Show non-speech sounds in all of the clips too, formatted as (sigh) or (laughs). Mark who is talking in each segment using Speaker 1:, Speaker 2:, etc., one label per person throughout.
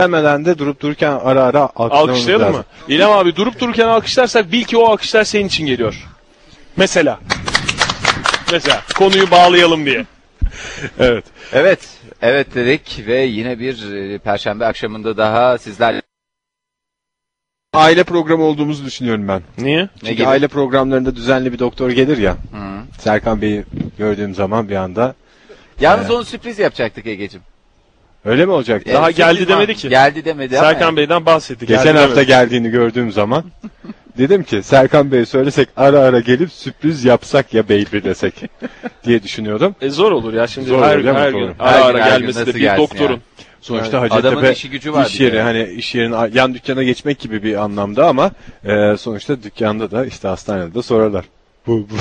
Speaker 1: Demeden de durup dururken ara ara alkışlamamız
Speaker 2: Alkışlayalım
Speaker 1: lazım.
Speaker 2: mı? İlem abi durup dururken alkışlarsak bil ki o alkışlar senin için geliyor. Mesela. Mesela konuyu bağlayalım diye. evet.
Speaker 3: Evet, evet dedik ve yine bir e, perşembe akşamında daha sizlerle
Speaker 1: Aile programı olduğumuzu düşünüyorum ben.
Speaker 2: Niye?
Speaker 3: Ne
Speaker 1: Çünkü
Speaker 3: gibi?
Speaker 1: aile programlarında düzenli bir doktor gelir ya. Serkan Bey'i gördüğüm zaman bir anda
Speaker 3: Yalnız onu sürpriz yapacaktık Ege'cim.
Speaker 1: öyle mi olacak?
Speaker 3: E,
Speaker 2: Daha
Speaker 3: sürpriz
Speaker 2: geldi
Speaker 3: var.
Speaker 2: demedi ki.
Speaker 3: Geldi demedi ama
Speaker 2: Serkan Bey'den bahsettik.
Speaker 1: Geçen hafta geldiğini gördüğüm zaman (laughs) dedim ki Serkan Bey'e söylesek ara ara gelip sürpriz yapsak ya baby desek (laughs) diye düşünüyordum.
Speaker 2: E zor olur ya şimdi
Speaker 1: Zor
Speaker 2: her,
Speaker 1: olur, değil mi?
Speaker 2: her
Speaker 1: Doğru.
Speaker 2: gün
Speaker 3: Her
Speaker 2: ara
Speaker 3: gün,
Speaker 2: ara
Speaker 3: her gün
Speaker 2: gelmesi de
Speaker 3: nasıl
Speaker 2: bir
Speaker 3: gelsin
Speaker 2: doktorun.
Speaker 3: yani?
Speaker 1: Sonuçta
Speaker 3: Evet.
Speaker 1: Hacettepe
Speaker 3: Adamın işi gücü var
Speaker 1: iş
Speaker 3: bir
Speaker 1: yeri
Speaker 3: kere.
Speaker 1: hani iş yerin yan dükkana geçmek gibi bir anlamda ama e, sonuçta dükkanda da işte hastanede de sorarlar. Bu, (laughs) bu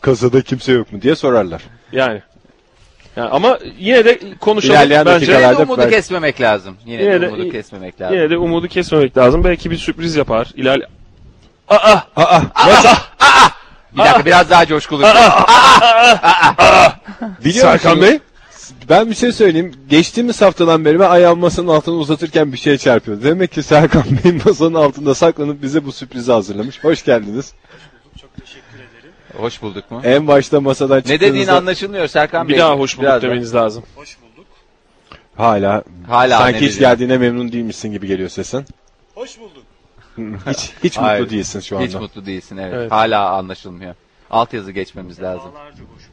Speaker 1: kasada kimse yok mu diye sorarlar.
Speaker 2: Yani. yani. Ama yine de konuşalım.
Speaker 1: İlerleyen
Speaker 2: Bence
Speaker 1: dakikalarda
Speaker 3: yine de umudu
Speaker 1: belki-
Speaker 3: kesmemek lazım. Yine,
Speaker 2: Yine
Speaker 3: de
Speaker 2: de-
Speaker 3: umudu kesmemek lazım.
Speaker 2: yine de umudu kesmemek lazım. Belki bir sürpriz yapar. İlerle... Aa!
Speaker 1: Aa nasıl?
Speaker 3: Bir dakika biraz daha coşkulu.
Speaker 2: Ah,
Speaker 1: Biliyor
Speaker 2: Serkan
Speaker 1: musunuz? Ben bir şey söyleyeyim. Geçtiğimiz haftadan beri ben ayağım masanın altına uzatırken bir şey çarpıyor. Demek ki Serkan Bey masanın altında saklanıp bize bu sürprizi hazırlamış. Hoş geldiniz.
Speaker 3: Hoş bulduk mu?
Speaker 1: En başta masadan
Speaker 3: ne
Speaker 1: çıktığınızda
Speaker 3: dediğin anlaşılmıyor Serkan Bey.
Speaker 2: Bir daha hoş bulduk
Speaker 3: Biraz da-
Speaker 2: demeniz lazım.
Speaker 4: Hoş bulduk.
Speaker 1: hala,
Speaker 3: Hala ne
Speaker 1: sanki hiç
Speaker 3: dediğin.
Speaker 1: geldiğine memnun değilmişsin gibi geliyor sesin.
Speaker 4: Hoş bulduk.
Speaker 1: Hiç, hiç
Speaker 3: (laughs) Hayır.
Speaker 1: mutlu değilsin şu anda.
Speaker 3: Hiç mutlu değilsin evet.
Speaker 2: Evet.
Speaker 3: Hala anlaşılmıyor. Altyazı geçmemiz lazım.
Speaker 4: Defalarca hoş bulduk.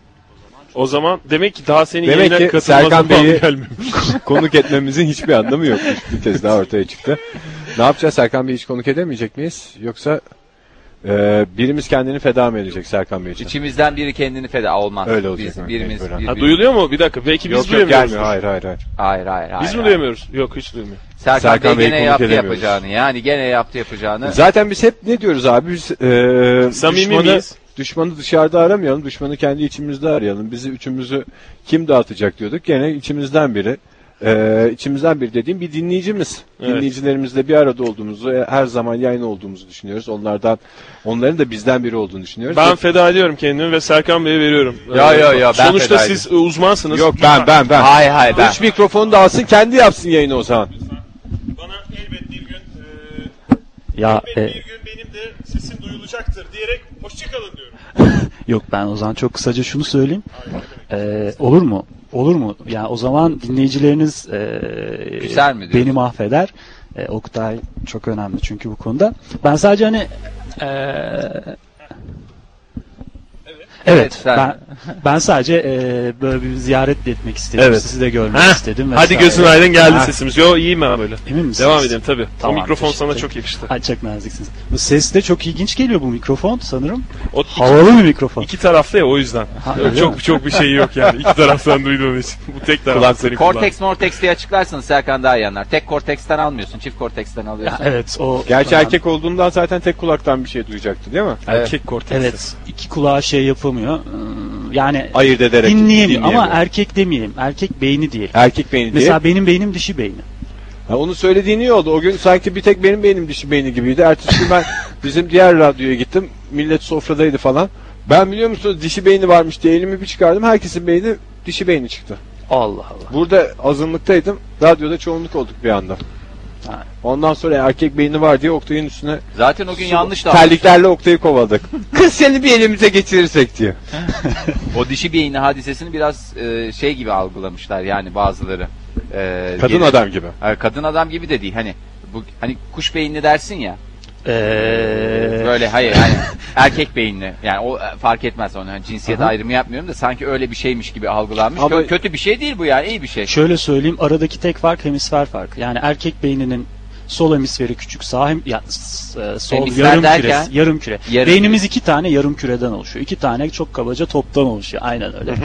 Speaker 2: O zaman demek ki daha senin
Speaker 1: Demek
Speaker 2: yayına
Speaker 1: ki Serkan
Speaker 2: katılmazdan
Speaker 1: Bey'i-
Speaker 2: gelmemiş.
Speaker 1: konuk etmemizin hiçbir anlamı yokmuş. Bir kez daha ortaya çıktı. Ne yapacağız Serkan Bey hiç konuk edemeyecek miyiz? Yoksa e, birimiz kendini feda mı edecek Serkan Bey için?
Speaker 3: İçimizden biri kendini feda olmaz.
Speaker 1: Öyle olacak
Speaker 3: Biz,
Speaker 1: yani,
Speaker 3: birimiz,
Speaker 1: mecburen. Ha,
Speaker 2: Ha,
Speaker 3: birbirimiz-
Speaker 2: duyuluyor mu? Bir dakika. Belki biz
Speaker 1: Yok yok
Speaker 2: duyamıyoruz.
Speaker 1: gelmiyor. Hayır hayır hayır.
Speaker 3: Hayır hayır hayır.
Speaker 2: Biz mi
Speaker 3: hayır.
Speaker 2: duyamıyoruz? Yok hiç duymuyor.
Speaker 3: Serkan,
Speaker 1: Serkan
Speaker 3: Bey
Speaker 1: Bey'i
Speaker 3: gene
Speaker 1: konuk
Speaker 3: yaptı
Speaker 1: edemiyoruz.
Speaker 3: yapacağını. Yani gene yaptı yapacağını.
Speaker 1: Zaten biz hep ne diyoruz abi? Biz, e,
Speaker 2: Samimi
Speaker 1: düşmanı,
Speaker 2: miyiz?
Speaker 1: Düşmanı dışarıda aramayalım. Düşmanı kendi içimizde arayalım. Bizi üçümüzü kim dağıtacak diyorduk. Gene içimizden biri. E, içimizden biri dediğim bir dinleyicimiz.
Speaker 2: Evet.
Speaker 1: Dinleyicilerimizle bir arada olduğumuzu, e, her zaman yayın olduğumuzu düşünüyoruz. Onlardan, onların da bizden biri olduğunu düşünüyoruz.
Speaker 2: Ben feda ediyorum kendimi ve Serkan Bey'e veriyorum.
Speaker 3: Ya, ya, ya, ben
Speaker 2: Sonuçta
Speaker 3: feda
Speaker 2: siz e, uzmansınız.
Speaker 1: Yok ben ben ben.
Speaker 3: Hayır hayır ben.
Speaker 1: Üç mikrofonu da alsın kendi yapsın yayını o zaman.
Speaker 4: Bana elbet bir gün, eee,
Speaker 5: Ya
Speaker 4: elbet
Speaker 5: e,
Speaker 4: bir gün benim de sesim duyulacaktır diyerek hoşçakalın diyorum.
Speaker 5: yok ben o zaman çok kısaca şunu söyleyeyim. E, olur mu? Olur mu? Yani o zaman dinleyicileriniz e,
Speaker 3: Güzel mi diyorsun?
Speaker 5: beni mahveder. E, Oktay çok önemli çünkü bu konuda. Ben sadece hani e,
Speaker 3: Evet,
Speaker 5: Evet,
Speaker 3: sen-
Speaker 5: ben, ben sadece e, böyle bir ziyaret de etmek istedim.
Speaker 2: Evet.
Speaker 5: Sizi de görmek
Speaker 2: Heh,
Speaker 5: istedim.
Speaker 2: Hadi
Speaker 5: vesaire.
Speaker 2: gözün aydın geldi sesimiz. Yo iyiyim ben böyle.
Speaker 5: Emin misiniz?
Speaker 2: Devam edelim tabii.
Speaker 5: Tamam,
Speaker 2: o mikrofon sana
Speaker 5: teşekkür
Speaker 2: çok yakıştı.
Speaker 5: Ay, çok naziksiniz. Bu ses de çok ilginç geliyor bu mikrofon sanırım.
Speaker 2: O iki,
Speaker 5: Havalı bir mikrofon.
Speaker 2: iki taraflı ya o yüzden.
Speaker 5: (laughs) Ha,
Speaker 2: Yok,
Speaker 5: öyle
Speaker 2: çok
Speaker 5: mi?
Speaker 2: çok bir şey yok yani. İki taraftan duyduğun için. Bu tek taraf
Speaker 1: şey
Speaker 2: senin kulağın.
Speaker 3: Korteks morteks diye açıklarsanız Serkan daha iyi anlar. Tek korteksten almıyorsun, çift korteksten alıyorsun.
Speaker 5: Evet o
Speaker 1: Gerçi
Speaker 5: önemli.
Speaker 1: erkek olduğundan zaten tek kulaktan bir şey duyacaktı değil mi?
Speaker 2: Erkek korteks.
Speaker 5: Evet iki kulağa şey yapamıyor. Hmm, Yani
Speaker 1: Ayırt ederek.
Speaker 5: dinleyemiyor ama
Speaker 1: dinleyemiyor.
Speaker 5: erkek demeyelim. Erkek beyni diyelim.
Speaker 1: erkek beyni diye.
Speaker 5: Mesela benim beynim dişi beyni.
Speaker 1: Ha, onu söylediğin iyi oldu. O gün sanki bir tek benim beynim dişi beyni gibiydi. Ertesi (laughs) gün ben bizim diğer radyoya gittim. Millet sofradaydı falan. Ben biliyor musunuz dişi beyni varmış diye elimi bir çıkardım. Herkesin beyni dişi beyni çıktı.
Speaker 5: Allah Allah.
Speaker 1: Burada azınlıktaydım. Radyoda çoğunluk olduk bir anda.
Speaker 5: Ha.
Speaker 1: Ondan sonra erkek beyni var diye Oktay'ın üstüne
Speaker 3: Zaten o gün yanlış da
Speaker 1: terliklerle Oktay'ı
Speaker 5: (laughs)
Speaker 1: kovaladık. Kız seni bir elimize geçirirsek diye.
Speaker 3: O dişi beyni hadisesini biraz e, şey gibi algılamışlar yani bazıları. E,
Speaker 1: Kadın
Speaker 3: geri-
Speaker 1: adam gibi.
Speaker 3: Ha, kadın adam gibi de değil. Hani bu hani kuş beyinli dersin ya.
Speaker 5: Ee,
Speaker 1: (laughs)
Speaker 3: Böyle hayır yani erkek beyinli. Yani o e, fark etmez onu. Hani cinsiyet ayrımı yapmıyorum da sanki öyle bir şeymiş gibi algılanmış.
Speaker 1: Ama-
Speaker 3: Kö- kötü bir şey değil bu yani iyi bir şey.
Speaker 5: şöyle söyleyeyim aradaki tek fark hemisfer farkı. Yani erkek beyninin sol hemisferi küçük sağ hem, ya, s- e, sol
Speaker 3: Hemisfer
Speaker 5: yarım
Speaker 3: derken-
Speaker 5: küresi, yarım küre.
Speaker 3: Yarım
Speaker 5: Beynimiz iki tane yarım küreden oluşuyor. İki tane çok kabaca toptan oluşuyor. Aynen öyle.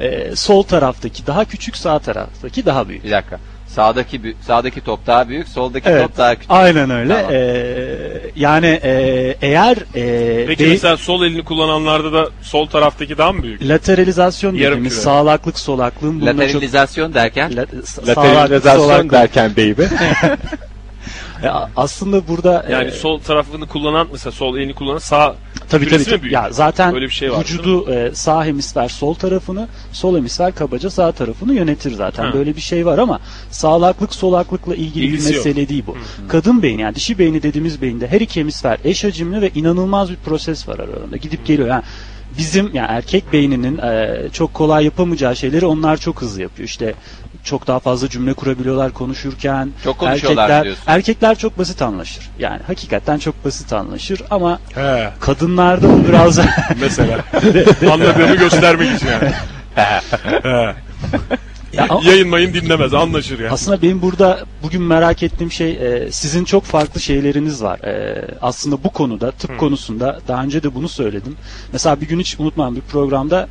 Speaker 5: Ee, sol taraftaki daha küçük, sağ taraftaki daha büyük.
Speaker 3: Bir dakika. Sağdaki bü- sağdaki top daha büyük, soldaki
Speaker 5: Evet.
Speaker 3: top daha küçük.
Speaker 5: Aynen öyle.
Speaker 3: Tamam.
Speaker 5: Ee, yani e, eğer e,
Speaker 2: Peki
Speaker 5: beyin-
Speaker 2: mesela sol elini kullananlarda da sol taraftaki daha mı büyük?
Speaker 5: lateralizasyon
Speaker 2: Yarım
Speaker 5: dediğimiz
Speaker 2: küre.
Speaker 5: sağlaklık solaklığın bununla çok
Speaker 3: Lateralizasyon derken
Speaker 5: La- sa- sağlaklık
Speaker 1: Lateralizasyon
Speaker 5: solaklık.
Speaker 1: derken baby.
Speaker 5: E, a- aslında e, burada
Speaker 2: Yani
Speaker 5: e,
Speaker 2: sol tarafını kullanan mesela sol elini kullanan sağ
Speaker 5: Tabii
Speaker 2: Küresi
Speaker 5: tabii. tabii.
Speaker 2: mi büyük?
Speaker 5: Ya zaten
Speaker 2: Öyle bir şey var,
Speaker 5: vücudu e, sağ hemisfer sol tarafını, sol hemisfer kabaca sağ tarafını yönetir zaten.
Speaker 2: Ha.
Speaker 5: Böyle bir şey var ama sağlaklık solaklıkla ilgili
Speaker 2: İlgisi
Speaker 5: bir
Speaker 2: yok.
Speaker 5: mesele değil bu. Kadın beyni yani dişi beyni dediğimiz beyinde her iki hemisfer eş hacimli ve inanılmaz bir proses var aralarında. Gidip geliyor. Yani bizim yani erkek beyninin e, çok kolay yapamayacağı şeyleri onlar çok hızlı yapıyor. İşte çok daha fazla cümle kurabiliyorlar konuşurken.
Speaker 3: Çok konuşuyorlar
Speaker 5: erkekler,
Speaker 3: diyorsun.
Speaker 5: erkekler çok basit anlaşır. Yani hakikaten çok basit anlaşır ama
Speaker 2: He.
Speaker 5: Kadınlarda bu biraz
Speaker 2: Mesela.
Speaker 5: (laughs)
Speaker 2: Anladığımı göstermek için yani. He.
Speaker 5: Ya ama
Speaker 2: Yayın mayın dinlemez anlaşır yani.
Speaker 5: aslında benim burada bugün merak ettiğim şey e, sizin çok farklı şeyleriniz var. E, aslında bu konuda tıp konusunda daha önce de bunu söyledim. Mesela bir gün hiç unutmam bir programda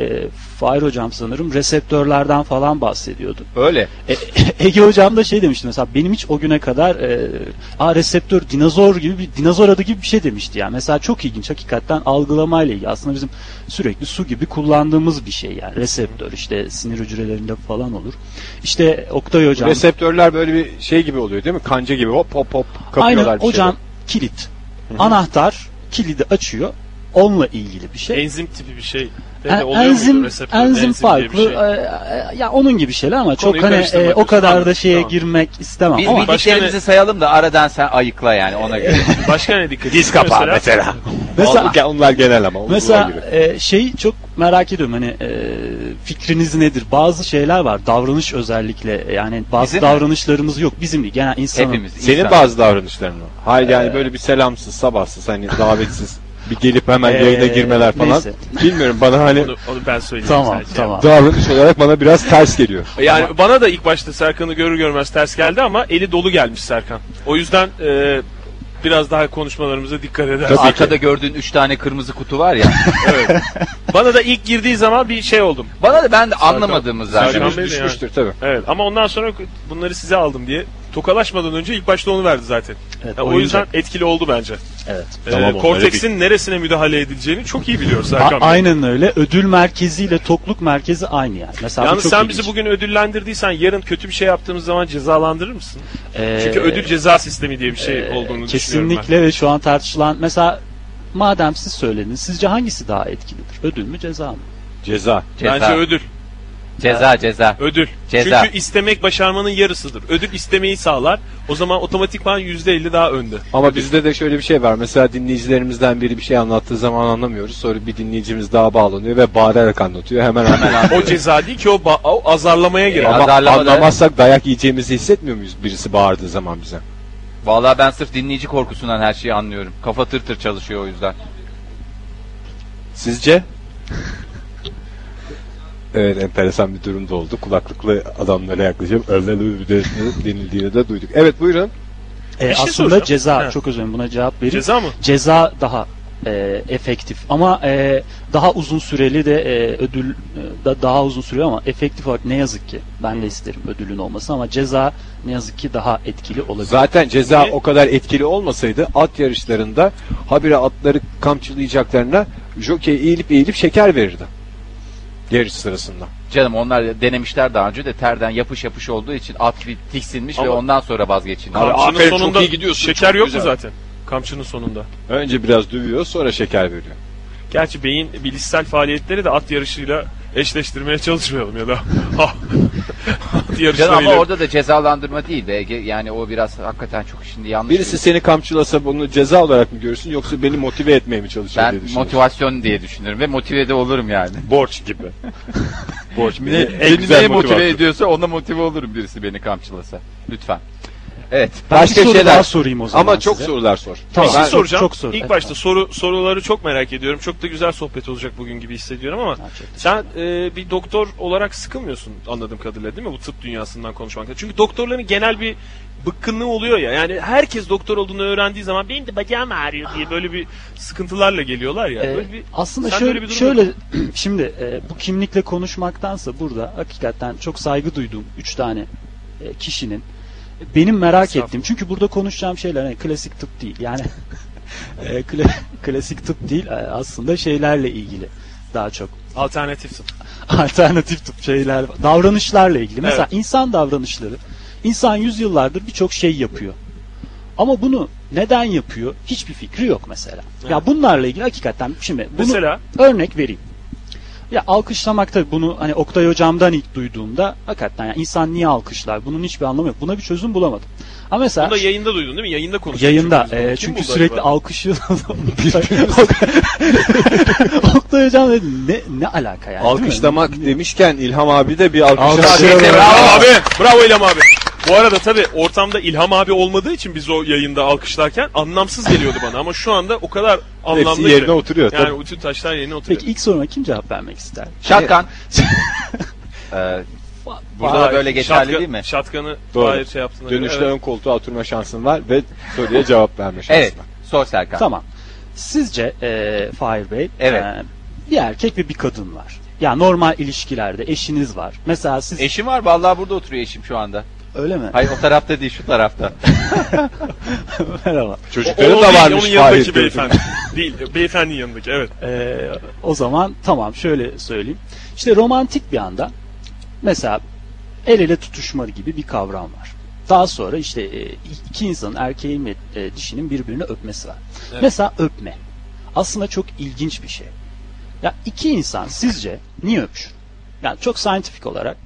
Speaker 5: e, Fahir hocam sanırım reseptörlerden falan bahsediyordu.
Speaker 3: Öyle.
Speaker 5: E, Ege hocam da şey demişti mesela benim hiç o güne kadar e, a reseptör dinozor gibi bir dinozor adı gibi bir şey demişti yani. Mesela çok ilginç hakikaten algılamayla ilgili. Aslında bizim sürekli su gibi kullandığımız bir şey yani reseptör işte sinir hücrelerinde falan olur. İşte Oktay hocam
Speaker 1: Reseptörler böyle bir şey gibi oluyor değil mi? Kanca gibi hop hop hop kapıyorlar
Speaker 5: aynen
Speaker 1: bir
Speaker 5: hocam kilit. Anahtar kilidi açıyor. Onunla ilgili bir şey.
Speaker 6: Enzim tipi bir şey.
Speaker 5: En-
Speaker 6: Enzim,
Speaker 5: E, enzim
Speaker 6: reseptörde
Speaker 5: enzim
Speaker 6: enzim diye bir
Speaker 5: farklı
Speaker 6: şey?
Speaker 5: e, e, ya onun gibi şeyler ama
Speaker 6: Konuyu
Speaker 5: çok hani
Speaker 6: karıştırma
Speaker 5: e, o
Speaker 6: diyorsun.
Speaker 5: kadar
Speaker 6: Anladım,
Speaker 5: da şeye
Speaker 6: tamam.
Speaker 5: girmek istemem
Speaker 3: Biz
Speaker 5: ama
Speaker 3: bildiklerimizi
Speaker 6: başka
Speaker 3: sayalım da aradan sen ayıkla yani ona göre.
Speaker 5: e,
Speaker 6: Başka ne dikkat Diz kapağı
Speaker 1: mesela.
Speaker 5: Mesela-
Speaker 1: Onlar- onlar genel ama. onlar
Speaker 5: Mesela
Speaker 1: gibi.
Speaker 5: e, şey çok merak ediyorum hani e, fikriniz nedir? Bazı şeyler var davranış özellikle yani bazı
Speaker 3: Bizim mi?
Speaker 5: davranışlarımız yok bizim değil genel insanın.
Speaker 3: Hepimiz.
Speaker 1: Senin
Speaker 3: insan.
Speaker 1: bazı davranışların var. Hayır yani böyle bir selamsız, sabahsız, hani davetsiz bir gelip hemen yayına
Speaker 5: Ee,
Speaker 1: girmeler falan.
Speaker 5: neyse.
Speaker 1: Bilmiyorum bana hani
Speaker 6: Onu, onu ben söyleyeyim.
Speaker 5: Tamam
Speaker 6: sadece.
Speaker 5: tamam.
Speaker 1: davranış olarak bana biraz ters geliyor.
Speaker 2: Yani bana da ilk başta Serkan'ı görür görmez ters geldi ama eli dolu gelmiş Serkan. O yüzden e, biraz daha konuşmalarımıza dikkat eder.
Speaker 1: Tabii.
Speaker 3: Arkada gördüğün üç tane kırmızı kutu var ya.
Speaker 2: Bana da ilk girdiği zaman bir şey oldum.
Speaker 3: Bana da ben de anlamadığımız zaten.
Speaker 2: Serkan-
Speaker 1: Düşmüş-
Speaker 2: Bey de
Speaker 1: düşmüştür tabii.
Speaker 2: Evet ama ondan sonra bunları size aldım diye tokalaşmadan önce ilk başta onu verdi zaten.
Speaker 5: Evet,
Speaker 2: Ya, o
Speaker 5: oyuncak.
Speaker 2: yüzden etkili oldu bence.
Speaker 5: evet.
Speaker 2: Ee,
Speaker 1: Tamam, onları
Speaker 2: korteksin neresine müdahale edileceğini çok iyi biliyor Serkan
Speaker 5: A-
Speaker 2: Bey.
Speaker 5: aynen öyle. Ödül merkeziyle tokluk merkezi aynı yani. Mesela bu
Speaker 2: Yalnız
Speaker 5: çok
Speaker 2: sen
Speaker 5: ilginç.
Speaker 2: bizi bugün ödüllendirdiysen yarın kötü bir şey yaptığımız zaman cezalandırır mısın?
Speaker 5: Ee,
Speaker 2: Çünkü ödül ceza sistemi diye bir şey
Speaker 5: Ee,
Speaker 2: olduğunu düşünüyorum ben.
Speaker 5: Kesinlikle ve şu an tartışılan mesela madem siz söylediniz sizce hangisi daha etkilidir? Ödül mü ceza mı?
Speaker 1: Ceza.
Speaker 3: Ceza.
Speaker 2: Bence ödül.
Speaker 3: Ceza ceza.
Speaker 2: Ödül.
Speaker 3: Ceza.
Speaker 2: Çünkü istemek başarmanın yarısıdır. Ödül istemeyi sağlar. O zaman otomatikman %50 daha önde.
Speaker 1: Ama bizde de şöyle bir şey var. Mesela dinleyicilerimizden biri bir şey anlattığı zaman anlamıyoruz. Sonra bir dinleyicimiz daha bağlanıyor ve bağırarak anlatıyor. Hemen anlıyoruz.
Speaker 2: O ceza değil ki o, ba- o azarlamaya girer.
Speaker 3: Ya,
Speaker 1: Ama
Speaker 3: azarlama da-
Speaker 1: anlamazsak dayak yiyeceğimizi hissetmiyor muyuz birisi bağırdığı zaman bize?
Speaker 3: Vallahi ben sırf dinleyici korkusundan her şeyi anlıyorum. Kafa tır tır çalışıyor o yüzden.
Speaker 1: Sizce? evet enteresan bir durumda oldu. Kulaklıklı adamlara yaklaşıp özel bir de denildiğini de duyduk. Evet buyurun.
Speaker 5: Ee,
Speaker 2: Bir şey
Speaker 5: aslında
Speaker 2: soracağım.
Speaker 5: ceza
Speaker 2: He.
Speaker 5: çok özür dilerim buna cevap vereyim.
Speaker 2: Ceza mı?
Speaker 5: ceza daha e, efektif ama e, daha uzun süreli de e, ödül e, da daha uzun sürüyor ama efektif olarak ne yazık ki ben de isterim ödülün olması ama ceza ne yazık ki daha etkili olabilir.
Speaker 1: Zaten ceza
Speaker 2: Niye?
Speaker 1: o kadar etkili olmasaydı at yarışlarında habire atları kamçılayacaklarına jokey eğilip eğilip şeker verirdi. Yarış sırasında.
Speaker 3: Canım onlar denemişler daha önce de terden yapış yapış olduğu için at bir tiksinmiş ve
Speaker 2: Ama-
Speaker 3: ondan sonra vazgeçilmiş.
Speaker 1: Abi,
Speaker 2: Kamçının
Speaker 1: aferin, çok
Speaker 2: sonunda
Speaker 1: iyi gidiyorsun,
Speaker 2: şeker
Speaker 1: çok
Speaker 2: yok
Speaker 1: güzel.
Speaker 2: mu zaten? Kamçının sonunda.
Speaker 1: Önce biraz dövüyor sonra şeker veriyor.
Speaker 2: Gerçi beyin bilişsel faaliyetleri de at yarışıyla eşleştirmeye çalışmayalım ya da (laughs) at
Speaker 3: Canım ama
Speaker 2: yarışlarıyla.
Speaker 3: orada da cezalandırma değil de Ege, yani o biraz hakikaten çok şimdi yanlış.
Speaker 1: Birisi
Speaker 3: bir-
Speaker 1: seni kamçılasa bunu ceza olarak mı görürsün yoksa beni motive etmeye mi çalışıyor
Speaker 3: ben
Speaker 1: diye düşünüyorum.
Speaker 3: motivasyon diye düşünürüm ve motive de olurum yani.
Speaker 1: Borç gibi. Borç
Speaker 3: Ne, beni neye motive ediyorsa ona motive olurum birisi beni kamçılasa. Lütfen. Evet.
Speaker 5: Ben bir
Speaker 1: Başka
Speaker 5: soru
Speaker 1: şeyler.
Speaker 5: daha sorayım o zaman
Speaker 1: Ama çok
Speaker 5: size.
Speaker 1: sorular sor.
Speaker 5: Tamam.
Speaker 2: Bir şey
Speaker 5: Ben-
Speaker 2: soracağım.
Speaker 5: çok soru.
Speaker 2: İlk
Speaker 5: Evet,
Speaker 2: başta soru soruları çok merak ediyorum. Çok da güzel sohbet olacak bugün gibi hissediyorum ama sen e, bir doktor olarak sıkılmıyorsun anladığım kadarıyla değil mi? Bu tıp dünyasından konuşmakta. Çünkü doktorların genel bir bıkkınlığı oluyor ya. Yani herkes doktor olduğunu öğrendiği zaman benim de bacağım ağrıyor diye böyle bir sıkıntılarla geliyorlar ya.
Speaker 5: Ee,
Speaker 2: Böyle bir-
Speaker 5: aslında
Speaker 2: sen
Speaker 5: şöyle,
Speaker 2: böyle bir durum
Speaker 5: şöyle
Speaker 2: yok.
Speaker 5: (clears throat) şimdi e, bu kimlikle konuşmaktansa burada hakikaten çok saygı duyduğum üç tane e, kişinin benim merak
Speaker 2: Estağfurullah.
Speaker 5: ettiğim çünkü burada konuşacağım şeyler hani klasik tıp değil yani (laughs) e, kla- (laughs) klasik tıp değil e, aslında şeylerle ilgili daha çok (laughs)
Speaker 2: alternatif tıp.
Speaker 5: alternatif tıp şeyler davranışlarla ilgili. Mesela insan davranışları insan yüzyıllardır birçok şey yapıyor. Ama bunu neden yapıyor? Hiçbir fikri yok mesela. Ya bunlarla ilgili hakikaten şimdi bunu
Speaker 2: Mesela?
Speaker 5: örnek vereyim. Ya alkışlamak tabii bunu hani Oktay hocamdan ilk duyduğumda hakikaten ya insan niye alkışlar? Bunun hiçbir anlamı yok. Buna bir çözüm bulamadım. Ama mesela
Speaker 2: Bunu da yayında duydun değil mi? Yayında konuştuk.
Speaker 5: Yayında
Speaker 2: çünkü biz bunu.
Speaker 5: e,
Speaker 2: Kim
Speaker 5: çünkü
Speaker 2: buldu
Speaker 5: sürekli
Speaker 2: acaba?
Speaker 5: alkışlıyordu.
Speaker 3: (laughs)
Speaker 5: (laughs) Oktay Hocam dedi ne, ne alaka yani? değil mi?
Speaker 1: Alkışlamak demişken İlham abi de bir alkışlamak.
Speaker 5: Alkışlayalım.
Speaker 1: Şeyde-
Speaker 2: Bravo abi. Bravo İlham abi. Bu arada tabii ortamda İlham abi olmadığı için biz o yayında alkışlarken anlamsız geliyordu bana ama şu anda o kadar anlamlı
Speaker 1: Hepsi
Speaker 2: ki.
Speaker 1: yerine oturuyor.
Speaker 2: Yani
Speaker 1: tabii.
Speaker 2: o tüm taşlar yerine oturuyor.
Speaker 5: Peki ilk soruma kim cevap vermek ister?
Speaker 3: Şatkan. (laughs) Ee, burada da
Speaker 2: Vay,
Speaker 3: böyle geçerli
Speaker 2: şatkan-
Speaker 3: değil mi?
Speaker 2: Şatkanı
Speaker 1: Doğru.
Speaker 2: Hayır şey yaptığına göre,
Speaker 1: Dönüşte
Speaker 2: evet.
Speaker 1: ön koltuğa oturma şansın var ve soruya cevap verme şansın
Speaker 3: Evet.
Speaker 1: var.
Speaker 3: Sor Serkan.
Speaker 5: Tamam. Sizce e, Fahir Bey
Speaker 3: Evet.
Speaker 5: e, bir erkek ve bir kadın var. Ya normal ilişkilerde eşiniz var. Mesela siz
Speaker 3: Eşim var vallahi burada oturuyor eşim şu anda.
Speaker 5: öyle mi?
Speaker 3: Hayır o tarafta değil şu tarafta.
Speaker 5: (laughs) Merhaba.
Speaker 1: Çocukları da
Speaker 2: O değil,
Speaker 1: varmış
Speaker 2: Onun yanındaki
Speaker 1: Fahir Bey.
Speaker 2: beyefendi. değil, beyefendinin yanındaki evet.
Speaker 5: Ee, o zaman tamam şöyle söyleyeyim. İşte romantik bir anda mesela el ele tutuşma gibi bir kavram var. Daha sonra işte e, iki insanın erkeğin ve e, dişinin birbirini öpmesi var. Mesela öpme. Aslında çok ilginç bir şey. Ya iki insan sizce niye öpüşür? Yani çok scientific olarak.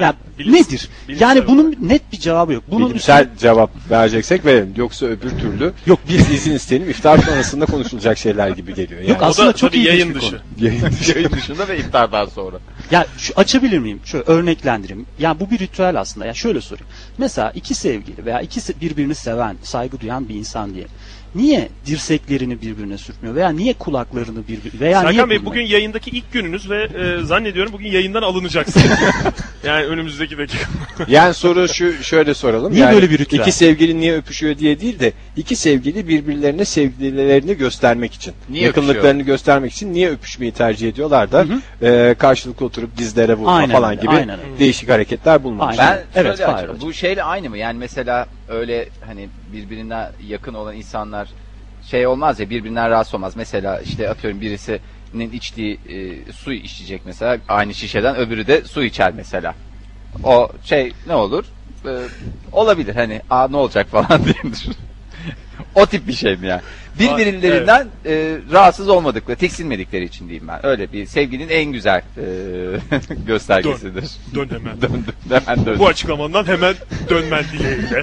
Speaker 5: Yani,
Speaker 2: bilim-
Speaker 5: nedir?
Speaker 2: bilimsel
Speaker 5: yani bunun net bir cevabı yok. Bunun
Speaker 1: Bilimsel cevap vereceksek verelim. Yoksa öbür türlü
Speaker 5: Yok,
Speaker 1: yok biz izin isteyelim iftar sonrasında konuşulacak şeyler gibi geliyor. Yani.
Speaker 5: Yok, aslında
Speaker 2: o da
Speaker 5: çok
Speaker 2: tabii
Speaker 5: ilginç
Speaker 2: yayın
Speaker 5: bir şey
Speaker 2: dışı.
Speaker 5: konu.
Speaker 1: Yayın dışı.
Speaker 3: Yayın dışında ve iftardan sonra.
Speaker 5: Ya şu açabilir miyim? Şöyle örneklendireyim. Yani bu bir ritüel aslında. Ya şöyle sorayım. Mesela iki sevgili veya iki se- birbirini seven, saygı duyan bir insan diye. Niye dirseklerini birbirine sürtmüyor veya niye kulaklarını birbirine veya niye
Speaker 2: Serkan Bey
Speaker 5: burnunu-
Speaker 2: bugün yayındaki ilk gününüz ve e, zannediyorum bugün yayından
Speaker 5: (laughs)
Speaker 2: alınacaksın. yani önümüzdeki dakika.
Speaker 1: Yani soru şu şöyle soralım.
Speaker 5: Niye
Speaker 1: yani
Speaker 5: böyle bir ritüel?
Speaker 1: İki sevgili niye öpüşüyor diye değil de iki sevgili birbirlerine sevgililerini göstermek için,
Speaker 3: Niye
Speaker 1: yakınlıklarını göstermek için niye öpüşmeyi tercih ediyorlar da e, karşılıklı oturup dizlere vurma
Speaker 5: Aynen
Speaker 1: falan
Speaker 5: öyle,
Speaker 1: gibi
Speaker 5: aynen öyle.
Speaker 1: değişik hareketler bulmamış.
Speaker 5: Aynen.
Speaker 3: Ben
Speaker 5: Evet,
Speaker 3: şöyle
Speaker 5: Fahir
Speaker 3: açıklayayım.
Speaker 5: hocam.
Speaker 3: bu şeyle aynı mı? Yani mesela öyle hani birbirine yakın olan insanlar şey olmaz ya birbirinden rahatsız olmaz. Mesela işte atıyorum birisinin içtiği e, su içecek mesela aynı şişeden öbürü de su içer mesela. O şey ne olur? E, olabilir hani aa ne olacak (laughs) falan diye düşün. o tip bir şey mi yani? Birbirlerinden e, rahatsız olmadıkları, tiksinmedikleri için diyeyim ben. Öyle bir sevginin en güzel e, (laughs) göstergesidir.
Speaker 2: Dön hemen.
Speaker 3: Döndüm, hemen döndüm.
Speaker 2: Bu açıklamandan hemen dönmen (laughs) dileğiyle.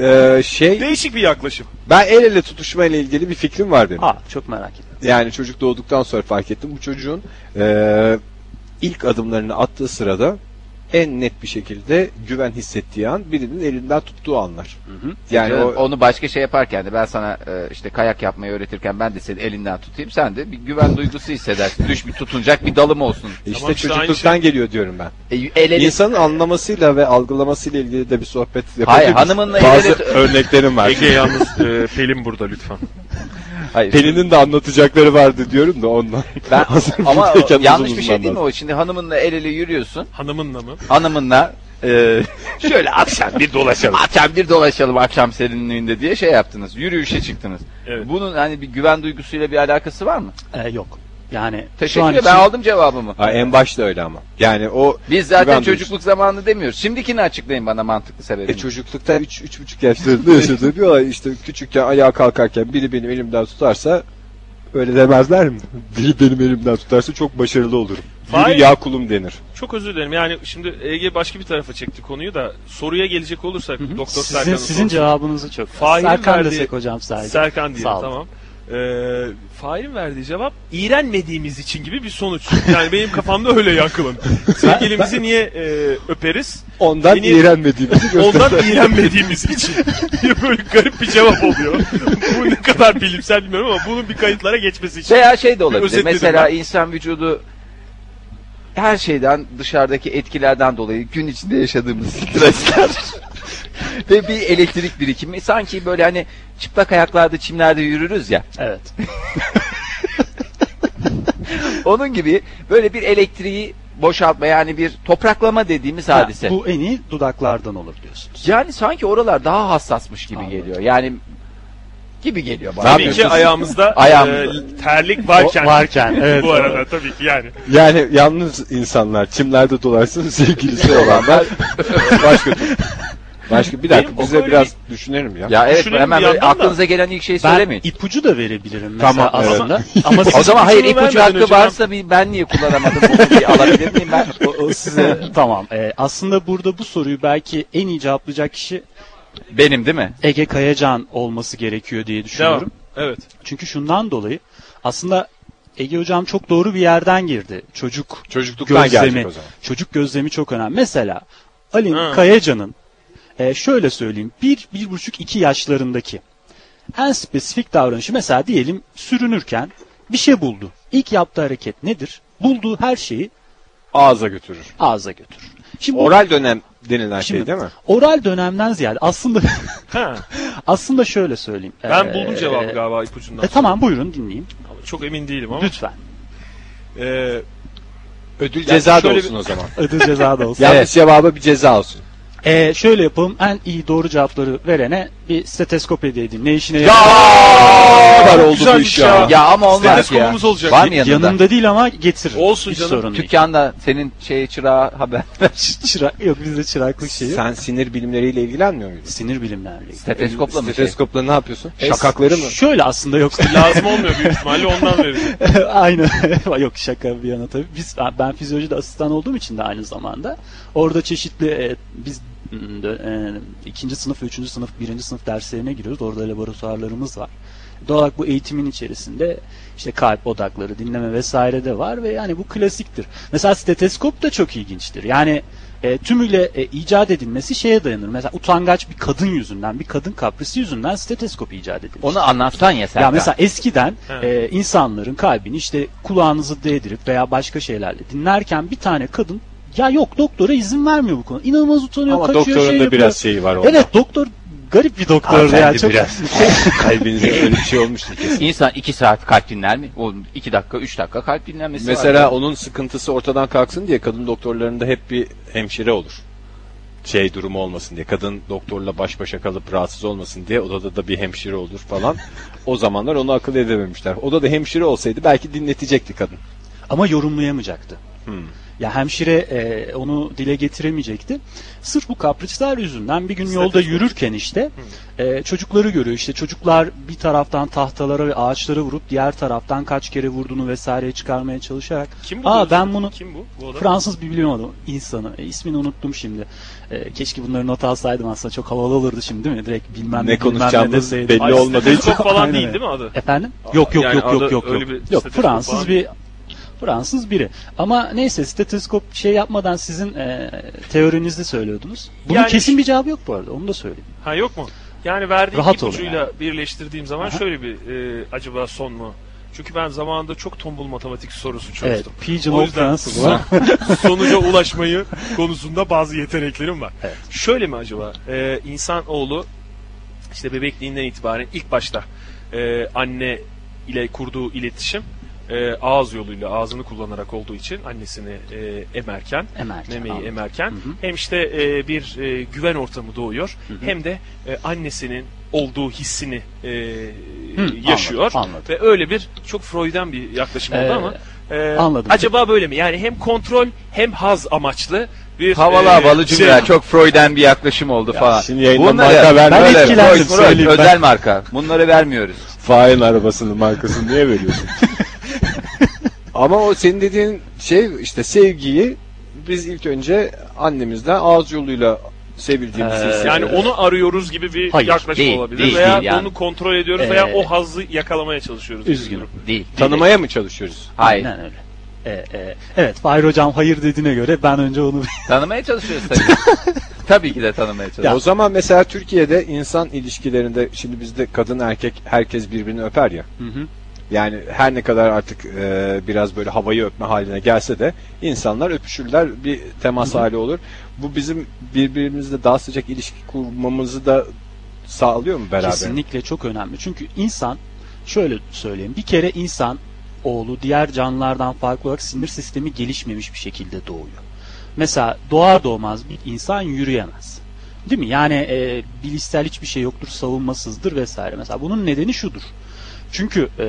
Speaker 1: E, şey
Speaker 2: Değişik bir yaklaşım.
Speaker 1: ben el ele tutuşma ile ilgili bir fikrim var benim.
Speaker 5: Aa, çok merak ettim.
Speaker 1: Yani çocuk doğduktan sonra fark ettim. Bu çocuğun e, ilk adımlarını attığı sırada en net bir şekilde güven hissettiği an birinin elinden tuttuğu anlar. Yani
Speaker 3: Canım,
Speaker 1: o
Speaker 3: onu başka şey yaparken de ben sana e, işte kayak yapmayı öğretirken ben de senin elinden tutayım sen de bir güven duygusu hissedersin. Düş bir tutunacak bir dalım olsun.
Speaker 1: İşte
Speaker 2: Tamam işte aynı şey.
Speaker 1: çocukluktan geliyor diyorum ben.
Speaker 3: E, el ele
Speaker 1: İnsanın anlamasıyla ve algılamasıyla ilgili de bir sohbet yapabiliriz.
Speaker 3: Hayır, hanımınla
Speaker 1: Bazı
Speaker 3: ilgili-
Speaker 1: örneklerim var.
Speaker 2: Ege yalnız e, Pelin burada lütfen.
Speaker 3: Hayır.
Speaker 1: Pelin'in de anlatacakları vardı diyorum da ondan. (laughs)
Speaker 3: Ben,
Speaker 1: Hazır
Speaker 3: (laughs) ama
Speaker 1: buradayken
Speaker 3: yanlış
Speaker 1: uzun
Speaker 3: bir şey değil mi
Speaker 1: uzun
Speaker 3: o? Şimdi hanımınla el ele yürüyorsun.
Speaker 2: Hanımınla mı?
Speaker 3: Hanımınla e, (laughs) şöyle akşam bir dolaşalım. Akşam bir dolaşalım akşam serinliğinde diye şey yaptınız. Yürüyüşe çıktınız.
Speaker 2: Evet.
Speaker 3: Bunun hani bir güven duygusuyla bir alakası var mı?
Speaker 1: E,
Speaker 5: Ee, yok. Yani şu
Speaker 3: Teşekkür
Speaker 5: an
Speaker 3: ederim.
Speaker 5: için
Speaker 3: Ben aldım cevabımı.
Speaker 1: Ha, en başta öyle ama. Yani o e,
Speaker 3: Biz zaten
Speaker 1: Güven duygusu.
Speaker 3: çocukluk zamanı demiyoruz. Şimdikini açıklayın bana mantıklı sebebini.
Speaker 1: E çocuklukta 3 üç, 3,5 yaşlarında
Speaker 3: (laughs)
Speaker 1: yaşadığı bir olay. İşte küçükken ayağa kalkarken biri benim elimden tutarsa öyle demezler mi? (laughs) Biri benim elimden tutarsa çok başarılı olurum.
Speaker 2: Hayır.
Speaker 1: Yürü ya kulum denir.
Speaker 2: (laughs) Çok özür dilerim. Yani şimdi Ege başka bir tarafa çekti konuyu da soruya gelecek olursak Doktor
Speaker 5: sizin,
Speaker 2: Serkan'ın
Speaker 5: sizin
Speaker 2: sorusu-
Speaker 5: cevabınızı çok.
Speaker 2: Fahir'in
Speaker 5: Serkan
Speaker 2: verdiği-
Speaker 5: desek hocam sadece.
Speaker 2: Serkan diyelim
Speaker 5: Sağ olun.
Speaker 2: tamam. Ee, Fahir'in verdiği cevap iğrenmediğimiz için gibi bir sonuç. Yani benim kafamda öyle
Speaker 5: (laughs)
Speaker 2: yankılandı. Sevgilimizi niye e, öperiz?
Speaker 1: Ondan
Speaker 2: Beni-
Speaker 1: iğrenmediğimizi
Speaker 2: (laughs)
Speaker 1: göster.
Speaker 2: Ondan iğrenmediğimiz için. (laughs) Diye böyle garip bir cevap oluyor. Bu ne kadar bilimsel bilmiyorum ama bunun bir kayıtlara geçmesi için.
Speaker 3: Veya şey de olabilir.
Speaker 2: Özetledim
Speaker 3: Mesela
Speaker 2: ben.
Speaker 3: insan vücudu her şeyden dışarıdaki etkilerden dolayı gün içinde yaşadığımız
Speaker 2: (laughs)
Speaker 3: stresler ve bir elektrik birikimi sanki böyle hani çıplak ayaklarda çimlerde yürürüz ya
Speaker 5: Evet.
Speaker 3: onun gibi böyle bir elektriği boşaltma yani bir topraklama dediğimiz
Speaker 5: Ha,
Speaker 3: hadise.
Speaker 5: bu en iyi dudaklardan olur diyorsunuz.
Speaker 3: Yani sanki oralar daha hassasmış gibi
Speaker 5: Anladım.
Speaker 3: geliyor. Yani gibi geliyor bana.
Speaker 2: Tabii ki ayağımızda,
Speaker 3: Ayağımızda.
Speaker 2: e, terlik varken.
Speaker 5: O- varken, evet.
Speaker 2: bu arada tabii ki yani.
Speaker 1: Yani (laughs) yalnız insanlar çimlerde dolaşsın sevgilisi olanlar başka türlü. Başka bir dakika
Speaker 2: Benim o
Speaker 1: bize
Speaker 2: böyle
Speaker 1: biraz düşünelim ya.
Speaker 3: Ya evet
Speaker 2: Düşünün
Speaker 3: hemen
Speaker 2: bir
Speaker 3: böyle
Speaker 2: yandan da-
Speaker 3: aklınıza gelen ilk şeyi
Speaker 5: Ben
Speaker 3: söylemeyin.
Speaker 5: ipucu da verebilirim mesela
Speaker 1: Tamam, evet.
Speaker 5: aslında. Ama
Speaker 3: O
Speaker 5: siz-
Speaker 3: zaman hayır
Speaker 2: ipucunu
Speaker 3: ipucu
Speaker 2: vermeden
Speaker 3: hakkı
Speaker 2: önce
Speaker 3: varsa bir ben niye kullanamadım bunu bir alabilir miyim ben?
Speaker 5: o- o size (laughs) tamam. Ee, aslında burada bu soruyu belki en iyi cevaplayacak kişi
Speaker 3: Benim değil mi?
Speaker 5: Ege Kayacan olması gerekiyor diye düşünüyorum.
Speaker 2: Devam. Evet.
Speaker 5: Çünkü şundan dolayı aslında Ege hocam çok doğru bir yerden girdi. Çocuk
Speaker 1: Çocukluktan
Speaker 5: gözlemi.
Speaker 1: gelecek o zaman.
Speaker 5: Çocuk gözlemi çok önemli. Mesela Ali
Speaker 2: Ha.
Speaker 5: Kayacan'ın e, şöyle söyleyeyim 1 bir, buçuk 2 yaşlarındaki en spesifik davranışı mesela diyelim sürünürken bir şey buldu. İlk yaptığı hareket nedir? Bulduğu her şeyi
Speaker 1: Ağza götürür.
Speaker 5: ağza götürür. Şimdi bu-
Speaker 1: Oral dönem denilen
Speaker 5: Şimdi-
Speaker 1: şey değil mi?
Speaker 5: oral dönemden ziyade aslında
Speaker 2: Ha,
Speaker 5: aslında şöyle söyleyeyim.
Speaker 2: ben
Speaker 5: Ee,
Speaker 2: buldum cevabı galiba ipucundan.
Speaker 5: E, tamam buyurun dinleyeyim.
Speaker 2: Çok emin değilim ama.
Speaker 5: Lütfen.
Speaker 2: Ee,
Speaker 1: Ödül
Speaker 2: Yani
Speaker 1: ceza da
Speaker 2: şöyle
Speaker 1: olsun
Speaker 2: bir-
Speaker 1: o zaman.
Speaker 5: (laughs) Ödül ceza da olsun.
Speaker 1: Yanlış cevaba bir ceza olsun.
Speaker 5: Ee, şöyle yapalım. En iyi doğru cevapları verene bir steteskop hediye edeyim. Ne işine
Speaker 1: Ya
Speaker 5: yarar?
Speaker 1: kadar oldu bu
Speaker 2: güzelmiş
Speaker 1: iş şey ya.
Speaker 3: Ya ama olmaz ya.
Speaker 2: Steteskopumuz olacak.
Speaker 3: Var mı yanında?
Speaker 5: Yanımda değil ama getir.
Speaker 2: Olsun
Speaker 5: Hiç
Speaker 2: canım.
Speaker 5: sorun değil.
Speaker 3: Dükkanda senin şey çırağı haber.
Speaker 5: Çırak, yok bizde çıraklık şeyi. yok.
Speaker 1: Sen sinir bilimleriyle ilgilenmiyor muydun?
Speaker 5: Sinir bilimlerle ilgili. E,
Speaker 3: Steteskopla mı? Şey?
Speaker 1: Steteskopla ne yapıyorsun? Şakakları mı?
Speaker 5: Şöyle aslında yok.
Speaker 2: lazım olmuyor büyük ihtimalle ondan vereceğim.
Speaker 5: (laughs) Aynen. yok şaka bir yana tabii. Biz, ben fizyolojide asistan olduğum için de aynı zamanda. Orada çeşitli e, biz m, dö- e, ikinci sınıf, üçüncü sınıf, birinci sınıf derslerine giriyoruz. Orada laboratuvarlarımız var. Doğal olarak bu eğitimin içerisinde işte kalp odakları, dinleme vesaire de var ve yani bu klasiktir. Mesela steteskop da çok ilginçtir. Yani e, tümüyle e, icat edilmesi şeye dayanır. Mesela utangaç bir kadın yüzünden, bir kadın kaprisi yüzünden steteskop icat edilmiş.
Speaker 3: Onu anlatsan ya sen.
Speaker 5: Ya mesela eskiden
Speaker 2: Ha.
Speaker 5: e, insanların kalbini işte kulağınızı değdirip veya başka şeylerle dinlerken bir tane kadın ya yok doktora izin vermiyor bu konu. İnanılmaz utanıyor,
Speaker 1: Ama
Speaker 5: kaçıyor,
Speaker 1: doktorun
Speaker 5: şey
Speaker 1: da
Speaker 5: yapıyor.
Speaker 1: biraz şeyi var onda.
Speaker 5: Evet doktor garip bir doktordu ya.
Speaker 1: Hanımefendi
Speaker 5: Çok...
Speaker 1: biraz. Kalbinizde öyle bir şey olmuştur kesin.
Speaker 3: İnsan iki saat kalp dinler mi? Oğlum iki dakika, üç dakika kalp dinlenmesi var.
Speaker 1: Mesela onun sıkıntısı ortadan kalksın diye kadın doktorlarında hep bir hemşire olur. Şey durumu olmasın diye. Kadın doktorla baş başa kalıp rahatsız olmasın diye odada da bir hemşire olur falan. O zamanlar onu akıl edememişler. Odada hemşire olsaydı belki dinletecekti kadın.
Speaker 5: (laughs) Ama yorumlayamayacaktı.
Speaker 1: Hmm.
Speaker 5: Ya hemşire e, onu dile getiremeyecekti. Sırf bu kaprisler yüzünden bir gün yolda yürürken işte
Speaker 1: Hmm.
Speaker 5: e, çocukları görüyor. İşte çocuklar bir taraftan tahtalara ve ağaçlara vurup diğer taraftan kaç kere vurduğunu vesaireye çıkarmaya çalışarak
Speaker 2: Kim bu?
Speaker 5: Aa ben bunu
Speaker 2: Kim bu? Bu adam.
Speaker 5: Fransız bir bilim adamı insanı. E, ismini unuttum şimdi. E, keşke bunları not alsaydım aslında çok havalı olurdu şimdi değil mi? Direkt bilmem
Speaker 1: Ne
Speaker 5: ne, bilmem ne
Speaker 1: konuşacağımız
Speaker 5: deseydim.
Speaker 1: belli
Speaker 2: Ay,
Speaker 1: olmadığı için.
Speaker 2: steteskop falan
Speaker 5: (laughs) Aynen
Speaker 2: değil
Speaker 5: öyle.
Speaker 2: değil mi adı?
Speaker 5: Efendim? Yok yok
Speaker 2: Yani
Speaker 5: yok yok
Speaker 2: adı
Speaker 5: yok
Speaker 2: öyle bir
Speaker 5: yok. Yok
Speaker 2: steteskop
Speaker 5: Fransız
Speaker 2: falan.
Speaker 5: bir Fransız biri. Ama neyse steteskop şey yapmadan sizin e, teorinizde söylüyordunuz. Bunun
Speaker 2: Yani-
Speaker 5: kesin bir cevabı yok bu arada. Onu da söyleyeyim.
Speaker 2: Ha yok mu? Yani verdiğim
Speaker 5: Rahat olun
Speaker 2: ipucuyla birleştirdiğim zaman şöyle bir e, acaba son mu? Çünkü ben zamanında çok tombul matematik sorusu
Speaker 5: Evet.
Speaker 2: çözdüm.
Speaker 5: Pigeon
Speaker 2: O
Speaker 5: of
Speaker 2: yüzden-
Speaker 5: Fransız var.
Speaker 2: Sonuca ulaşmayı konusunda bazı yeteneklerim var. Şöyle mi acaba? E, insan oğlu işte bebekliğinden itibaren ilk başta e, anne ile kurduğu iletişim e, ağız yoluyla ağzını kullanarak olduğu için annesini e, emerken
Speaker 5: Emerken,
Speaker 2: memeyi
Speaker 5: anladım.
Speaker 2: emerken hem işte e, bir e, güven ortamı doğuyor hem de e, annesinin olduğu hissini e, yaşıyor
Speaker 5: anladım, anladım.
Speaker 2: ve öyle bir çok Freud'dan bir yaklaşım oldu
Speaker 5: Ee,
Speaker 2: ama e,
Speaker 5: anladım.
Speaker 2: acaba böyle mi yani hem kontrol hem haz amaçlı bir
Speaker 3: Havalı
Speaker 2: e,
Speaker 3: havalı
Speaker 2: şey-
Speaker 3: cümleler. Çok Freud'en bir yaklaşım oldu falan.
Speaker 1: şimdi yayında
Speaker 3: Bunları-
Speaker 1: marka vermem.
Speaker 3: Böyle
Speaker 1: Ben etkilendim,
Speaker 3: Freud, Freud,
Speaker 1: söyleyeyim ben.
Speaker 3: özel marka. Bunları vermiyoruz.
Speaker 1: Fail arabasının markasını niye (laughs) veriyorsun? Ama o senin dediğin şey işte sevgiyi biz ilk önce annemizden ağız yoluyla sevildiğimizi
Speaker 5: Ee,
Speaker 1: hissediyoruz.
Speaker 2: yani onu arıyoruz gibi bir
Speaker 5: Hayır,
Speaker 2: yaklaşım
Speaker 3: değil,
Speaker 2: olabilir
Speaker 3: değil,
Speaker 2: veya
Speaker 3: değil yani.
Speaker 2: onu kontrol ediyoruz veya
Speaker 5: Ee,
Speaker 2: o hazzı yakalamaya çalışıyoruz.
Speaker 5: Üzgünüm.
Speaker 3: Değil.
Speaker 1: tanımaya mı çalışıyoruz?
Speaker 3: Hayır.
Speaker 5: Aynen öyle. E, e, evet Fahir Hocam hayır dediğine göre ben önce onu
Speaker 3: Tanımaya çalışıyoruz tabii. tabii ki de tanımaya
Speaker 1: O
Speaker 3: çalışıyoruz.
Speaker 1: zaman mesela Türkiye'de insan ilişkilerinde şimdi bizde kadın erkek herkes birbirini öper ya.
Speaker 5: hı.
Speaker 1: Yani her ne kadar artık e, biraz böyle havayı öpme haline gelse de insanlar öpüşürler bir temas hali olur. Bu bizim birbirimizle daha sıcak ilişki kurmamızı da sağlıyor mu beraber?
Speaker 5: Kesinlikle çok önemli. Çünkü insan şöyle söyleyeyim. Bir kere insan oğlu diğer canlılardan farklı olarak sinir sistemi gelişmemiş bir şekilde doğuyor. Mesela doğar doğmaz bir insan yürüyemez. Değil mi? Yani e, bilişsel hiçbir şey yoktur, savunmasızdır vesaire. Mesela bunun nedeni şudur. Çünkü e,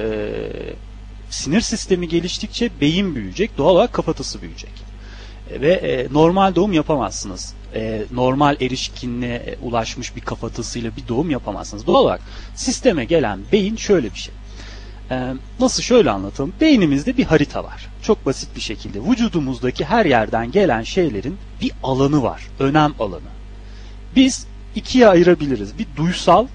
Speaker 5: sinir sistemi geliştikçe beyin büyüyecek, doğal olarak kafatası büyüyecek. ve e, normal doğum yapamazsınız. E, normal erişkinliğe e, ulaşmış bir kafatasıyla bir doğum yapamazsınız. Doğal olarak sisteme gelen beyin şöyle bir şey. E, nasıl şöyle anlatalım? Beynimizde bir harita var. Çok basit bir şekilde vücudumuzdaki her yerden gelen şeylerin bir alanı var. Önem alanı. Biz ikiye ayırabiliriz. Bir duysal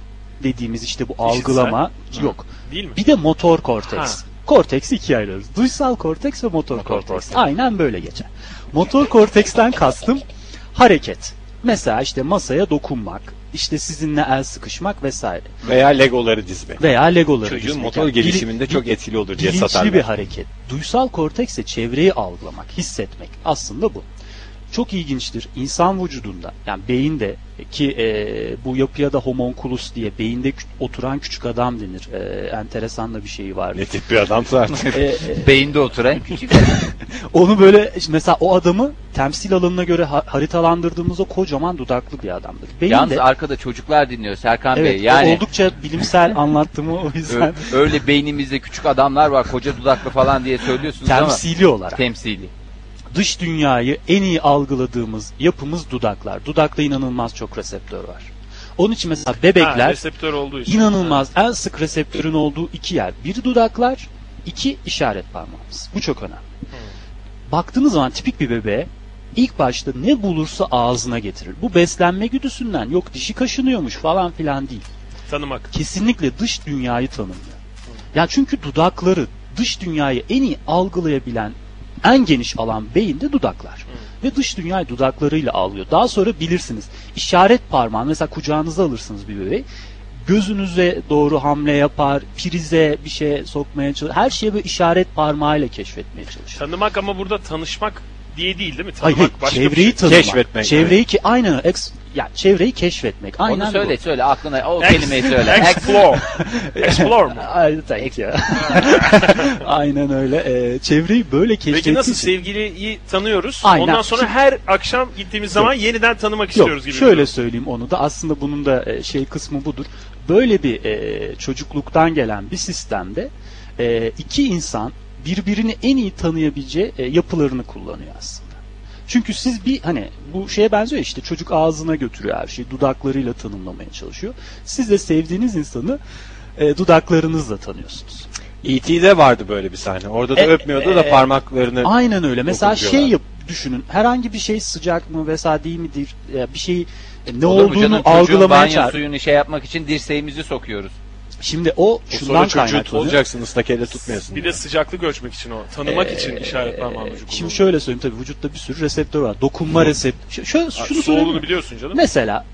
Speaker 5: dediğimiz işte bu
Speaker 2: İşitsel.
Speaker 5: algılama yok.
Speaker 2: Değil mi?
Speaker 5: Bir de motor korteks.
Speaker 2: Ha.
Speaker 5: Korteksi ikiye ayırıyoruz. Duysal korteks ve motor,
Speaker 3: Motor
Speaker 5: korteks.
Speaker 3: korteks.
Speaker 5: Aynen böyle geçer. Motor korteksten kastım hareket. Mesela işte masaya dokunmak, işte sizinle el sıkışmak vesaire.
Speaker 1: Veya legoları dizmek.
Speaker 5: Veya legoları
Speaker 1: Çocuğun
Speaker 5: dizmek.
Speaker 1: motor
Speaker 5: Yani bili-
Speaker 1: gelişiminde çok etkili olur diye
Speaker 5: bilinçli
Speaker 1: satarlar.
Speaker 5: bir hareket. Duysal korteks ise çevreyi algılamak, hissetmek. Aslında bu. Çok ilginçtir. İnsan vücudunda yani beyinde ki e, bu yapıya da homunculus diye beyinde kü- oturan küçük adam denir. E, enteresan da bir şeyi vardır.
Speaker 1: Ne tip bir adamsa
Speaker 5: (laughs)
Speaker 1: artık.
Speaker 5: E, e,
Speaker 3: Beyinde oturan küçük
Speaker 5: onu böyle mesela o adamı temsil alanına göre ha- haritalandırdığımız o kocaman dudaklı bir adamdır. Beyin
Speaker 3: Yalnız
Speaker 5: de
Speaker 3: arkada çocuklar dinliyor Serkan
Speaker 5: evet
Speaker 3: Bey. Yani
Speaker 5: oldukça
Speaker 3: (laughs)
Speaker 5: bilimsel anlattığımı o yüzden
Speaker 3: ö- öyle beynimizde küçük adamlar var koca dudaklı falan diye söylüyorsunuz
Speaker 5: temsili
Speaker 3: ama
Speaker 5: olarak
Speaker 3: temsili.
Speaker 5: dış dünyayı en iyi algıladığımız yapımız dudaklar. Dudakta inanılmaz çok reseptör var. Onun için mesela
Speaker 2: Ha,
Speaker 5: bebekler
Speaker 2: reseptör olduğu için.
Speaker 5: inanılmaz en sık reseptörün olduğu iki yer. Biri dudaklar, iki işaret parmağımız. Bu çok önemli. Baktığınız zaman tipik bir bebeğe ilk başta ne bulursa ağzına getirir. Bu beslenme güdüsünden yok dişi kaşınıyormuş falan filan değil.
Speaker 2: Tanımak.
Speaker 5: Kesinlikle dış dünyayı tanımlıyor. Ya çünkü dudakları dış dünyayı en iyi algılayabilen en geniş alan beyinde dudaklar. Ve dış dünyayı dudaklarıyla alıyor. Daha sonra bilirsiniz. İşaret parmağı mesela kucağınıza alırsınız bir bebeği. Gözünüze doğru hamle yapar, prize bir şey sokmaya çalışır. Her şeyi böyle işaret parmağıyla keşfetmeye çalışır.
Speaker 2: Tanımak ama burada tanışmak diye değil değil mi?
Speaker 5: Hayır,
Speaker 2: Tanımak
Speaker 5: hayır,
Speaker 2: başka bir
Speaker 5: çevreyi
Speaker 2: şey.
Speaker 5: tanımak.
Speaker 1: Keşfetmek,
Speaker 5: Çevreyi ki aynen ex- ya çevreyi keşfetmek. Aynen
Speaker 3: Onu
Speaker 5: bu.
Speaker 3: söyle söyle aklına o
Speaker 2: Ex-
Speaker 3: kelimeyi söyle. Ex-
Speaker 5: (laughs)
Speaker 2: Explore. Explore mu?
Speaker 5: Ay,
Speaker 2: (laughs)
Speaker 5: thank you. (laughs) aynen öyle. Ee, çevreyi böyle keşfettiği
Speaker 2: Peki nasıl
Speaker 5: için-
Speaker 2: sevgiliyi tanıyoruz?
Speaker 5: Aynen.
Speaker 2: Ondan sonra her akşam gittiğimiz zaman yeniden tanımak istiyoruz gibi. bir
Speaker 5: Şöyle
Speaker 2: durum.
Speaker 5: söyleyeyim onu da aslında bunun da e, şey kısmı budur. Böyle bir e, çocukluktan gelen bir sistemde e, iki insan birbirini en iyi tanıyabileceği e, yapılarını kullanıyor aslında. Çünkü siz bir hani bu şeye benziyor işte çocuk ağzına götürüyor her şeyi dudaklarıyla tanımlamaya çalışıyor. Siz de sevdiğiniz insanı e, dudaklarınızla tanıyorsunuz.
Speaker 1: E.T.'de E vardı böyle bir sahne. Orada da
Speaker 5: E,
Speaker 1: öpmüyordu da
Speaker 5: e,
Speaker 1: parmaklarını (laughs)
Speaker 5: Aynen öyle. Mesela
Speaker 1: Dokunuyorlar.
Speaker 5: şey yap düşünün. Herhangi bir şey sıcak mı vesaire değil midir? Ya bir şeyi e, ne
Speaker 3: Olur mu
Speaker 5: olduğunu
Speaker 3: canım? Çocuğun
Speaker 5: algılamaya
Speaker 3: banyo
Speaker 5: çalış.
Speaker 3: suyunu şey yapmak için dirseğimizi sokuyoruz.
Speaker 5: Şimdi o
Speaker 1: O
Speaker 5: şundan
Speaker 1: sonra çocuğu
Speaker 5: kaynaklanıyor.
Speaker 1: tutacaksın ıslak elle tutmuyorsun.
Speaker 2: Bir de sıcaklık ölçmek için o. Tanımak için işaret parmağını ucu
Speaker 5: Ee, e, Şimdi şöyle söyleyeyim tabii vücutta bir sürü reseptör var. Dokunma reseptörü. Şöyle şunu söyleyeyim.
Speaker 2: Soğuğunu biliyorsun canım.
Speaker 5: Mesela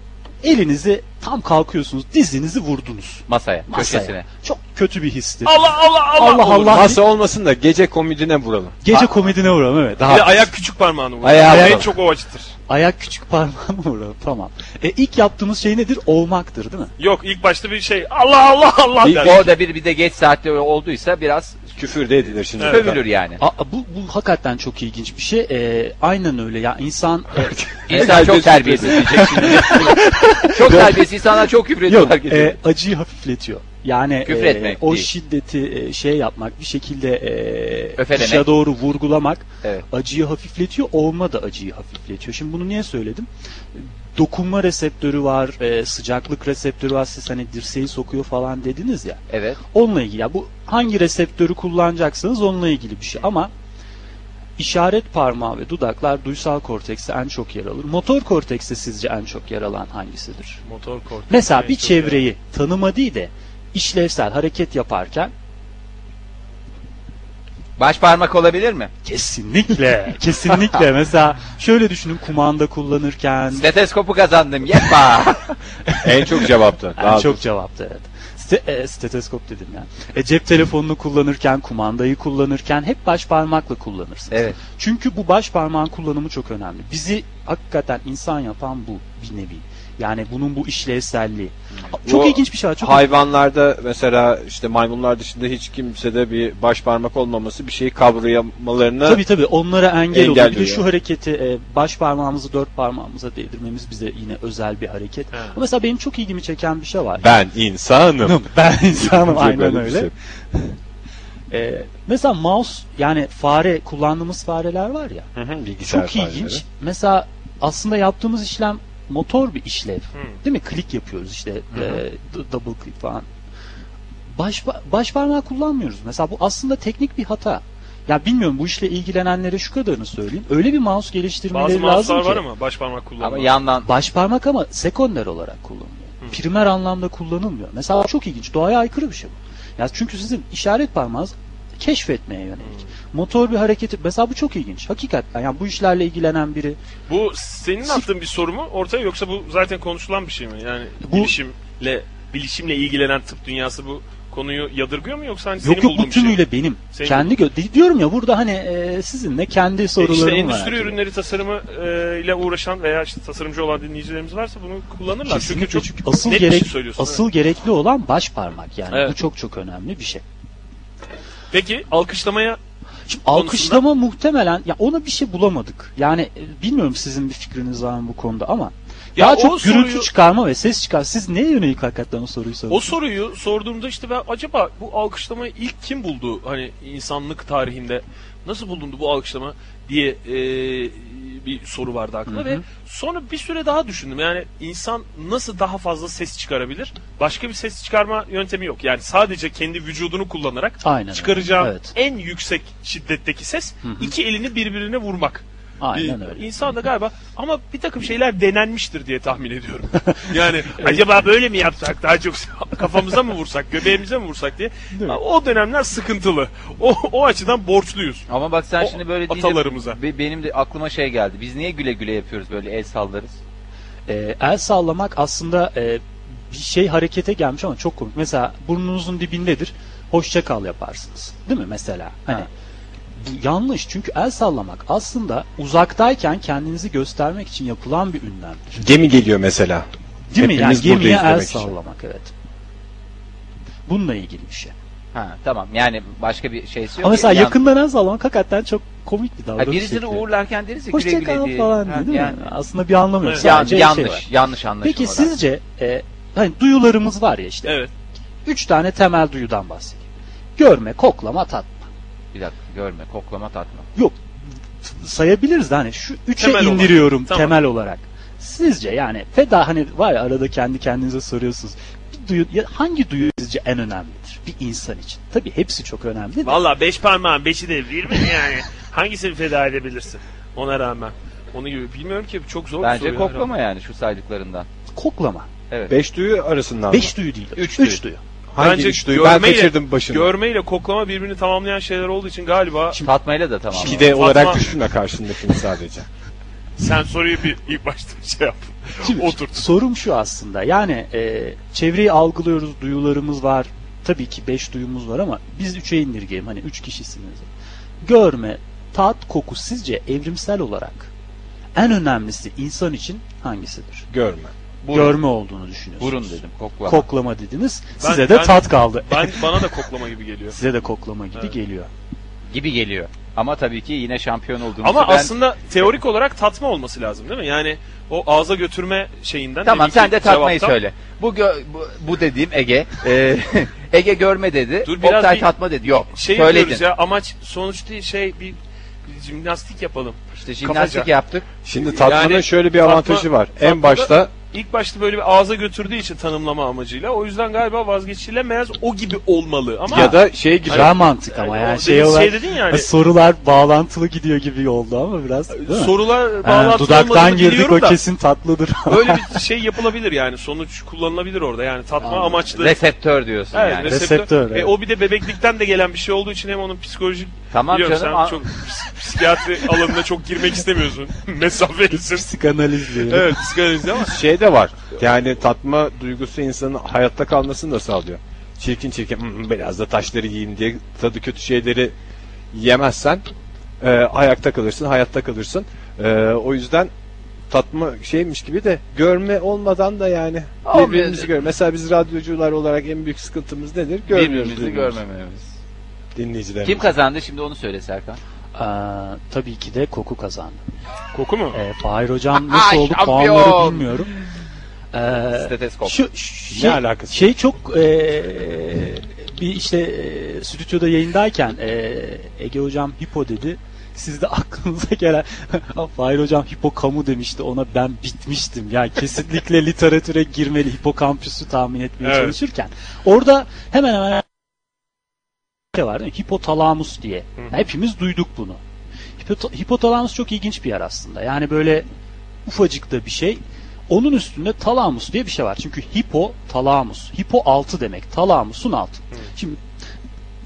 Speaker 5: elinizi tam kalkıyorsunuz, dizinizi vurdunuz
Speaker 3: Masaya,
Speaker 5: masaya.
Speaker 3: köşesine.
Speaker 5: Çok kötü bir histir.
Speaker 2: Allah Allah Allah.
Speaker 5: Allah
Speaker 2: Olur.
Speaker 5: Allah.
Speaker 1: Masa olmasın da gece komidine vuralım.
Speaker 5: Gece komedine uğram evet.
Speaker 2: Bir
Speaker 5: Daha
Speaker 2: de ayak küçük parmağını vur.
Speaker 1: Ayağa
Speaker 2: en
Speaker 1: vuralım.
Speaker 2: çok o acıtır.
Speaker 5: ayak küçük parmağına uğram tamam. E ilk yaptığımız şey nedir? Olmaktır değil mi?
Speaker 2: Yok ilk başta bir şey Allah Allah Allah
Speaker 1: İlk
Speaker 2: der.
Speaker 1: o-
Speaker 3: Orada bir bir de geç saatte olduysa biraz
Speaker 1: Küfür de edilir şimdi.
Speaker 2: Evet.
Speaker 3: övülür yani.
Speaker 5: Aa, bu, bu hakikaten çok ilginç bir şey. E, aynen öyle ya insan e,
Speaker 3: İnsan çok terbiyesiz diyecek şimdi.
Speaker 5: (laughs)
Speaker 3: çok terbiyesiz insanlar çok küfür ediyorlar.
Speaker 5: Yok,
Speaker 3: gece.
Speaker 5: (laughs) e, acıyı hafifletiyor. Yani
Speaker 3: Küfretmek
Speaker 5: e, o
Speaker 3: değil.
Speaker 5: şiddeti e, şey yapmak bir şekilde e,
Speaker 3: Öfelemek.
Speaker 5: dışa doğru vurgulamak
Speaker 3: Evet.
Speaker 5: acıyı hafifletiyor. Olma da acıyı hafifletiyor. Şimdi bunu niye söyledim? Dokunma reseptörü var, e, sıcaklık reseptörü var. Siz hani dirseği sokuyor falan dediniz ya.
Speaker 3: Evet.
Speaker 5: Onunla ilgili ya bu hangi reseptörü kullanacaksınız onunla ilgili bir şey ama işaret parmağı ve dudaklar duysal kortekste en çok yer alır. Motor kortekste sizce en çok yer alan hangisidir?
Speaker 2: Motor korteks.
Speaker 5: Mesela
Speaker 2: en
Speaker 5: bir
Speaker 2: çok
Speaker 5: çevreyi tanıma değil de işlevsel hareket yaparken
Speaker 3: Baş parmak olabilir mi?
Speaker 2: (laughs)
Speaker 5: kesinlikle kesinlikle mesela şöyle düşünün kumanda kullanırken
Speaker 3: Steteskopu kazandım. Yeppa.
Speaker 5: (laughs)
Speaker 1: (laughs) En çok cevaptı.
Speaker 5: en çok cevaptı evet. Ste- e, steteskop dedim yani. E, cep telefonunu kullanırken, kumandayı kullanırken hep baş parmakla kullanırsınız.
Speaker 3: evet.
Speaker 5: Çünkü bu baş parmağın kullanımı çok önemli. Bizi hakikaten insan yapan bu bir nevi. Yani bunun bu işlevselliği. Çok
Speaker 1: Bu
Speaker 5: ilginç bir şey. Çok
Speaker 1: Hayvanlarda mesela işte maymunlar dışında hiç kimsede bir baş parmak olmaması bir şeyi kavrayamalarını
Speaker 5: Tabii tabii onlara engel
Speaker 1: Engel
Speaker 5: oluyor. Bir de
Speaker 1: oluyor.
Speaker 5: şu hareketi e, baş parmağımızı dört parmağımıza değdirmemiz bize yine özel bir hareket. Ama Mesela benim çok ilgimi çeken bir şey var. (laughs)
Speaker 1: ben insanım.
Speaker 5: Ben insanım aynen
Speaker 1: Böyle bir
Speaker 5: öyle.
Speaker 1: şey.
Speaker 5: Ee, mesela mouse yani fare kullandığımız fareler var ya
Speaker 1: Hı hı, Bilgisayar
Speaker 5: çok ilginç. Mesela aslında yaptığımız işlem motor bir işlev. Değil mi? Klik yapıyoruz işte e, d- double click falan. Baş, pa- baş parmağı kullanmıyoruz. Mesela bu aslında teknik bir hata. Ya bilmiyorum bu işle ilgilenenlere şu kadarını söyleyeyim. Öyle bir mouse geliştirmeleri
Speaker 2: Bazı
Speaker 5: lazım
Speaker 2: mouse'lar
Speaker 5: ki.
Speaker 2: var ama baş parmak kullanmıyor.
Speaker 3: Ama yandan
Speaker 5: Baş parmak ama sekonder olarak kullanılıyor. Primer anlamda kullanılmıyor. Mesela çok ilginç. Doğaya aykırı bir şey bu. Ya çünkü sizin işaret parmağınız keşfetmeye yönelik. Motor bir hareketi mesela bu çok ilginç. Hakikaten yani bu işlerle ilgilenen biri
Speaker 2: Bu senin attığın bir soru mu ortaya yoksa bu zaten konuşulan bir şey mi? Yani
Speaker 5: Bu-
Speaker 2: bilişimle bilişimle ilgilenen tıp dünyası bu konuyu yadırgıyor mu yoksa hani
Speaker 5: yok
Speaker 2: senin
Speaker 5: yok
Speaker 2: bulduğun
Speaker 5: bu
Speaker 2: bir şey mi?
Speaker 5: tümüyle benim.
Speaker 2: Senin
Speaker 5: kendi gö- diyorum ya burada hani e, sizinle kendi
Speaker 2: E,
Speaker 5: sorularım
Speaker 2: İşte
Speaker 5: var.
Speaker 2: endüstri ürünleri tasarımı e, ile uğraşan veya işte tasarımcı olan dinleyicilerimiz varsa bunu kullanırlar.
Speaker 5: Kesinlikle
Speaker 2: Çünkü çok
Speaker 5: çünkü asıl
Speaker 2: net bir şey
Speaker 5: gerek
Speaker 2: söylüyorsun,
Speaker 5: asıl gerekli olan baş parmak yani.
Speaker 2: Evet.
Speaker 5: Bu çok çok önemli bir şey.
Speaker 2: peki alkışlamaya
Speaker 5: Şimdi
Speaker 2: konusunda-
Speaker 5: alkışlama muhtemelen ya ona bir şey bulamadık. Yani e, bilmiyorum sizin bir fikriniz var mı bu konuda ama
Speaker 2: Ya
Speaker 5: daha
Speaker 2: o
Speaker 5: çok gürültü
Speaker 2: soruyu-
Speaker 5: çıkarma ve ses çıkar. Siz neye yönelik hakikaten o soruyu
Speaker 2: o
Speaker 5: soruyorsunuz?
Speaker 2: soruyu sorduğumda işte ben acaba bu alkışlamayı ilk kim buldu hani insanlık tarihinde nasıl bulundu bu alkışlama diye e, bir soru vardı aklımda ve sonra bir süre daha düşündüm yani insan nasıl daha fazla ses çıkarabilir başka bir ses çıkarma yöntemi yok yani sadece kendi vücudunu kullanarak
Speaker 5: Aynen.
Speaker 2: çıkaracağım
Speaker 5: öyle. Evet.
Speaker 2: en yüksek şiddetteki ses iki elini birbirine vurmak.
Speaker 5: Aynen
Speaker 2: Bir-
Speaker 5: öyle.
Speaker 2: İnsan da galiba ama bir takım şeyler denenmiştir diye tahmin ediyorum.
Speaker 5: (laughs)
Speaker 2: Yani acaba böyle mi yapsak daha çok (laughs) kafamıza mı vursak göbeğimize mi vursak diye. O dönemler sıkıntılı. O, o açıdan borçluyuz.
Speaker 3: ama bak sen
Speaker 2: O
Speaker 3: şimdi böyle deyince
Speaker 2: atalarımıza.
Speaker 3: be- benim de aklıma şey geldi. Biz niye güle güle yapıyoruz böyle el sallarız?
Speaker 5: E, el sallamak aslında e, bir şey harekete gelmiş ama çok komik. Mesela burnunuzun dibindedir. Hoşça kal yaparsınız. Değil mi mesela? Hani bu yanlış çünkü el sallamak aslında uzaktayken kendinizi göstermek için yapılan bir ünlemdir.
Speaker 1: Gemi geliyor mesela.
Speaker 5: Değil mi? Yani
Speaker 1: Hepimiz
Speaker 5: gemiye
Speaker 1: buradayız
Speaker 5: el
Speaker 1: demek için.
Speaker 5: sallamak evet. Bununla ilgili bir şey.
Speaker 3: Ha tamam yani başka bir şey yok.
Speaker 5: Ama mesela
Speaker 3: Yan-
Speaker 5: yakından el sallamak hakikaten çok komik bir
Speaker 3: Ha,
Speaker 5: davranış.
Speaker 3: birisini
Speaker 5: şekli.
Speaker 3: uğurlarken deriz ya güle
Speaker 5: Hoşça
Speaker 3: güle
Speaker 5: kal
Speaker 3: diye.
Speaker 5: falan
Speaker 3: Ha,
Speaker 5: diye, değil
Speaker 3: yani-
Speaker 5: mi? Aslında bir anlamı yok.
Speaker 2: Evet.
Speaker 3: Yan-
Speaker 5: Sadece şey
Speaker 3: yanlış,
Speaker 5: var.
Speaker 3: yanlış anlaşılmadan.
Speaker 5: Peki sizce e, hani duyularımız var ya işte.
Speaker 2: Evet.
Speaker 5: Üç tane temel duyudan bahsedeyim. Görme, koklama, tat.
Speaker 3: Bir dakika görme, koklama tatma.
Speaker 5: Sayabiliriz de hani şu üçe
Speaker 2: Temel olarak.
Speaker 5: indiriyorum
Speaker 2: Tamam.
Speaker 5: temel olarak. Sizce yani feda hani var ya arada kendi kendinize soruyorsunuz. Bir duyu, ya hangi duyu sizce en önemlidir bir insan için? Tabii hepsi çok önemli de.
Speaker 2: Valla beş parmağın beşi de bir mi yani? Hangisini feda edebilirsin ona rağmen? Onu gibi bilmiyorum ki çok zor bir soru
Speaker 3: Bence
Speaker 2: ya.
Speaker 3: koklama yani şu saydıklarından.
Speaker 5: Koklama.
Speaker 1: Beş duyu arasından.
Speaker 5: Beş duyu değil.
Speaker 3: Üç
Speaker 5: üç duyu.
Speaker 1: Hangi
Speaker 2: Bence
Speaker 1: üç duyu? Ben
Speaker 2: görmeyle-
Speaker 1: kaçırdım başını.
Speaker 2: Görmeyle koklama birbirini tamamlayan şeyler olduğu için galiba
Speaker 3: Tatmayla da tamam.
Speaker 1: Pide olarak
Speaker 2: Fatma-
Speaker 1: düşünme karşındakini sadece.
Speaker 2: sen soruyu bir
Speaker 1: (laughs)
Speaker 2: ilk başta şey yap.
Speaker 5: Şimdi
Speaker 2: Oturt.
Speaker 5: Sorum şu aslında. Yani e, çevreyi algılıyoruz, duyularımız var. Tabii ki beş duyumuz var ama biz üçe indirgeyelim. Hani üç kişisiniz. Görme, tat, koku sizce evrimsel olarak en önemlisi insan için hangisidir?
Speaker 1: Görme.
Speaker 3: Burun.
Speaker 5: Görme olduğunu düşünüyorsunuz.
Speaker 3: Burun dedim koklama.
Speaker 5: Koklama dediniz.
Speaker 2: Ben-
Speaker 5: Size de
Speaker 2: ben-
Speaker 5: tat kaldı.
Speaker 2: Ben bana da koklama gibi geliyor.
Speaker 5: Size de koklama gibi
Speaker 2: Evet.
Speaker 5: geliyor.
Speaker 3: gibi geliyor. Ama tabii ki yine şampiyon olduğumuzu
Speaker 2: Ama
Speaker 3: ben...
Speaker 2: aslında teorik olarak tatma olması lazım değil mi? Yani o ağza götürme şeyinden.
Speaker 3: Tamam
Speaker 2: deminki
Speaker 3: sen de tatmayı
Speaker 2: cevaptan-
Speaker 3: söyle. Bu, gö- bu, bu dediğim Ege. (laughs) Ee, Ege görme dedi.
Speaker 2: Dur, biraz
Speaker 3: Oktay
Speaker 2: bir
Speaker 3: tatma dedi. Yok.
Speaker 2: Şey
Speaker 3: söyledin.
Speaker 2: diyoruz ya amaç sonuç değil şey bir, bir jimnastik yapalım.
Speaker 3: İşte jimnastik
Speaker 2: kafaca.
Speaker 3: yaptık.
Speaker 1: Şimdi tatmanın
Speaker 2: Yani
Speaker 1: şöyle bir
Speaker 2: tatma-
Speaker 1: avantajı var.
Speaker 2: tatmada-
Speaker 1: En başta
Speaker 2: İlk başta böyle bir ağza götürdüğü için tanımlama amacıyla. O yüzden galiba vazgeçilemez o gibi olmalı. Ama
Speaker 1: ya da şey gibi.
Speaker 5: Güzel mantık ama
Speaker 2: Yani o
Speaker 5: yani
Speaker 2: dediğin
Speaker 5: şey olarak
Speaker 2: dedin hani, yani.
Speaker 5: sorular bağlantılı gidiyor gibi oldu ama biraz değil mi?
Speaker 2: sorular
Speaker 5: Ha,
Speaker 2: bağlantılı
Speaker 5: dudaktan
Speaker 2: olmadığını
Speaker 5: girdik
Speaker 2: biliyorum
Speaker 5: o
Speaker 2: da.
Speaker 5: kesin tatlıdır.
Speaker 2: Böyle bir (laughs) şey yapılabilir yani. Sonuç kullanılabilir orada. Yani tatma amaçlı.
Speaker 3: Reseptör diyorsun
Speaker 2: Evet,
Speaker 3: yani.
Speaker 2: reseptör.
Speaker 5: Reseptör, evet.
Speaker 2: E, o bir de bebeklikten de gelen bir şey olduğu için hem onun psikolojik
Speaker 3: Tamam
Speaker 2: Biliyorum
Speaker 3: canım.
Speaker 2: sen
Speaker 3: a-
Speaker 2: çok ps- psikiyatri alanına çok girmek istemiyorsun. Mesafelisin.
Speaker 5: Psikanaliz diyelim.
Speaker 2: evet psikanalizi ama.
Speaker 1: şey de var. Yani tatma duygusu insanın hayatta kalmasını da sağlıyor. Çirkin çirkin "Hmm, biraz da taşları yiyeyim diye tadı kötü şeyleri yemezsen e, ayakta kalırsın, hayatta kalırsın. E, o yüzden tatma şeymiş gibi de görme olmadan da yani
Speaker 3: Olmuyor
Speaker 1: birbirimizi
Speaker 3: canım.
Speaker 1: gör. Mesela biz radyocular olarak en büyük sıkıntımız nedir? Görmüyoruz
Speaker 3: Birbirimizi
Speaker 1: birbirimizi.
Speaker 3: görmememiz.
Speaker 1: Dinleyicilerimiz.
Speaker 3: Kim kazandı şimdi onu söyle Serkan.
Speaker 5: Aa, tabii ki de koku kazandı.
Speaker 2: Koku mu?
Speaker 5: Ee, Fahir hocam nasıl oldu
Speaker 3: Şampiyon!
Speaker 5: puanları bilmiyorum. Ee,
Speaker 3: Stetoskop.
Speaker 5: şu, şu- şey,
Speaker 1: alakası
Speaker 5: şey çok ee, bir işte ee, stüdyoda yayındayken e, Ege hocam hipo dedi. Siz de (laughs) aklınıza gelen Fahir hocam hipokamu demişti ona ben bitmiştim. Yani kesinlikle (laughs) literatüre girmeli hipokampüsü tahmin etmeye
Speaker 2: Evet.
Speaker 5: çalışırken. Orada hemen hemen şey var değil mi? Hipotalamus diye. Hepimiz duyduk bunu. Hipoto- hipotalamus çok ilginç bir yer aslında. Yani böyle ufacık da bir şey. Onun üstünde talamus diye bir şey var. Çünkü hipo talamus. Hipo altı demek. Talamusun altı. Şimdi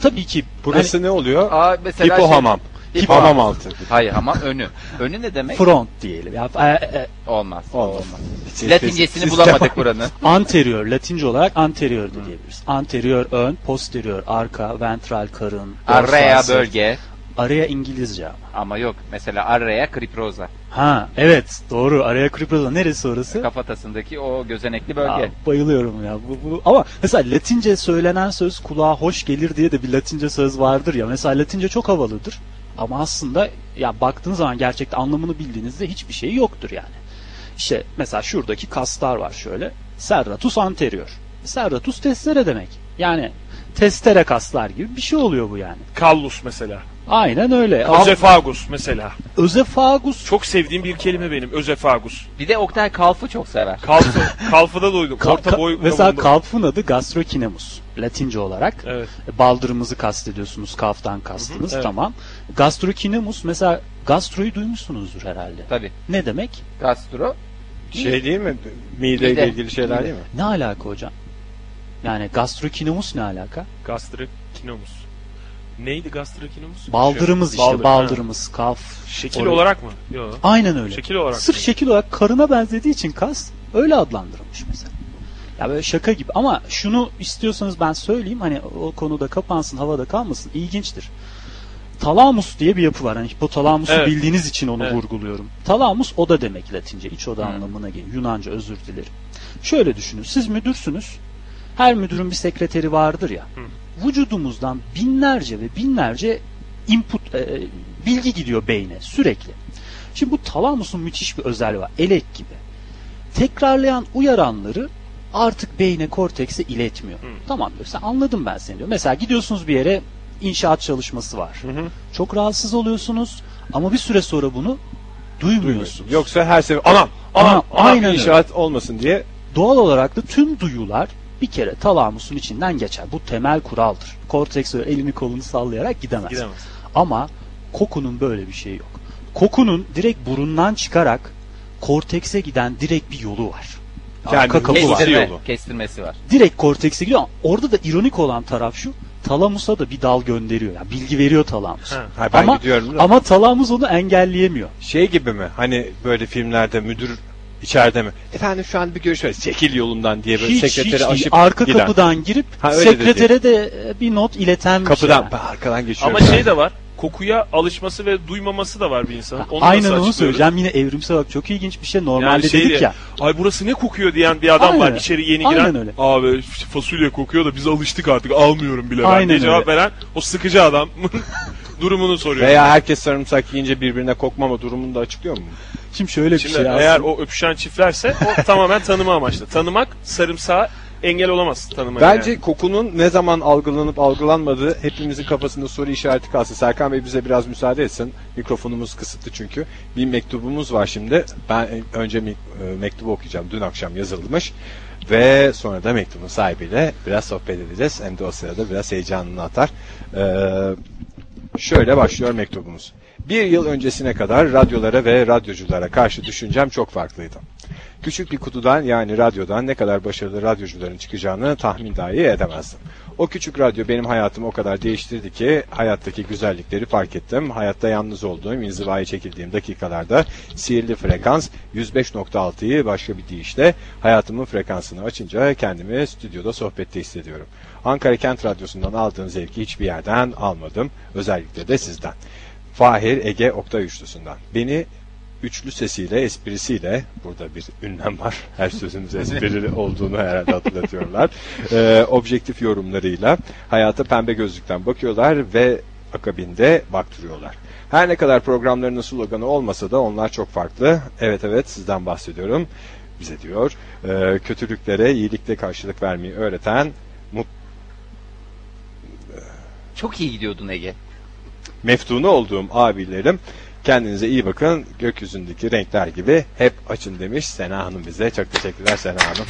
Speaker 5: tabii ki hani
Speaker 1: Burası ne oluyor?
Speaker 3: Aa, mesela
Speaker 1: Hipo
Speaker 3: şey-
Speaker 1: hamam.
Speaker 3: Hipo
Speaker 1: Hamam altı.
Speaker 3: Hayır hamam önü. Önü ne demek?
Speaker 5: hani front diyelim. Ya, e, e,
Speaker 3: Olmaz.
Speaker 1: Olmaz.
Speaker 3: Olmaz.
Speaker 1: Siz-
Speaker 3: Latincesini
Speaker 1: siz-
Speaker 3: bulamadık buranın.
Speaker 5: anterior latince olarak anterior da diyebiliriz. Anterior ön, posterior arka, ventral karın. dorsal
Speaker 3: Arrea
Speaker 5: sırt.
Speaker 3: bölge.
Speaker 5: Araya İngilizce ama.
Speaker 3: Ama yok. Mesela arrea kriproza.
Speaker 5: Ha evet doğru. Araya kriproza neresi orası?
Speaker 3: Kafatasındaki o gözenekli
Speaker 5: Aa,
Speaker 3: bölge.
Speaker 5: bayılıyorum ya. Bu, bu. Ama mesela Latince söylenen söz kulağa hoş gelir diye de bir Latince söz vardır ya. Mesela Latince çok havalıdır. Ama aslında ya baktığınız zaman gerçekten anlamını bildiğinizde hiçbir şey yoktur yani. İşte mesela şuradaki kaslar var şöyle. Serratus anterior. Serratus testere demek. Yani testere kaslar gibi bir şey oluyor bu yani.
Speaker 2: Kallus mesela.
Speaker 5: Aynen öyle. Ama
Speaker 2: Özefagus mesela.
Speaker 5: Özefagus
Speaker 2: Çok sevdiğim bir kelime benim. Özefagus.
Speaker 3: Bir de Oktay Kalf'ı çok sever.
Speaker 2: Kalfı, kalfıda duydum.
Speaker 5: Ka-
Speaker 2: Orta
Speaker 5: ka-
Speaker 2: boy.
Speaker 5: mesela
Speaker 2: kabuğunda.
Speaker 5: kalfın adı gastrokinemus. Latince olarak.
Speaker 2: Evet.
Speaker 5: E, Baldırımızı kastediyorsunuz, kaftan kastınız.
Speaker 2: evet.
Speaker 5: Tamam. Gastrocnemus mesela gastroyu duymuşsunuzdur herhalde.
Speaker 3: Tabii.
Speaker 5: Ne demek?
Speaker 3: Gastro.
Speaker 1: Şey değil mi? Mideyle
Speaker 3: Mide.
Speaker 1: ilgili şeyler değil mi?
Speaker 5: Ne alaka hocam? Yani gastrocnemus ne alaka?
Speaker 2: Gastrikinomus. Neydi gastrikinomus?
Speaker 5: Baldırımız
Speaker 2: Şey,
Speaker 5: işte,
Speaker 2: baldır,
Speaker 5: baldırımız, kaf.
Speaker 2: ha. Şekil
Speaker 5: oraya-
Speaker 2: olarak mı? Yok.
Speaker 5: Aynen öyle.
Speaker 2: Şekil olarak
Speaker 5: Sırf
Speaker 2: mı?
Speaker 5: şekil olarak karına benzediği için kas öyle adlandırılmış mesela. Ya böyle şaka gibi ama şunu istiyorsanız ben söyleyeyim hani o konuda kapansın havada kalmasın ilginçtir. Talamus diye bir yapı var. Hani hipotalamusu
Speaker 2: Evet.
Speaker 5: bildiğiniz için onu
Speaker 2: Evet. Hmm.
Speaker 5: vurguluyorum. Talamus oda demek Latince. iç oda anlamına geliyor. Yunanca özür dilerim. Şöyle düşünün. Siz müdürsünüz. Her müdürün bir sekreteri vardır ya.
Speaker 2: Hmm.
Speaker 5: Vücudumuzdan binlerce ve binlerce input e, bilgi gidiyor beyne sürekli. Şimdi bu talamusun müthiş bir özelliği var. Elek gibi. Tekrarlayan uyaranları artık beyne kortekse iletmiyor. Tamam diyor. Sen anladım ben seni diyor. Mesela gidiyorsunuz bir yere inşaat çalışması var. Çok rahatsız oluyorsunuz ama bir süre sonra bunu duymuyorsunuz.
Speaker 1: Yoksa her sefer anam
Speaker 5: Ama
Speaker 1: anam anam
Speaker 5: aynen öyle.
Speaker 1: inşaat olmasın diye
Speaker 5: Doğal olarak da tüm duyular bir kere talamusun içinden geçer. Bu temel kuraldır. Korteks öyle elini kolunu sallayarak gidemez.
Speaker 2: Gidemez.
Speaker 5: Ama kokunun böyle bir şeyi yok. Kokunun direkt burundan çıkarak kortekse giden direkt bir yolu var.
Speaker 1: Yani
Speaker 5: Arka kapı var.
Speaker 1: Kesti-
Speaker 3: Kestirme,
Speaker 1: yolu.
Speaker 3: kestirmesi var.
Speaker 5: Direkt kortekse gidiyor ama orada da ironik olan taraf şu. Talamus'a da bir dal gönderiyor. Yani bilgi veriyor talamus.
Speaker 2: Ha.
Speaker 1: Ha, ben
Speaker 5: ama,
Speaker 1: gidiyorum da.
Speaker 5: ama talamus onu engelleyemiyor.
Speaker 1: şey gibi mi? Hani böyle filmlerde müdür içeride mi? Efendim şu an bir görüşme. Çekil yolumdan diye böyle
Speaker 5: Hiç, hiç
Speaker 1: sekreteri
Speaker 5: değil.
Speaker 1: aşıp
Speaker 5: arka
Speaker 1: giden.
Speaker 5: kapıdan girip
Speaker 1: Ha, öyle de
Speaker 5: sekretere de e, bir not ileten bir şey
Speaker 1: kapıdan
Speaker 5: yani.
Speaker 1: ben arkadan geçiyorum.
Speaker 2: Ama şey de var. Kokuya alışması ve duymaması da var bir insanın. Onu
Speaker 5: Aynen
Speaker 2: nasıl
Speaker 5: onu
Speaker 2: açıklıyoruz?
Speaker 5: söyleyeceğim. Yine evrimsel olarak çok ilginç bir şey. Normalde
Speaker 2: Yani şey
Speaker 5: dedik
Speaker 2: diye,
Speaker 5: ya.
Speaker 2: Ay burası ne kokuyor diyen bir adam
Speaker 5: Aynen.
Speaker 2: var içeri yeni
Speaker 5: Aynen
Speaker 2: giren.
Speaker 5: öyle.
Speaker 2: Abi işte fasulye kokuyor da biz alıştık artık almıyorum bile ben
Speaker 5: Aynen
Speaker 2: diye cevap
Speaker 5: öyle.
Speaker 2: veren o sıkıcı adam (laughs) durumunu soruyor.
Speaker 1: Veya herkes sarımsak yiyince birbirine kokmama durumunu da açıklıyor mu?
Speaker 5: Şimdi şöyle
Speaker 2: Şimdi
Speaker 5: bir şey
Speaker 2: eğer
Speaker 5: aslında.
Speaker 2: o öpüşen çiftlerse
Speaker 5: (laughs)
Speaker 2: o tamamen tanıma amaçlı. Tanımak sarımsağı engel olamaz tanımaya.
Speaker 1: Bence
Speaker 2: yani.
Speaker 1: kokunun ne zaman algılanıp algılanmadığı hepimizin kafasında soru işareti kalsın. Serkan Bey bize biraz müsaade etsin. Mikrofonumuz kısıtlı çünkü. Bir mektubumuz var şimdi. Ben önce mi- e, mektubu okuyacağım. Dün akşam yazılmış. Ve sonra da mektubun sahibiyle biraz sohbet edeceğiz. Hem de o sırada biraz heyecanını atar. Ee, Şöyle başlıyor mektubumuz. Bir yıl öncesine kadar radyolara ve radyoculara karşı düşüncem çok farklıydı. Küçük bir kutudan yani radyodan ne kadar başarılı radyocuların çıkacağını tahmin dahi edemezdim. O küçük radyo benim hayatımı o kadar değiştirdi ki hayattaki güzellikleri fark ettim. Hayatta yalnız olduğum, inzivaya çekildiğim dakikalarda sihirli frekans 105.6'yı başka bir deyişle hayatımın frekansını açınca kendimi stüdyoda sohbette hissediyorum. Ankara Kent Radyosu'ndan aldığım zevki hiçbir yerden almadım. Özellikle de sizden. Fahir Ege Oktay Üçlüsü'nden. Beni üçlü sesiyle, esprisiyle, burada bir ünlem var, (laughs) her sözümüz esprili olduğunu herhalde hatırlatıyorlar. Ee, objektif yorumlarıyla hayata pembe gözlükten bakıyorlar ve akabinde baktırıyorlar. Her ne kadar programlarının sloganı olmasa da onlar çok farklı. Evet evet sizden bahsediyorum. Bize diyor, e, kötülüklere iyilikle karşılık vermeyi öğreten
Speaker 3: Çok iyi gidiyordun Ege.
Speaker 1: Meftunu olduğum abilerim kendinize iyi bakın. Gökyüzündeki renkler gibi hep açın demiş Sena Hanım bize. Çok teşekkürler Sena Hanım.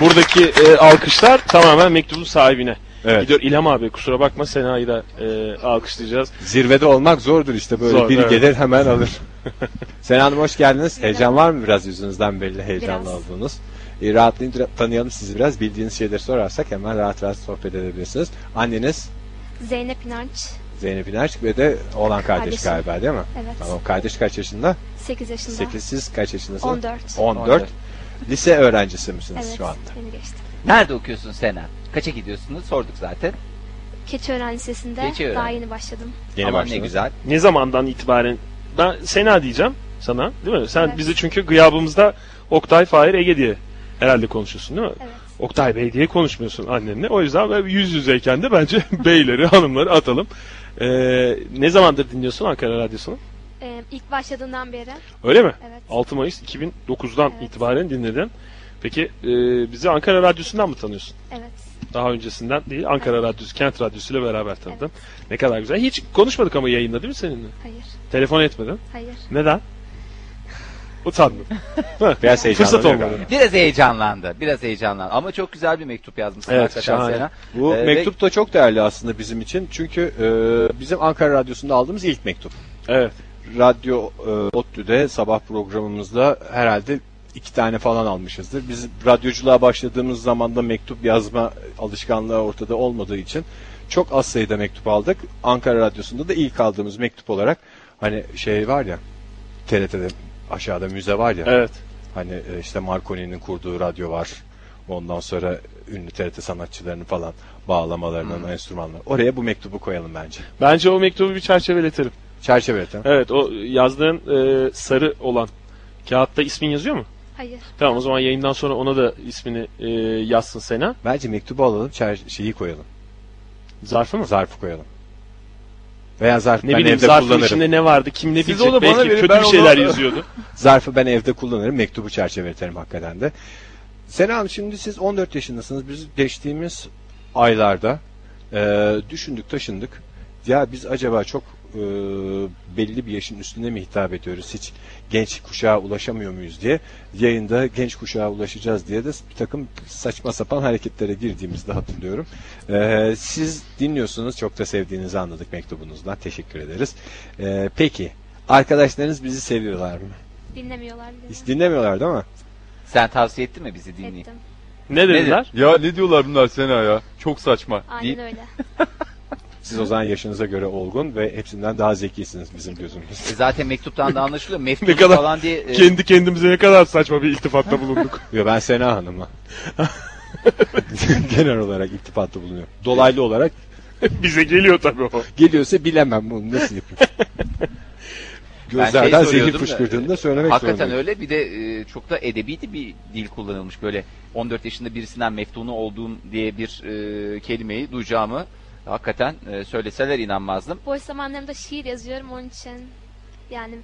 Speaker 2: Buradaki e, alkışlar tamamen mektubun sahibine.
Speaker 1: Evet.
Speaker 2: Gidiyor İlham abi kusura bakma Sena'yı da e, alkışlayacağız.
Speaker 1: Zirvede olmak zordur işte böyle
Speaker 2: Zor,
Speaker 1: biri
Speaker 2: evet.
Speaker 1: gelir hemen alır. (laughs) Sena Hanım hoş geldiniz. Heyecan var mı biraz yüzünüzden belli heyecanlı
Speaker 7: Biraz.
Speaker 1: olduğunuz. E, rahatlayın tra- tanıyalım sizi biraz. Bildiğiniz şeyleri sorarsak hemen rahat rahat sohbet edebilirsiniz. Anneniz
Speaker 7: Zeynep İnanç.
Speaker 1: Zeynep İnerçik ve de oğlan kardeş
Speaker 7: Kardeşim.
Speaker 1: galiba değil mi?
Speaker 7: Evet.
Speaker 1: Tamam. Kardeş kaç yaşında?
Speaker 7: 8 yaşında.
Speaker 1: 8 siz kaç yaşındasınız?
Speaker 7: 14.
Speaker 1: 14.
Speaker 3: 14.
Speaker 1: Lise öğrencisi misiniz
Speaker 7: evet.
Speaker 1: şu anda?
Speaker 7: Beni geçti.
Speaker 3: Nerede okuyorsun Sena? Kaça gidiyorsun? Sorduk zaten.
Speaker 7: Keçiören Lisesi'nde
Speaker 3: Keçiören.
Speaker 7: daha yeni başladım.
Speaker 1: Yeni
Speaker 3: Ama ne
Speaker 1: başladınız.
Speaker 3: güzel.
Speaker 2: Ne zamandan itibaren ben Sena diyeceğim sana değil mi? Sen
Speaker 7: Evet.
Speaker 2: bize çünkü gıyabımızda Oktay, Fahir, Ege diye herhalde konuşuyorsun değil mi?
Speaker 7: Evet.
Speaker 2: Oktay Bey diye konuşmuyorsun annemle. O yüzden böyle yüz yüzeyken de bence (laughs) beyleri, hanımları atalım. E, ne zamandır dinliyorsun Ankara Radyosu'nu?
Speaker 7: Ee, ilk başladığından beri
Speaker 2: Öyle mi?
Speaker 7: evet.
Speaker 2: 6 Mayıs 2009'dan
Speaker 7: Evet.
Speaker 2: itibaren dinledin. Peki e, bizi Ankara Radyosu'ndan mı tanıyorsun?
Speaker 7: Evet.
Speaker 2: Daha öncesinden değil. Ankara Radyosu, Kent Radyosu ile beraber tanıdın. Ne kadar güzel. Hiç konuşmadık ama yayında değil mi seninle?
Speaker 7: Hayır.
Speaker 2: Telefon etmedin.
Speaker 7: Hayır.
Speaker 2: Neden? Utandım.
Speaker 1: Biraz (laughs)
Speaker 2: Fırsat
Speaker 1: heyecanlanıyor
Speaker 2: olmadı.
Speaker 1: galiba.
Speaker 3: Biraz heyecanlandı. Biraz heyecanlandı. Ama çok güzel bir mektup yazmışsın
Speaker 2: Evet,
Speaker 3: hakikaten
Speaker 2: şahane.
Speaker 3: Sena.
Speaker 1: Bu
Speaker 3: Ee,
Speaker 1: mektup da çok değerli aslında bizim için. Çünkü e, bizim Ankara Radyosu'nda aldığımız ilk mektup.
Speaker 2: Evet.
Speaker 1: Radyo e, ODTÜ'de sabah programımızda herhalde iki tane falan almışızdır. Biz radyoculuğa başladığımız zaman da mektup yazma alışkanlığı ortada olmadığı için çok az sayıda mektup aldık. Ankara Radyosu'nda da ilk aldığımız mektup olarak hani şey var ya TRT'de aşağıda müze var ya.
Speaker 2: Evet.
Speaker 1: Hani e, işte Marconi'nin kurduğu radyo var. Ondan sonra ünlü TRT sanatçılarının falan bağlamalarının
Speaker 2: Hmm.
Speaker 1: enstrümanları. Oraya bu mektubu koyalım bence.
Speaker 2: Bence o mektubu bir çerçeveletirim.
Speaker 1: Çerçeveleten.
Speaker 2: Evet o yazdığın e, sarı olan kağıtta ismin yazıyor mu?
Speaker 7: Hayır.
Speaker 2: Tamam o zaman yayından sonra ona da ismini e, yazsın Sena.
Speaker 1: Bence mektubu alalım, çer şeyi koyalım.
Speaker 2: Zarfı mı?
Speaker 1: Zarfı koyalım. Veya zarf
Speaker 2: Ne
Speaker 1: ben
Speaker 2: bileyim
Speaker 1: evde
Speaker 2: zarfın
Speaker 1: kullanırım.
Speaker 2: içinde ne vardı kim ne
Speaker 1: Siz
Speaker 2: bilecek
Speaker 1: onu bana
Speaker 2: belki
Speaker 1: verin,
Speaker 2: kötü
Speaker 1: ben
Speaker 2: bir şeyler
Speaker 1: onu- (laughs)
Speaker 2: yazıyordu.
Speaker 1: Zarfı ben evde kullanırım. Mektubu çerçeveleterim hakikaten de. Sena Hanım şimdi siz 14 yaşındasınız. Biz geçtiğimiz aylarda e, düşündük taşındık. Ya biz acaba çok e, belli bir yaşın üstüne mi hitap ediyoruz? Hiç genç kuşağa ulaşamıyor muyuz diye. Yayında genç kuşağa ulaşacağız diye de bir takım saçma sapan hareketlere girdiğimizde hatırlıyorum. E, siz dinliyorsunuz. Çok da sevdiğinizi anladık mektubunuzdan. Teşekkür ederiz. E, peki arkadaşlarınız bizi seviyorlar mı?
Speaker 7: Dinlemiyorlar bile.
Speaker 1: Hiç dinlemiyorlar değil mi?
Speaker 3: Sen tavsiye ettin mi bizi dinleyin?
Speaker 7: Ettim.
Speaker 2: Ne dediler?
Speaker 4: Ya ne diyorlar bunlar Sena ya? Çok saçma.
Speaker 7: Aynen öyle.
Speaker 1: Siz o zaman yaşınıza göre olgun ve hepsinden daha zekisiniz bizim gözümüzde.
Speaker 3: E, Zaten mektuptan da anlaşılıyor.
Speaker 2: (laughs)
Speaker 3: Meftup
Speaker 2: Ne kadar
Speaker 3: falan diye. e,
Speaker 2: Kendi kendimize ne kadar saçma bir
Speaker 1: (laughs)
Speaker 2: iltifatta bulunduk.
Speaker 1: (laughs) Yo, ben Sena Hanım'a. (laughs) Genel olarak iltifatta bulunuyor. Dolaylı olarak
Speaker 2: Bize geliyor tabii
Speaker 1: E-
Speaker 2: o.
Speaker 1: geliyorsa bilemem bunu nasıl yapayım.
Speaker 3: Ben
Speaker 1: Gözlerden
Speaker 3: şey
Speaker 1: zehir
Speaker 3: soruyordum da,
Speaker 1: fışkırdığını da e, söylemek
Speaker 3: Hakikaten
Speaker 1: zorundayım.
Speaker 3: öyle. Bir de e, çok da edebiydi bir dil kullanılmış. Böyle 14 yaşında birisinden meftunu olduğum diye bir e, kelimeyi duyacağımı hakikaten e, söyleseler inanmazdım.
Speaker 7: Boş zamanlarımda şiir yazıyorum onun için. Yani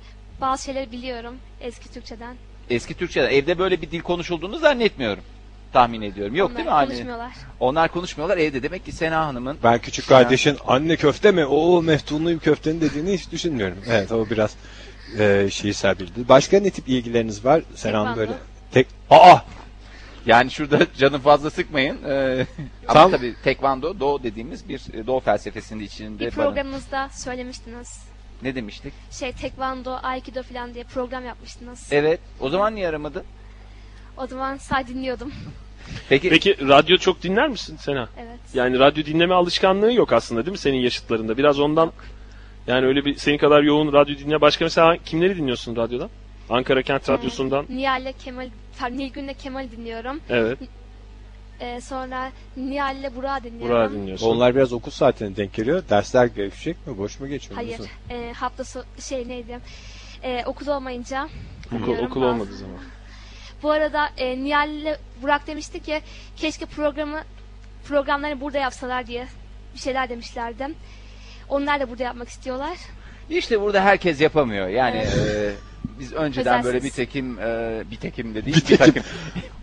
Speaker 7: bazı şeyleri biliyorum eski Türkçeden.
Speaker 3: Eski Türkçe'de evde böyle bir dil konuşulduğunu zannetmiyorum. Tahmin ediyorum. Yok
Speaker 7: Onlar
Speaker 3: değil mi Hani anne?
Speaker 7: konuşmuyorlar.
Speaker 3: Onlar konuşmuyorlar evde. Demek ki Sena Hanım'ın
Speaker 1: Ben küçük kardeşin anne köfte mi? Oo meftunluyum köftenin dediğini hiç düşünmüyorum. Evet o biraz e, şiirsel bildi. Başka ne tip ilgileriniz var? Sena Hanım
Speaker 7: Tekvando.
Speaker 1: böyle tek... Aa!
Speaker 3: Yani şurada (laughs) canı fazla sıkmayın.
Speaker 1: (laughs)
Speaker 3: Ee, ama
Speaker 1: Tam-
Speaker 3: tabii tekvando doğu dediğimiz bir e, doğu felsefesinin içinde
Speaker 7: Bir
Speaker 3: bana-
Speaker 7: programınızda söylemiştiniz.
Speaker 3: ne demiştik?
Speaker 7: Şey tekvando, aikido falan diye program yapmıştınız.
Speaker 3: Evet. O zaman niye aramadı?
Speaker 7: O zaman sadece dinliyordum.
Speaker 3: Peki,
Speaker 2: Peki radyo çok dinler misin Sena?
Speaker 7: Evet.
Speaker 2: Yani radyo dinleme alışkanlığı yok aslında değil mi senin yaşıtlarında? Biraz ondan yani öyle bir senin kadar yoğun radyo dinle. Başka mesela kimleri dinliyorsun radyodan? Ankara Kent Radyosu'ndan.
Speaker 7: Nihal'le Kemal, pardon, Nilgün'le Kemal dinliyorum.
Speaker 2: Evet.
Speaker 7: Ee, sonra Nihal'le Burak'ı dinliyorum.
Speaker 2: Burak'ı dinliyorsun.
Speaker 1: Onlar biraz okul saatine denk geliyor. Dersler gevşek mi? Boş mu geçiyor?
Speaker 7: Hayır.
Speaker 1: Nasıl?
Speaker 7: E, hafta so- şey neydi? E, okul olmayınca.
Speaker 2: Okul,
Speaker 7: dinliyorum
Speaker 2: okul
Speaker 7: bazı-
Speaker 2: olmadığı zaman.
Speaker 7: Bu arada e, Nihal'le Burak demişti ki keşke programı programları burada yapsalar diye bir şeyler demişlerdi. Onlar da burada yapmak istiyorlar.
Speaker 3: işte burada herkes yapamıyor. Yani e, biz önceden
Speaker 7: Özensiz.
Speaker 3: böyle bir tekim e, bir tekim de değil bir takım.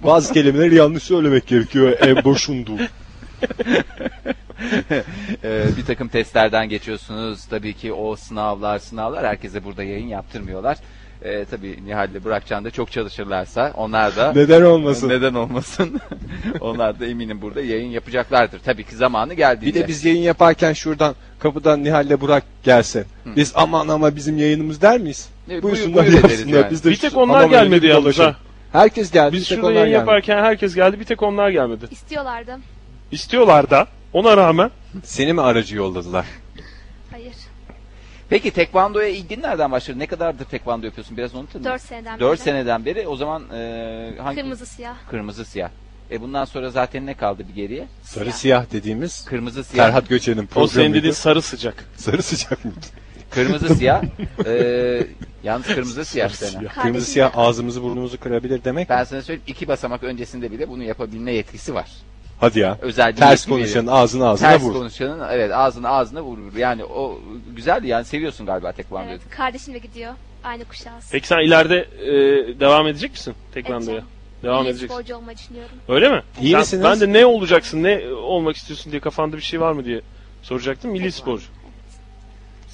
Speaker 1: Bazı kelimeleri yanlış söylemek gerekiyor. En boşundu.
Speaker 3: Ee, bir takım testlerden geçiyorsunuz. Tabii ki o sınavlar sınavlar herkese burada yayın yaptırmıyorlar. Ee, tabii Nihal ile Burakcan da çok çalışırlarsa onlar da
Speaker 1: Neden olmasın?
Speaker 3: neden olmasın? (laughs) onlar da eminim burada yayın yapacaklardır. Tabii ki zamanı
Speaker 1: Bir
Speaker 3: geldiğinde.
Speaker 1: de biz yayın yaparken şuradan kapıdan Nihal'le Burak gelse. Biz aman ama bizim yayınımız der miyiz?
Speaker 3: Evet,
Speaker 1: Buyursunlar
Speaker 3: buyur ederiz
Speaker 1: yapsınlar.
Speaker 3: yani.
Speaker 1: Biz de
Speaker 2: Bir tek
Speaker 1: şu
Speaker 2: onlar
Speaker 1: adam
Speaker 2: gelmedi
Speaker 1: önünde bir
Speaker 2: yalnız
Speaker 1: dolaşalım.
Speaker 2: ha.
Speaker 1: Herkes geldi.
Speaker 2: Biz
Speaker 1: bir tek
Speaker 2: şurada
Speaker 1: onlar
Speaker 2: yayın
Speaker 1: gelmedi.
Speaker 2: yaparken herkes geldi bir tek onlar gelmedi.
Speaker 7: İstiyorlardı.
Speaker 2: İstiyorlar da ona rağmen
Speaker 1: Seni mi aracı yolladılar?
Speaker 7: Hayır.
Speaker 3: Peki tekvandoya ilgin nereden başladı? Ne kadardır tekvando yapıyorsun? Biraz onu tanı.
Speaker 7: 4 seneden
Speaker 3: Dört
Speaker 7: beri.
Speaker 3: seneden beri. O zaman e, hangi
Speaker 7: Kırmızı siyah.
Speaker 3: Kırmızı siyah. E bundan sonra zaten ne kaldı bir geriye?
Speaker 1: Sarı siyah dediğimiz
Speaker 3: Kırmızı siyah.
Speaker 1: Ferhat Göçer'in
Speaker 2: o senin
Speaker 1: programıydı.
Speaker 2: dediğin sarı sıcak.
Speaker 1: Sarı sıcak mıydı? (laughs)
Speaker 3: Kırmızı siyah. E, yalnız kırmızı siyah sene.
Speaker 1: Kırmızı
Speaker 7: Kardeşim.
Speaker 1: siyah ağzımızı burnumuzu kırabilir demek.
Speaker 3: Ben sana söyleyeyim iki basamak öncesinde bile bunu yapabilme yetkisi var.
Speaker 1: Hadi ya.
Speaker 3: Özel bir
Speaker 1: Ters
Speaker 3: yetki veriyor.
Speaker 1: konuşan ağzını ağzına
Speaker 3: Ters
Speaker 1: vur.
Speaker 3: konuşanın evet ağzını ağzına vurur. Yani o güzel yani seviyorsun galiba tekvandoyu.
Speaker 7: Evet, kardeşim de gidiyor. Aynı kuşağız.
Speaker 2: Peki sen ileride e, devam edecek misin tekvandoya?
Speaker 7: Edeceğim.
Speaker 2: Devam
Speaker 7: İyi
Speaker 2: edeceksin.
Speaker 7: sporcu olmayı düşünüyorum.
Speaker 2: Öyle mi?
Speaker 1: İyi
Speaker 2: Ben-
Speaker 1: misiniz?
Speaker 2: Ben de ne olacaksın, ne olmak istiyorsun diye kafanda bir şey var mı diye soracaktım. Milli sporcu.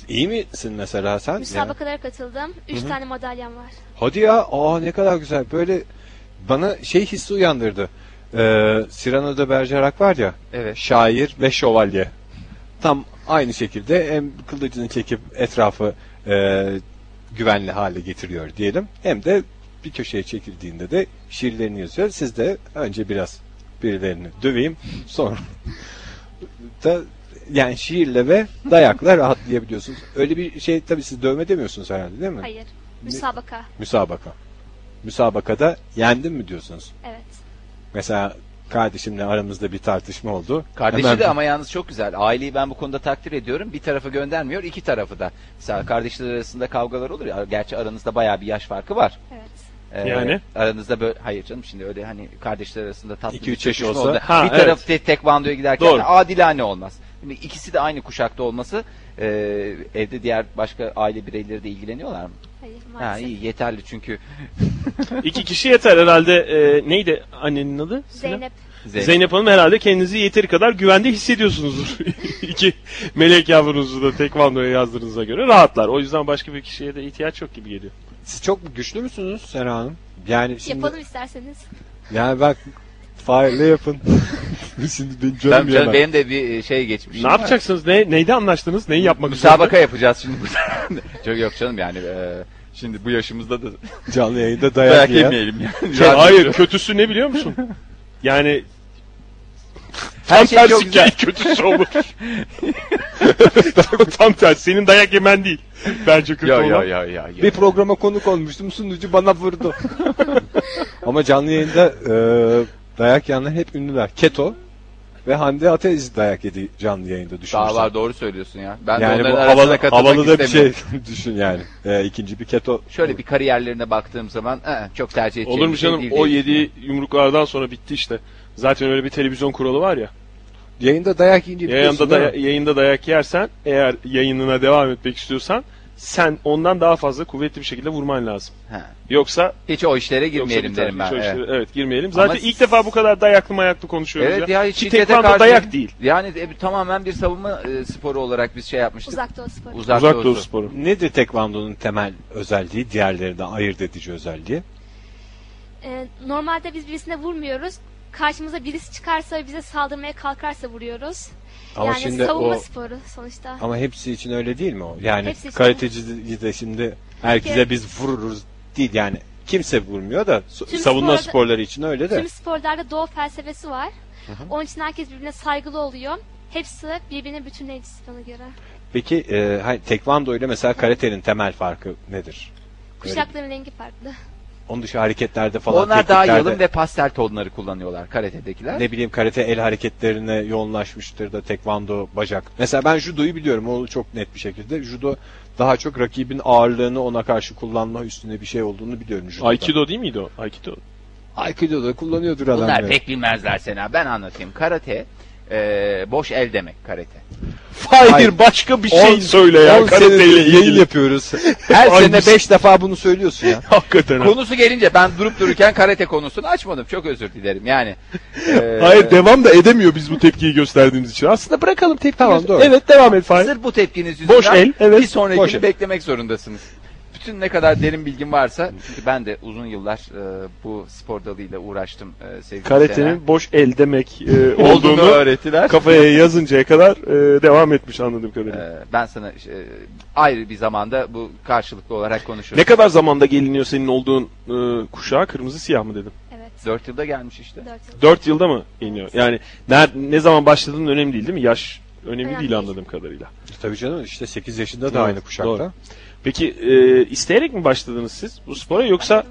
Speaker 1: İyi misin mesela sen? Ya.
Speaker 7: Müsabakalara katıldım. 3 tane madalyam var.
Speaker 1: Hadi ya. Aa ne kadar güzel. Böyle bana şey hissi uyandırdı. Ee, Cyrano'da Bergerac var ya.
Speaker 3: Evet.
Speaker 1: Şair ve şövalye. Tam aynı şekilde hem kılıcını çekip etrafı e, güvenli hale getiriyor diyelim. Hem de bir köşeye çekildiğinde de şiirlerini yazıyor. Siz de önce biraz birilerini döveyim sonra (laughs) da yani şiirle ve dayakla rahatlayabiliyorsunuz. Öyle bir şey tabii siz dövme demiyorsunuz herhalde değil mi?
Speaker 7: Hayır. Müsabaka.
Speaker 1: Müsabaka. Müsabakada yendim mi diyorsunuz?
Speaker 7: Evet.
Speaker 1: Mesela kardeşimle aramızda bir tartışma oldu.
Speaker 3: Kardeşi
Speaker 1: Hemen-
Speaker 3: de ama yalnız çok güzel. Aileyi ben bu konuda takdir ediyorum. Bir tarafı göndermiyor, iki tarafı da. Mesela kardeşler arasında kavgalar olur ya. Gerçi aranızda bayağı bir yaş farkı var.
Speaker 7: Evet.
Speaker 3: Ee,
Speaker 2: Yani?
Speaker 3: Aranızda böyle hayır canım şimdi öyle hani kardeşler arasında tatlı
Speaker 1: İki,
Speaker 3: bir
Speaker 1: üç yaş
Speaker 3: çekişme
Speaker 1: olsa.
Speaker 3: oldu.
Speaker 2: Ha,
Speaker 3: bir
Speaker 2: evet.
Speaker 3: taraf tek tekvandoya giderken
Speaker 2: Doğru.
Speaker 3: adilane olmaz. Şimdi ikisi de aynı kuşakta olması e, evde diğer başka aile bireyleri de ilgileniyorlar mı?
Speaker 7: Hayır
Speaker 3: Ha,
Speaker 7: maalesef.
Speaker 3: iyi yeterli çünkü
Speaker 2: İki kişi yeter herhalde. E, neydi annenin adı? Sinem?
Speaker 7: Zeynep.
Speaker 3: Zeynep.
Speaker 2: Zeynep Hanım herhalde kendinizi yeteri kadar güvende hissediyorsunuzdur. (laughs) İki melek yavrunuzu da tekvandoya yazdığınıza göre rahatlar. O yüzden başka bir kişiye de ihtiyaç yok gibi geliyor.
Speaker 1: Siz çok güçlü müsünüz Sera Hanım? Yani şimdi
Speaker 7: şey, Yapalım isterseniz.
Speaker 1: yani bak faile yapın. (laughs) şimdi benim canım
Speaker 3: Ben,
Speaker 1: yanar.
Speaker 3: canım, benim de bir e, şey geçmiş.
Speaker 2: Ne yapacaksınız? Ne neyde anlaştınız? Neyi (laughs) yapmak üzere?
Speaker 3: Müsabaka yapacağız şimdi burada. Çok (laughs) yok canım yani. e, şimdi bu yaşımızda da
Speaker 1: Canlı yayında dayak,
Speaker 3: dayak
Speaker 1: yiyen.
Speaker 3: yemeyelim
Speaker 2: Kö-
Speaker 3: yani.
Speaker 2: Şey, Hayır, kötüsü ne biliyor
Speaker 3: (laughs)
Speaker 2: musun? Yani
Speaker 3: Her şey çok
Speaker 2: tersi
Speaker 3: güzel.
Speaker 2: ki (laughs) kötüsü
Speaker 3: (laughs)
Speaker 2: olur. tam, tam tersi. Senin dayak yemen değil. Bence kötü
Speaker 3: Ya
Speaker 2: olan.
Speaker 3: ya ya ya. ya.
Speaker 1: Bir programa konuk olmuştum sunucu bana
Speaker 3: (laughs)
Speaker 1: vurdu. Ama canlı yayında e, dayak yiyenler hep ünlüler. Keto ve Hande Atez dayak yedi canlı yayında düşünürsen.
Speaker 3: Daha var doğru söylüyorsun ya. Ben de
Speaker 1: Yani bu
Speaker 3: onların arasına
Speaker 1: havalı,
Speaker 3: katılmak
Speaker 1: havalı da bir
Speaker 3: istemiyorum.
Speaker 1: şey (laughs) düşün yani. E, ikinci bir keto.
Speaker 3: Şöyle bir kariyerlerine baktığım zaman "Ee, çok tercih edeceğim.
Speaker 2: şey. Olur mu
Speaker 3: bir şey
Speaker 2: canım?
Speaker 3: değil
Speaker 2: o
Speaker 3: diye
Speaker 2: yediği yumruklardan sonra bitti işte. Zaten öyle bir televizyon kuralı var ya.
Speaker 1: Yayında dayak yiyince
Speaker 2: Yayında,
Speaker 1: biliyorsun
Speaker 2: da,
Speaker 1: değil mi?
Speaker 2: yayında dayak yersen eğer yayınına devam etmek istiyorsan sen ondan daha fazla kuvvetli bir şekilde vurman lazım.
Speaker 3: He.
Speaker 2: Yoksa
Speaker 3: Hiç o işlere
Speaker 2: yoksa
Speaker 3: girmeyelim
Speaker 2: biter.
Speaker 3: derim ben.
Speaker 2: Hiç o işleri-
Speaker 3: Evet.
Speaker 2: evet. girmeyelim. Zaten
Speaker 3: Ama-
Speaker 2: ilk defa bu kadar dayaklı mayaklı konuşuyoruz
Speaker 3: Evet
Speaker 2: ya.
Speaker 3: ya
Speaker 2: Ki
Speaker 3: şiddete
Speaker 2: tekvando
Speaker 3: karşı
Speaker 2: dayak değil.
Speaker 3: Yani e, tamamen bir savunma e, sporu olarak biz şey yapmıştık.
Speaker 7: Uzak doğu sporu.
Speaker 3: Uzak,
Speaker 2: Uzak doğu
Speaker 3: doğusu.
Speaker 2: sporu.
Speaker 1: Nedir tekvandonun temel özelliği, diğerlerinden ayırt edici özelliği?
Speaker 7: Ee, normalde biz birisine vurmuyoruz. Karşımıza birisi çıkarsa ve bize saldırmaya kalkarsa vuruyoruz.
Speaker 1: Ama
Speaker 7: yani
Speaker 1: şimdi
Speaker 7: savunma
Speaker 1: o
Speaker 7: sporu sonuçta.
Speaker 1: ama hepsi için öyle değil mi o? Yani
Speaker 7: Hepsi için.
Speaker 1: karateci de şimdi herkese
Speaker 7: Evet.
Speaker 1: biz vururuz değil yani. Kimse vurmuyor da so-
Speaker 7: Tüm
Speaker 1: savunma
Speaker 7: sporda-
Speaker 1: sporları için öyle de.
Speaker 7: Tüm sporlarda doğu felsefesi var. Onun için herkes birbirine saygılı oluyor. Hepsi birbirine bütünleyicisi bana göre.
Speaker 1: Peki e, hani tekvando ile mesela karatenin temel farkı nedir?
Speaker 7: Kuşakların rengi farklı.
Speaker 1: Onun dışı hareketlerde falan
Speaker 3: Onlar daha
Speaker 1: tekniklerde-
Speaker 3: yalın ve pastel tonları kullanıyorlar karatedekiler.
Speaker 1: ne bileyim karate el hareketlerine yoğunlaşmıştır da tekvando bacak. Mesela ben judoyu biliyorum onu çok net bir şekilde. Judo daha çok rakibin ağırlığını ona karşı kullanma üstüne bir şey olduğunu biliyorum judoda.
Speaker 2: Aikido değil miydi o? Aikido.
Speaker 1: Aikido da kullanıyordur adam.
Speaker 3: Bunlar
Speaker 1: ya.
Speaker 3: pek bilmezler seni. ha. Ben anlatayım. Karate Ee, boş el demek karate.
Speaker 2: Hayır, başka bir şey
Speaker 8: On-
Speaker 2: söyle
Speaker 8: On
Speaker 2: ya.
Speaker 8: senedir
Speaker 2: Karate ile
Speaker 8: yayın
Speaker 2: ilgili.
Speaker 8: yapıyoruz. Her
Speaker 2: Aynısı.
Speaker 8: sene 5 defa bunu söylüyorsun
Speaker 2: (laughs)
Speaker 8: ya.
Speaker 2: Hakikaten. ha.
Speaker 3: Konusu gelince ben durup dururken karate konusunu açmadım. Çok özür
Speaker 2: (laughs)
Speaker 3: dilerim yani. Ee,
Speaker 2: Hayır devam da edemiyor biz bu tepkiyi gösterdiğimiz için. Aslında bırakalım tepkiyi.
Speaker 8: Tamam, doğru.
Speaker 2: Evet devam et Fahir.
Speaker 3: Sırf bu tepkiniz yüzünden
Speaker 2: Boş el, evet.
Speaker 3: bir sonrakini
Speaker 8: Boş el.
Speaker 3: beklemek zorundasınız. Bütün ne kadar derin bilgim varsa çünkü ben de uzun yıllar e, bu spor dalıyla uğraştım e, sevgili Seren.
Speaker 2: Karate'nin boş el demek e,
Speaker 4: Olduğunu
Speaker 2: olduğunu
Speaker 4: öğrettiler.
Speaker 2: kafaya yazıncaya kadar e, devam etmiş anladığım kadarıyla.
Speaker 3: Ee, ben sana e, ayrı bir zamanda bu karşılıklı olarak konuşuruz.
Speaker 2: Ne kadar zamanda geliniyor senin olduğun e, kuşağa kırmızı siyah mı dedim?
Speaker 7: Evet.
Speaker 3: 4 yılda gelmiş işte.
Speaker 7: 4 yıl.
Speaker 2: 4 yılda mı geliniyor? Yani ner, ne zaman başladığın önemli değil değil mi? Yaş önemli
Speaker 7: Önemli
Speaker 2: değil
Speaker 7: değil.
Speaker 2: anladığım kadarıyla.
Speaker 1: E, Tabii canım işte 8 yaşında da
Speaker 2: Evet,
Speaker 1: aynı kuşakta.
Speaker 2: doğru. Peki e, isteyerek mi başladınız siz bu spora yoksa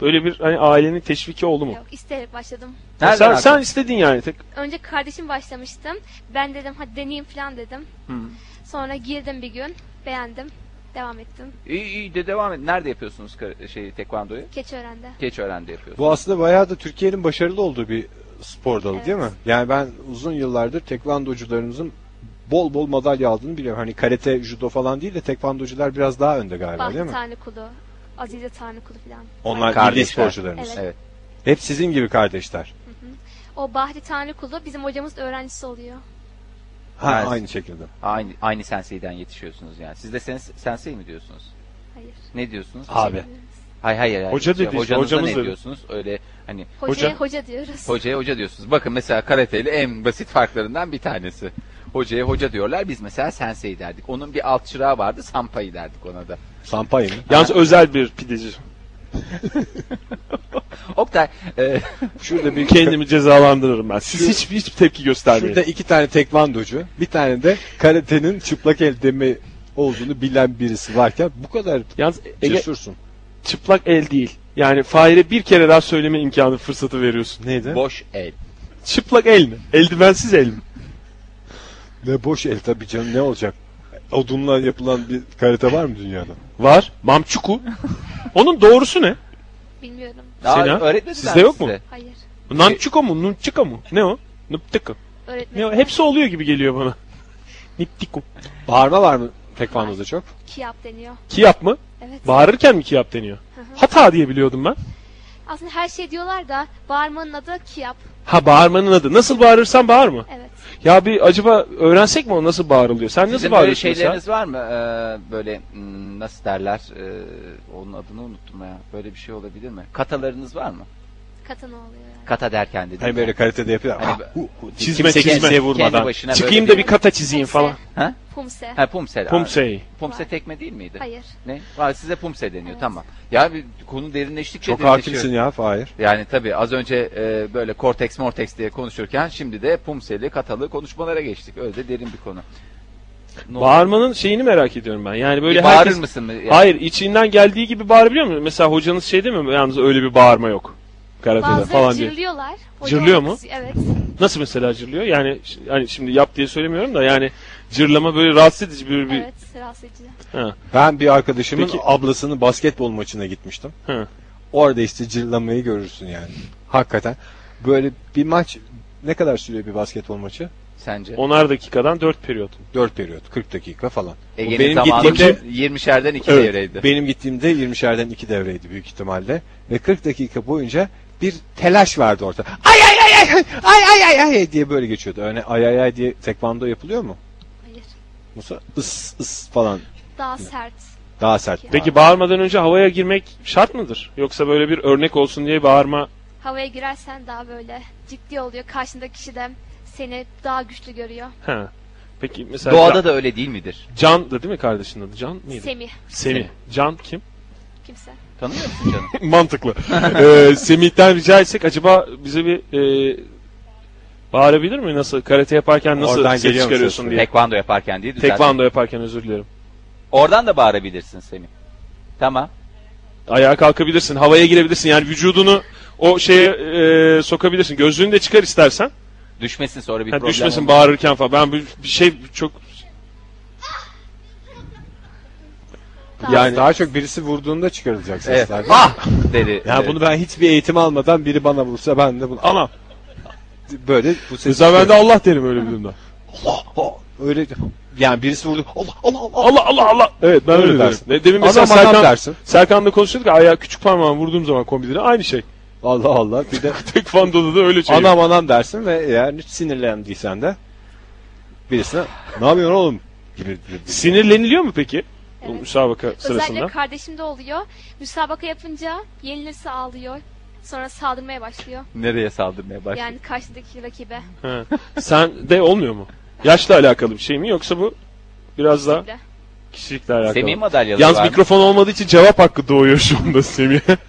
Speaker 2: böyle bir hani ailenin teşviki oldu mu?
Speaker 7: Yok isteyerek başladım.
Speaker 3: Nereden
Speaker 2: sen,
Speaker 3: aklına-
Speaker 2: sen istedin yani tek.
Speaker 7: Önce kardeşim başlamıştım. Ben dedim hadi deneyeyim falan dedim. Sonra girdim bir gün. Beğendim. Devam ettim.
Speaker 3: İyi iyi de devam et. Nerede yapıyorsunuz kar- şeyi tekvandoyu?
Speaker 7: Keçiören'de.
Speaker 3: Keçiören'de yapıyorsunuz.
Speaker 1: Bu aslında bayağı da Türkiye'nin başarılı olduğu bir spor dalı değil mi?
Speaker 7: Evet.
Speaker 1: Yani ben uzun yıllardır tekvandocularımızın bol bol madalya aldığını biliyorum. Hani karate, judo falan değil de tekvandocular biraz daha önde galiba değil
Speaker 7: Bahri
Speaker 1: mi?
Speaker 7: Tanrıkulu. Azize Tanrıkulu falan.
Speaker 1: Onlar milli
Speaker 3: Kardeşler.
Speaker 1: sporcularımız.
Speaker 7: Evet.
Speaker 3: Evet.
Speaker 1: Hep sizin gibi kardeşler.
Speaker 7: O Bahri Tanrıkulu bizim hocamız öğrencisi oluyor.
Speaker 1: Ha,
Speaker 3: Evet.
Speaker 1: Aynı şekilde.
Speaker 3: Aynı aynı senseyden yetişiyorsunuz yani. Siz de sens sensei mi diyorsunuz?
Speaker 7: Hayır.
Speaker 3: Ne diyorsunuz?
Speaker 1: Abi.
Speaker 3: Hay hayır hayır.
Speaker 2: Hoca dedi işte,
Speaker 3: Hocanıza
Speaker 2: hocamız
Speaker 3: ne
Speaker 2: dedi.
Speaker 3: diyorsunuz? Öyle hani
Speaker 7: Hocaya hoca, diyoruz.
Speaker 3: hocaya hoca diyorsunuz. Bakın mesela karateyle en basit farklarından bir tanesi. Hocaya hoca diyorlar. Biz mesela sensei derdik. Onun bir alt çırağı vardı. Sampai derdik ona da.
Speaker 1: Sampay mı?
Speaker 2: Yalnız özel bir pideci.
Speaker 3: Oktay e, (laughs)
Speaker 2: Şurada bir kendimi cezalandırırım ben. Siz
Speaker 1: Şu-
Speaker 2: hiç hiç tepki göstermeyin.
Speaker 1: Şurada iki tane tekvandocu, bir tane de karatenin çıplak el demi olduğunu bilen birisi varken bu kadar
Speaker 2: Yalnız Ege
Speaker 1: cesursun.
Speaker 2: çıplak el değil. Yani Fahir'e bir kere daha söyleme imkanı fırsatı veriyorsun.
Speaker 1: Neydi?
Speaker 3: boş el.
Speaker 2: Çıplak el mi? Eldivensiz el mi?
Speaker 1: ne boş el tabii canım ne olacak? Odunla yapılan bir karate var mı dünyada?
Speaker 2: Var. Mamçuku. Onun doğrusu ne?
Speaker 7: Bilmiyorum.
Speaker 3: Daha
Speaker 2: Sena,
Speaker 3: öğretmediler
Speaker 2: sizde yok mu?
Speaker 3: size.
Speaker 7: Hayır.
Speaker 2: Nançuko mu? Nunçika mu? Ne o? Nıptıkı. Ne o?
Speaker 7: Öğretmenim.
Speaker 2: Hepsi oluyor gibi geliyor bana. Niptiku.
Speaker 1: Bağırma var mı tekvandoda çok?
Speaker 7: Kiyap deniyor.
Speaker 2: Kiyap mı?
Speaker 7: Evet.
Speaker 2: Bağırırken mi kiyap deniyor? Hata diye biliyordum ben.
Speaker 7: Aslında her şey diyorlar da bağırmanın adı kiyap.
Speaker 2: Ha bağırmanın adı. Nasıl bağırırsan bağırma.
Speaker 7: Evet.
Speaker 2: Ya bir acaba öğrensek mi o nasıl bağırılıyor? Sen nasıl
Speaker 3: Sizin böyle
Speaker 2: bağırıyorsun mesela?
Speaker 3: şeyleriniz var mı? Ee, böyle hmm, nasıl derler? Ee, onun adını unuttum ya. Böyle bir şey olabilir mi? Katalarınız var mı?
Speaker 7: Katana oluyor yani.
Speaker 3: Kata derken dedim.
Speaker 1: Hani böyle karatede yapıyorlar.
Speaker 3: Hani
Speaker 1: Ah, hu, hu diye.
Speaker 2: Çizme
Speaker 3: Kimse
Speaker 2: çizme.
Speaker 3: kendi başına böyle
Speaker 2: Çıkayım da
Speaker 3: bir-
Speaker 2: bir kata çizeyim falan.
Speaker 3: Ha?
Speaker 7: Pumse.
Speaker 3: Ha pumse.
Speaker 2: Pumsey.
Speaker 3: Pumse tekme değil miydi?
Speaker 7: Hayır.
Speaker 3: Ne? Var size pumse deniyor tamam. Ya bir konu derinleştikçe
Speaker 1: Çok
Speaker 3: derinleşiyor.
Speaker 1: hakimsin ya Fahir.
Speaker 3: Yani tabii az önce e, böyle korteks morteks diye konuşurken şimdi de pumseli katalı konuşmalara geçtik. Öyle de derin bir konu. Ne oldu?
Speaker 2: Bağırmanın şeyini merak ediyorum ben. Yani böyle
Speaker 3: Bir bağırır
Speaker 2: herkes...
Speaker 3: mısın? Yani
Speaker 2: Hayır içinden geldiği gibi bağırabiliyor mu? Mesela hocanız şey değil mi? Yalnız öyle bir bağırma yok. Karate'de
Speaker 7: Bazıları
Speaker 2: falan diye.
Speaker 7: cırlıyorlar. Hoca
Speaker 2: Cırlıyor
Speaker 7: olmak
Speaker 2: mu?
Speaker 7: istiyor, Evet.
Speaker 2: Nasıl mesela cırlıyor? Yani ş- hani şimdi yap diye söylemiyorum da yani cırlama böyle rahatsız edici bir, bir
Speaker 7: Evet. Rahatsız edici.
Speaker 1: Ben bir arkadaşımın
Speaker 2: Peki-
Speaker 1: ablasının basketbol maçına gitmiştim.
Speaker 2: Hı.
Speaker 1: Orada işte cırlamayı görürsün yani. Hakikaten. Böyle bir maç ne kadar sürüyor bir basketbol maçı?
Speaker 3: sence?
Speaker 2: 10'ar dakikadan 4 periyot.
Speaker 1: 4 periyot, 40 dakika falan.
Speaker 3: Ege'nin
Speaker 1: benim
Speaker 3: zamanında
Speaker 1: gittiğimde-
Speaker 3: 20'şerden 2
Speaker 1: Evet,
Speaker 3: devreydi.
Speaker 1: Benim gittiğimde 20'şerden 2 devreydi büyük ihtimalle. Ve 40 dakika boyunca bir telaş vardı orada. Ay ay ay ay ay ay ay ay diye böyle geçiyordu. Öyle ay ay ay diye tekvando yapılıyor mu?
Speaker 7: Hayır.
Speaker 1: Musa ıs ıs falan
Speaker 7: Daha sert.
Speaker 1: daha sert.
Speaker 2: Peki bağırmadan önce havaya girmek şart mıdır? Yoksa böyle bir örnek olsun diye bağırma
Speaker 7: Havaya girersen daha böyle ciddi oluyor. Karşındaki kişi de seni daha güçlü görüyor.
Speaker 2: Ha. Peki mesela
Speaker 3: Doğada da öyle değil midir?
Speaker 2: Can- Can da değil mi kardeşinin adı? Can mıydı?
Speaker 7: Semih
Speaker 2: Semih. Can kim?
Speaker 7: kimse.
Speaker 3: Tanımıyor musun canım?
Speaker 2: Mantıklı. ee, Semih'ten rica etsek acaba bize bir e, bağırabilir mi? Nasıl karate yaparken nasıl
Speaker 1: Oradan
Speaker 2: ses
Speaker 1: geliyor mu
Speaker 2: çıkarıyorsun
Speaker 1: ses?
Speaker 2: diye.
Speaker 3: Tekvando yaparken diye düzelttim.
Speaker 2: Tekvando yaparken özür dilerim.
Speaker 3: Oradan da bağırabilirsin Semih. Tamam.
Speaker 2: Ayağa kalkabilirsin, havaya girebilirsin. Yani vücudunu o şeye e, sokabilirsin. Gözlüğünü de çıkar istersen.
Speaker 3: Düşmesin sonra bir
Speaker 2: Ha,
Speaker 3: problem
Speaker 2: düşmesin
Speaker 3: olmaz.
Speaker 2: bağırırken falan. Ben bir, bir şey çok
Speaker 7: Daha
Speaker 1: Yani daha çok birisi vurduğunda çıkarılacak
Speaker 3: Evet.
Speaker 1: sesler.
Speaker 3: Ah! Dedi.
Speaker 1: Ya
Speaker 3: Evet.
Speaker 1: bunu ben hiçbir eğitim almadan biri bana vursa ben de bunu alam böyle bu ses.
Speaker 9: Mesela ben de Allah derim öyle bir durumda.
Speaker 1: Allah, Allah, öyle yani birisi vurdu. Allah Allah Allah.
Speaker 2: Allah Allah Allah. Evet ben öyle,
Speaker 9: Öyle
Speaker 2: derim.
Speaker 9: dersin.
Speaker 2: Ne- Demin mesela
Speaker 1: Adam adam
Speaker 2: Serkan,
Speaker 1: dersin.
Speaker 2: Serkan'la konuşuyorduk ya ayağı küçük parmağımı vurduğum zaman kombinine aynı şey. (laughs)
Speaker 1: Allah Allah. Bir de
Speaker 2: Tek fandoda da öyle (laughs) şey.
Speaker 1: anam anam dersin ve eğer hiç sinirlendiysen de birisine ne yapıyorsun oğlum gibi.
Speaker 2: Sinirleniliyor mu peki? Bu
Speaker 7: Evet.
Speaker 2: müsabaka
Speaker 7: Özellikle
Speaker 2: sırasında.
Speaker 7: kardeşimde oluyor. Müsabaka yapınca yenilirse ağlıyor. Sonra saldırmaya başlıyor.
Speaker 3: Nereye saldırmaya başladı?
Speaker 7: Yani karşıdaki rakibe.
Speaker 2: Sen de olmuyor mu? Yaşla alakalı bir şey mi yoksa bu biraz daha
Speaker 7: Kesinlikle.
Speaker 2: kişilikle alakalı?
Speaker 3: Semih madalyaları
Speaker 2: Yalnız
Speaker 3: var mı?
Speaker 2: mikrofon olmadığı için cevap hakkı doğuyor şu anda Semih'e. (laughs)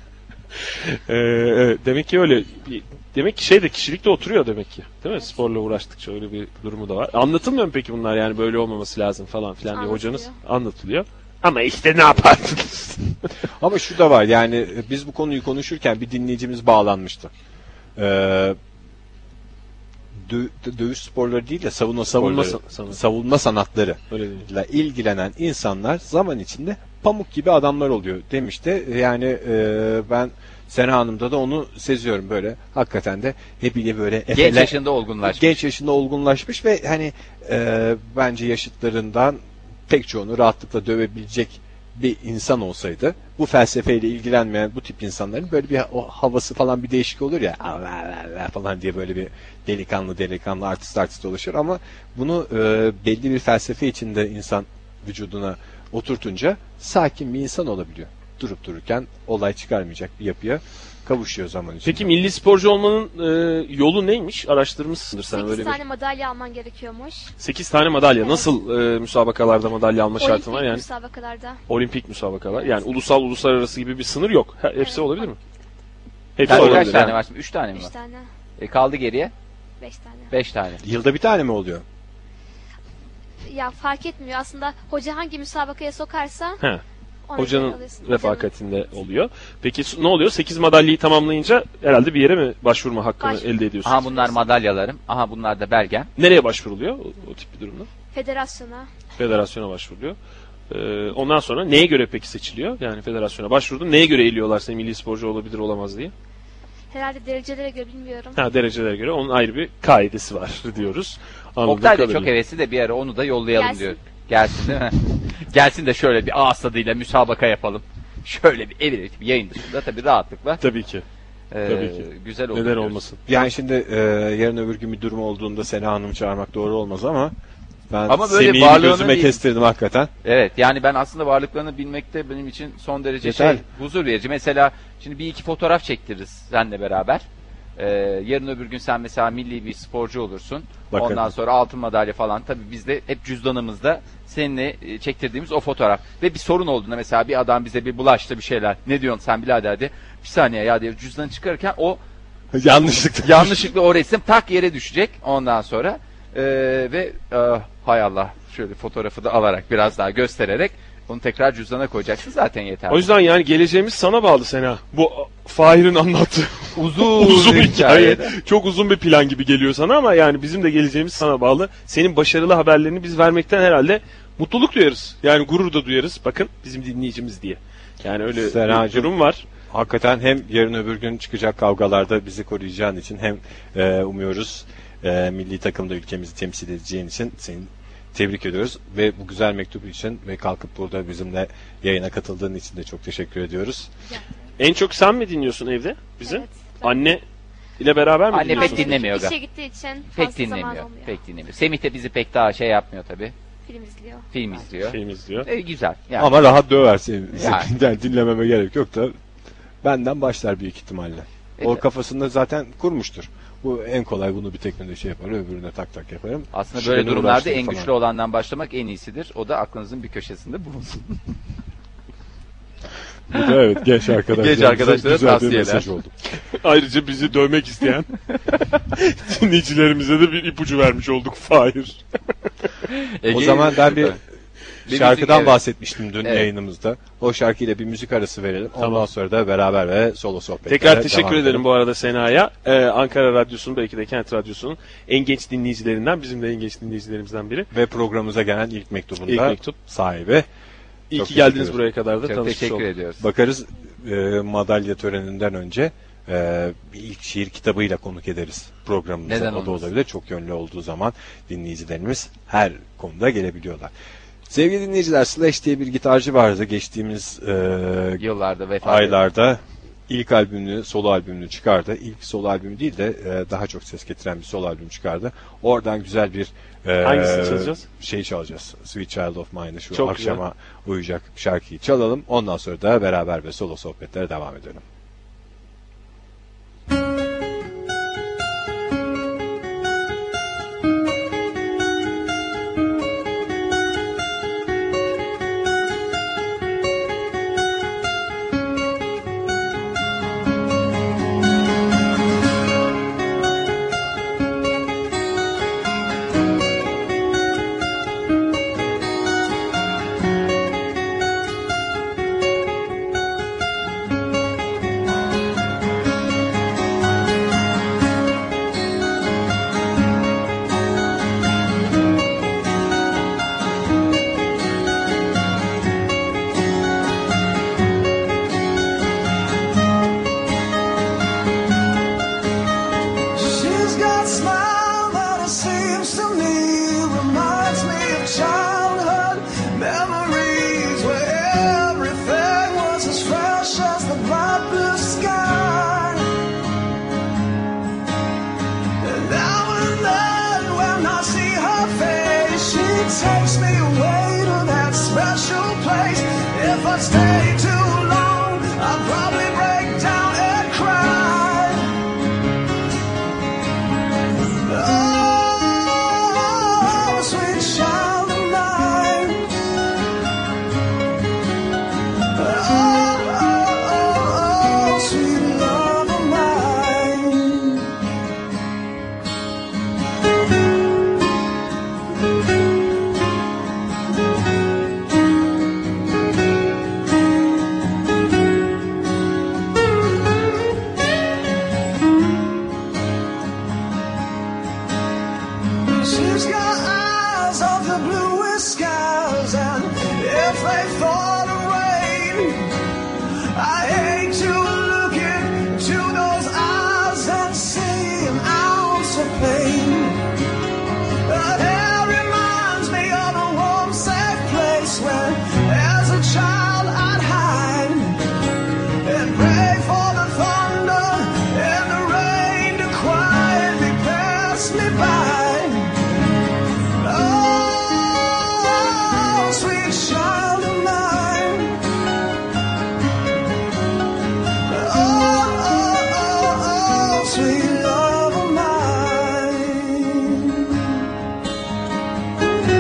Speaker 2: Ee, evet, demek ki öyle. bir- Demek ki şey de kişilikte oturuyor demek ki. Değil mi? Sporla uğraştıkça öyle bir durumu da var. Anlatılmıyor mu peki bunlar yani böyle olmaması lazım falan filan diye hocanız anlatılıyor. Ama işte ne yapardınız?
Speaker 1: Ama şu da var yani e, biz bu konuyu konuşurken bir dinleyicimiz bağlanmıştı. Ee, dö- dö- dövüş sporları değil de savunma
Speaker 2: Savunma
Speaker 1: sporları,
Speaker 2: sa- savunma.
Speaker 1: savunma sanatları
Speaker 2: Öyle değil.
Speaker 1: ile ilgilenen insanlar zaman içinde pamuk gibi adamlar oluyor demişti. Yani e, ben Sena Hanım'da da onu seziyorum böyle. Hakikaten de hepiyle böyle
Speaker 3: Genç
Speaker 1: efele-
Speaker 3: yaşında olgunlaşmış.
Speaker 1: genç yaşında olgunlaşmış ve hani e, bence yaşıtlarından pek çoğunu rahatlıkla dövebilecek bir insan olsaydı bu felsefeyle ilgilenmeyen bu tip insanların böyle bir o havası falan bir değişik olur ya "Aa, la, la, la" falan diye böyle bir delikanlı delikanlı artist artist dolaşır ama bunu e, belli bir felsefe içinde insan vücuduna oturtunca sakin bir insan olabiliyor. Durup dururken olay çıkarmayacak bir yapıya kavuşuyor zaman içinde.
Speaker 2: Peki milli sporcu olmanın e, yolu neymiş? Araştırmışsındır sen
Speaker 7: 8
Speaker 2: öyle
Speaker 7: tane
Speaker 2: bir.
Speaker 7: madalya alman gerekiyormuş.
Speaker 2: 8 tane madalya. Nasıl e, müsabakalarda madalya alma şartın var?
Speaker 7: Olimpik şey.
Speaker 2: Yani
Speaker 7: müsabakalarda.
Speaker 2: olimpik müsabakalar. Yani ulusal uluslararası gibi bir sınır yok. Ha, hepsi
Speaker 7: Evet.
Speaker 2: olabilir mi? Hepsi
Speaker 3: Yani
Speaker 2: olabilir.
Speaker 3: kaç tane
Speaker 2: yani.
Speaker 3: var şimdi? Üç tane mi
Speaker 7: 3
Speaker 3: var?
Speaker 7: tane,
Speaker 3: E kaldı geriye
Speaker 7: 5 tane.
Speaker 3: beş tane.
Speaker 1: Yılda bir tane mi oluyor?
Speaker 7: Ya fark etmiyor aslında hoca hangi müsabakaya sokarsa
Speaker 2: He.
Speaker 7: ona
Speaker 2: Hocanın
Speaker 7: göre alıyorsun.
Speaker 2: refakatinde oluyor. Peki su- ne oluyor? 8 madalyayı tamamlayınca herhalde bir yere mi başvurma hakkını
Speaker 7: Baş-
Speaker 2: elde ediyorsun?
Speaker 3: Aha bunlar madalyalarım. Aha bunlar da belgem.
Speaker 2: Nereye başvuruluyor o, o tip bir durumda?
Speaker 7: Federasyona.
Speaker 2: Federasyona başvuruluyor. Ee, ondan sonra neye göre peki seçiliyor? Yani federasyona başvurdun. Neye göre eliyorlar seni milli sporcu olabilir olamaz diye?
Speaker 7: Herhalde derecelere göre bilmiyorum.
Speaker 2: Ha derecelere göre onun ayrı bir kaidesi var (laughs) diyoruz. Anladığım
Speaker 3: Oktay da
Speaker 2: kadarıyla.
Speaker 3: çok hevesli de bir ara onu da yollayalım
Speaker 7: Gelsin.
Speaker 3: diyor. Gelsin değil mi? Gelsin de şöyle bir ağız tadıyla müsabaka yapalım. Şöyle bir evirip yayın dışında tabii rahatlıkla
Speaker 2: Tabii ki.
Speaker 3: e,
Speaker 2: Tabii ki.
Speaker 3: güzel olur.
Speaker 2: Neden
Speaker 3: diyoruz.
Speaker 2: olmasın?
Speaker 1: Yani şimdi e, yarın öbür gün bir durum olduğunda Sena Hanım çağırmak doğru olmaz ama ben
Speaker 3: Ama böyle
Speaker 1: Semih'i
Speaker 3: varlığını
Speaker 1: gözüme
Speaker 3: bir-
Speaker 1: kestirdim hakikaten.
Speaker 3: Evet yani ben aslında varlıklarını bilmekte benim için son derece
Speaker 1: Yeter.
Speaker 3: şey huzur verici. Mesela şimdi bir iki fotoğraf çektiririz seninle beraber. Ee, yarın öbür gün sen mesela milli bir sporcu olursun.
Speaker 1: Bakarım.
Speaker 3: Ondan sonra altın madalya falan. Tabii biz de hep cüzdanımızda seninle e, çektirdiğimiz o fotoğraf. Ve bir sorun olduğunda mesela bir adam bize bir bulaştı bir şeyler. Ne diyorsun sen birader de. Bir saniye ya diye cüzdanı çıkarırken o
Speaker 1: Yanlışlıkla.
Speaker 3: yanlışlıkla o resim tak yere düşecek ondan sonra. Ee, ve e, hay Allah şöyle fotoğrafı da alarak biraz daha göstererek onu tekrar cüzdana koyacaksın zaten yeter.
Speaker 2: O yüzden yani geleceğimiz sana bağlı Sena. Bu Fahir'in anlattığı
Speaker 3: (laughs) uzun,
Speaker 2: (laughs) uzun hikaye. Çok uzun bir plan gibi geliyor sana ama yani bizim de geleceğimiz sana bağlı. Senin başarılı haberlerini biz vermekten herhalde mutluluk duyarız. Yani gurur da duyarız. Bakın bizim dinleyicimiz diye. Yani öyle bir
Speaker 1: Senacığım.
Speaker 2: durum var.
Speaker 1: Hakikaten hem yarın öbür gün çıkacak kavgalarda bizi koruyacağın için hem e, umuyoruz e, milli takımda ülkemizi temsil edeceğin için seni tebrik ediyoruz ve bu güzel mektup için ve kalkıp burada bizimle yayına katıldığın için de çok teşekkür ediyoruz.
Speaker 2: En çok sen mi dinliyorsun evde bizi?
Speaker 7: Evet, ben-
Speaker 2: Anne ile beraber mi
Speaker 3: Anne Hani pek
Speaker 2: dinliyorsun?
Speaker 3: dinlemiyor. dinlemiyor
Speaker 7: İşe
Speaker 3: da.
Speaker 7: gittiği için fazla
Speaker 3: Pek
Speaker 7: zaman
Speaker 3: dinlemiyor.
Speaker 7: olmuyor.
Speaker 3: Pek dinlemiyor. Semih de bizi pek daha şey yapmıyor tabi.
Speaker 7: Film izliyor.
Speaker 3: Film izliyor.
Speaker 2: Film izliyor.
Speaker 3: E, güzel. Yani.
Speaker 1: Şey- Ama rahat döver seni. (laughs)
Speaker 3: Yani.
Speaker 1: Yani dinlememe gerek yok da benden başlar büyük ihtimalle. O
Speaker 3: Evet.
Speaker 1: kafasında zaten kurmuştur. Bu en kolay bunu bir tekmede şey yaparım öbürüne tak tak yaparım.
Speaker 3: Aslında
Speaker 1: Şu
Speaker 3: böyle
Speaker 1: benim
Speaker 3: durumlarda
Speaker 1: uğraştığım
Speaker 3: en
Speaker 1: falan.
Speaker 3: güçlü olandan başlamak en iyisidir. O da aklınızın bir köşesinde bulunsun.
Speaker 1: Bu da evet genç arkadaşlar.
Speaker 3: Genç arkadaşlara tavsiyeler.
Speaker 1: oldu.
Speaker 2: Ayrıca bizi dövmek
Speaker 3: (laughs)
Speaker 2: isteyen dinleyicilerimize de bir ipucu vermiş olduk Fahir.
Speaker 1: O zaman ben bir
Speaker 3: müzik,
Speaker 1: şarkıdan
Speaker 3: evet.
Speaker 1: bahsetmiştim dün
Speaker 3: Evet.
Speaker 1: yayınımızda. O şarkıyla bir müzik arası verelim. Ondan sonra da beraber ve solo sohbetlere
Speaker 2: Tekrar
Speaker 1: devam
Speaker 2: teşekkür
Speaker 1: edelim.
Speaker 2: ederim bu arada Sena'ya. Ee, Ankara Radyosu'nun belki de Kent Radyosu'nun en genç dinleyicilerinden, bizim de en genç dinleyicilerimizden biri.
Speaker 1: Ve programımıza gelen ilk mektubunda
Speaker 2: İlk mektup.
Speaker 1: sahibi.
Speaker 2: İyi
Speaker 1: Çok
Speaker 2: ki geldiniz
Speaker 1: teşekkür
Speaker 2: buraya kadar da
Speaker 3: Çok
Speaker 2: tanışmış
Speaker 3: teşekkür
Speaker 2: olduk.
Speaker 3: ediyoruz.
Speaker 1: Bakarız e, madalya töreninden önce e, bir ilk şiir kitabıyla konuk ederiz programımıza.
Speaker 3: Neden
Speaker 1: o da
Speaker 3: olmasın?
Speaker 1: olabilir. Çok yönlü olduğu zaman dinleyicilerimiz her konuda gelebiliyorlar. Sevgili dinleyiciler Slash diye bir gitarcı vardı. Geçtiğimiz e,
Speaker 3: Yıllarda vefat
Speaker 1: aylarda ilk albümünü, solo albümünü çıkardı. İlk solo albümü değil de e, daha çok ses getiren bir solo albüm çıkardı. Oradan güzel bir e,
Speaker 2: Hangisini çalacağız?
Speaker 1: Şey çalacağız. Sweet Child of Mine'ı şu
Speaker 2: Çok güzel.
Speaker 1: akşama uyacak şarkıyı çalalım. Ondan sonra da beraber ve solo sohbetlere devam edelim.
Speaker 10: She's got smile that it seems to me reminds me of childhood memories where everything was as fresh as the bright blue sky. And now and then when I see her face, she takes me away to that special place. If I stay too long, I'll probably break down and cry. Oh, sweet child of mine. Oh, oh, oh, oh, sweet love of mine. She's got eyes of the bluest skies, and if they fall to rain, I hate to look into those eyes and see an ounce of pain. But it reminds me of a warm, safe place where, as a child, I'd hide and pray for the thunder and the rain to quietly pass me by. Oh, sweet child of mine. Oh, oh, oh, oh, sweet love of mine. Oh, oh, oh,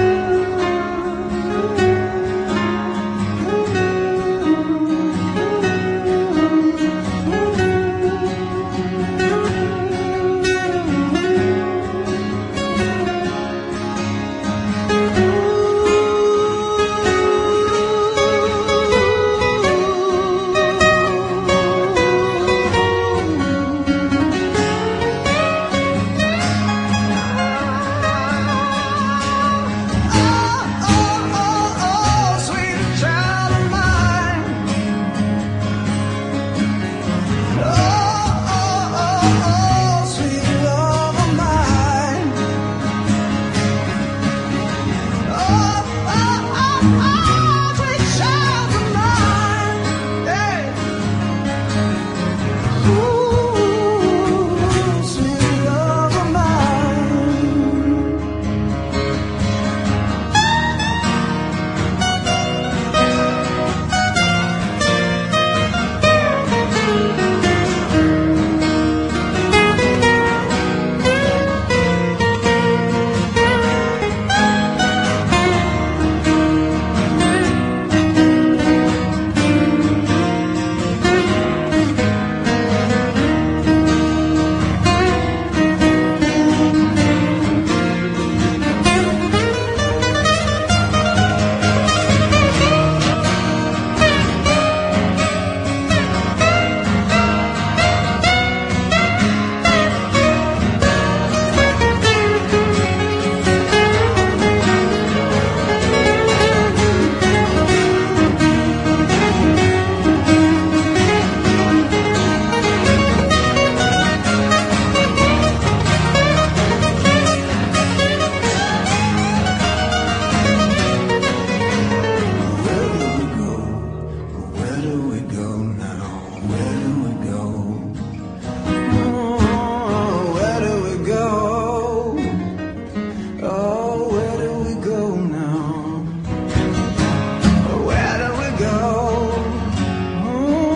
Speaker 10: Oh, Oh, Oh, Oh,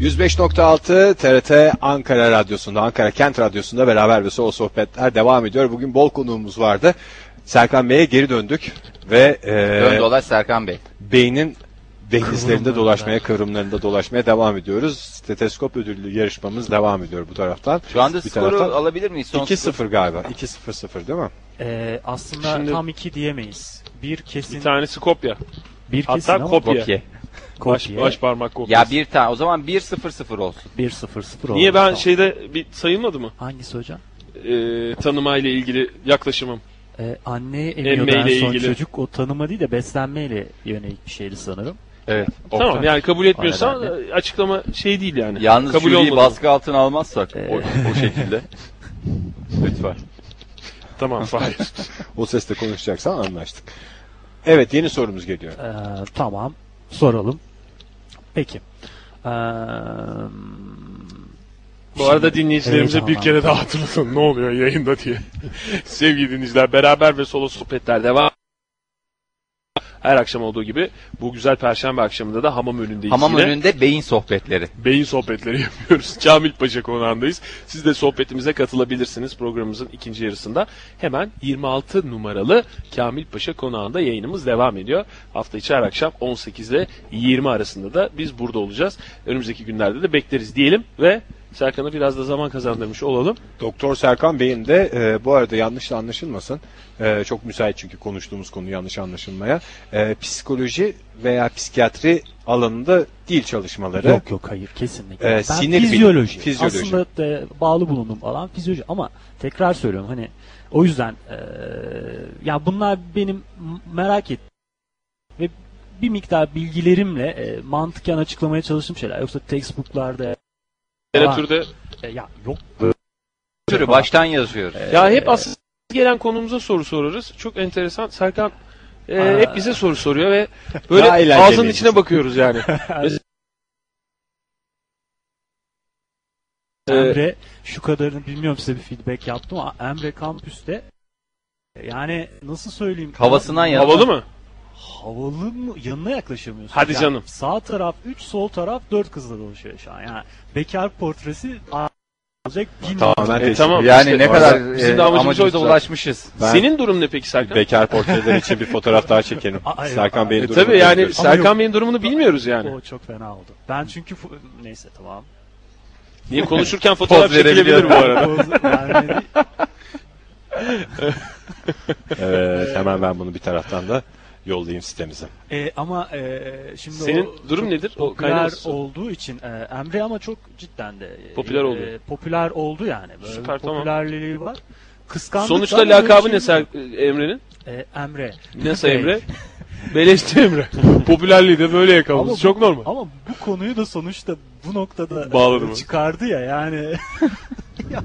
Speaker 1: 105.6 TRT Ankara Radyosu'nda, Ankara Kent Radyosu'nda beraber ve o sohbetler devam ediyor. Bugün bol konuğumuz vardı. Serkan Bey'e geri döndük ve e,
Speaker 3: Dön dolaş Serkan Bey.
Speaker 1: beynin denizlerinde dolaşmaya, kıvrımlarında dolaşmaya devam ediyoruz. Steteskop ödüllü yarışmamız devam ediyor bu taraftan.
Speaker 3: Şu anda
Speaker 1: bir
Speaker 3: skoru
Speaker 1: taraftan
Speaker 3: alabilir miyiz? Son
Speaker 1: 2-0
Speaker 3: skoru.
Speaker 1: galiba. 2-0-0 değil mi?
Speaker 5: Ee, aslında
Speaker 2: Şimdi-
Speaker 5: tam iki diyemeyiz. Bir kesin,
Speaker 2: Bir tanesi kopya.
Speaker 5: bir kesin
Speaker 2: Hatta
Speaker 5: ama
Speaker 2: kopya.
Speaker 3: Kopya.
Speaker 2: Baş,
Speaker 5: kopya.
Speaker 2: baş parmak kopya.
Speaker 3: Ya bir tane. O zaman 1-0-0 olsun.
Speaker 5: 1-0-0
Speaker 2: Niye
Speaker 5: oldu.
Speaker 2: ben şey-
Speaker 5: Tamam.
Speaker 2: şeyde bir sayılmadı mı?
Speaker 5: Hangisi hocam?
Speaker 2: Ee, tanımayla ilgili yaklaşımım.
Speaker 5: Ee, anne emiyordu
Speaker 2: Emmeyle
Speaker 5: en son
Speaker 2: ilgili.
Speaker 5: çocuk. O tanıma değil de beslenmeyle yönelik bir şeydi sanırım.
Speaker 3: Evet.
Speaker 2: Tamam yani kabul etmiyorsan
Speaker 5: Aynen
Speaker 2: e, açıklama şey değil yani.
Speaker 3: Yalnız
Speaker 2: kabul
Speaker 3: jüriyi
Speaker 2: olmadı.
Speaker 3: baskı altına almazsak
Speaker 5: Ee.
Speaker 3: o, o şekilde. Lütfen. (laughs)
Speaker 2: Tamam Fahir.
Speaker 1: O sesle konuşacaksan anlaştık. Evet yeni sorumuz geliyor.
Speaker 5: Ee, tamam. Soralım. Peki. Ee,
Speaker 2: Bu arada dinleyicilerimize
Speaker 5: Evet,
Speaker 2: bir
Speaker 5: tamam.
Speaker 2: kere daha hatırlatın ne oluyor yayında diye. (laughs) Sevgili dinleyiciler beraber ve solo sohbetler devam. Her akşam olduğu gibi bu güzel perşembe akşamında da hamam önündeyiz
Speaker 3: Hamam
Speaker 2: yine.
Speaker 3: önünde beyin sohbetleri.
Speaker 2: Beyin sohbetleri (laughs) yapıyoruz. Camil Paşa konağındayız. Siz de sohbetimize katılabilirsiniz programımızın ikinci yarısında. Hemen 26 numaralı Kamil Paşa konağında yayınımız devam ediyor. Hafta içi her akşam 18 ile 20 arasında da biz burada olacağız. Önümüzdeki günlerde de bekleriz diyelim ve Serkan'a biraz da zaman kazandırmış olalım.
Speaker 1: Doktor Serkan Bey'in de e, bu arada yanlış da anlaşılmasın. E, çok müsait çünkü konuştuğumuz konu yanlış anlaşılmaya. E, psikoloji veya psikiyatri alanında dil çalışmaları.
Speaker 5: Yok yok hayır kesinlikle.
Speaker 1: Ee,
Speaker 5: ben
Speaker 1: sinir bilimi,
Speaker 5: fizyoloji.
Speaker 1: fizyoloji.
Speaker 5: Aslında e, bağlı bulunduğum alan fizyoloji ama tekrar söylüyorum hani o yüzden e, ya bunlar benim m- merak ettiğim ve bir miktar bilgilerimle e, mantıken açıklamaya çalıştığım şeyler. Yoksa textbooklarda
Speaker 2: Literatürde
Speaker 5: e, ya yok.
Speaker 3: Türü baştan yazıyoruz.
Speaker 2: ya hep aslında gelen konumuza soru sorarız. Çok enteresan. Serkan e,
Speaker 5: Aa.
Speaker 2: hep bize soru soruyor ve
Speaker 1: Daha
Speaker 2: böyle
Speaker 1: eğlenceliymiş.
Speaker 2: ağzının içine bakıyoruz yani.
Speaker 1: Ee,
Speaker 5: Emre şu kadarını bilmiyorum size bir feedback yaptım ama Emre kampüste e, yani nasıl söyleyeyim?
Speaker 3: Havasından ya-
Speaker 2: Havalı mı?
Speaker 5: Havalı mı? Yanına yaklaşamıyorsun.
Speaker 2: Hadi
Speaker 5: Ya
Speaker 2: canım.
Speaker 5: Sağ taraf 3, sol taraf 4 kızla dolaşıyor şu an. Yani bekar portresi a- olacak bin
Speaker 1: Tamamen
Speaker 2: E,
Speaker 1: teşvik.
Speaker 2: tamam.
Speaker 3: Yani
Speaker 2: işte
Speaker 3: ne
Speaker 2: orada
Speaker 3: kadar e,
Speaker 2: bizim
Speaker 3: bizim
Speaker 2: de amacımız
Speaker 3: amacımıza
Speaker 2: oydu.
Speaker 3: ulaşmışız.
Speaker 1: Ben-
Speaker 2: Senin durum ne peki Serkan?
Speaker 1: Bekar portreler için bir fotoğraf daha çekelim.
Speaker 5: Aa, evet.
Speaker 1: Serkan Bey'in
Speaker 2: E,
Speaker 1: durumunu
Speaker 2: tabii yani
Speaker 1: biliyoruz.
Speaker 2: Serkan
Speaker 5: yok.
Speaker 2: Bey'in durumunu bilmiyoruz yani.
Speaker 5: O çok fena oldu. Ben çünkü fu- neyse tamam.
Speaker 2: Niye konuşurken fotoğraf
Speaker 3: Poz verebiliyor.
Speaker 2: çekilebilir bu arada.
Speaker 5: Yani
Speaker 1: Evet, hemen ben bunu bir taraftan da yollayayım sitemize.
Speaker 5: e, ama e, şimdi
Speaker 2: Senin
Speaker 5: o
Speaker 2: durum
Speaker 5: çok
Speaker 2: nedir? O kaynağı
Speaker 5: popüler
Speaker 2: nasıl?
Speaker 5: olduğu için e, Emre ama çok cidden de e,
Speaker 2: Popüler oldu.
Speaker 5: popüler oldu yani. Böyle
Speaker 2: Süper,
Speaker 5: bir
Speaker 2: tamam.
Speaker 5: popülerliği var. Kıskandık.
Speaker 2: Sonuçta
Speaker 5: ama böyle
Speaker 2: lakabı
Speaker 5: bir
Speaker 2: ne
Speaker 5: şey yok.
Speaker 2: Ser- Emre'nin?
Speaker 5: E, Emre.
Speaker 2: Nasıl
Speaker 5: Bey.
Speaker 2: (laughs) Emre? Beleşti Emre. (laughs) Popülerliği de böyle
Speaker 5: Ama bu-
Speaker 2: yakalaması. Çok normal.
Speaker 5: Ama bu konuyu da sonuçta bu noktada
Speaker 2: Bağladı mı?
Speaker 5: çıkardı ya yani. (laughs) Ya,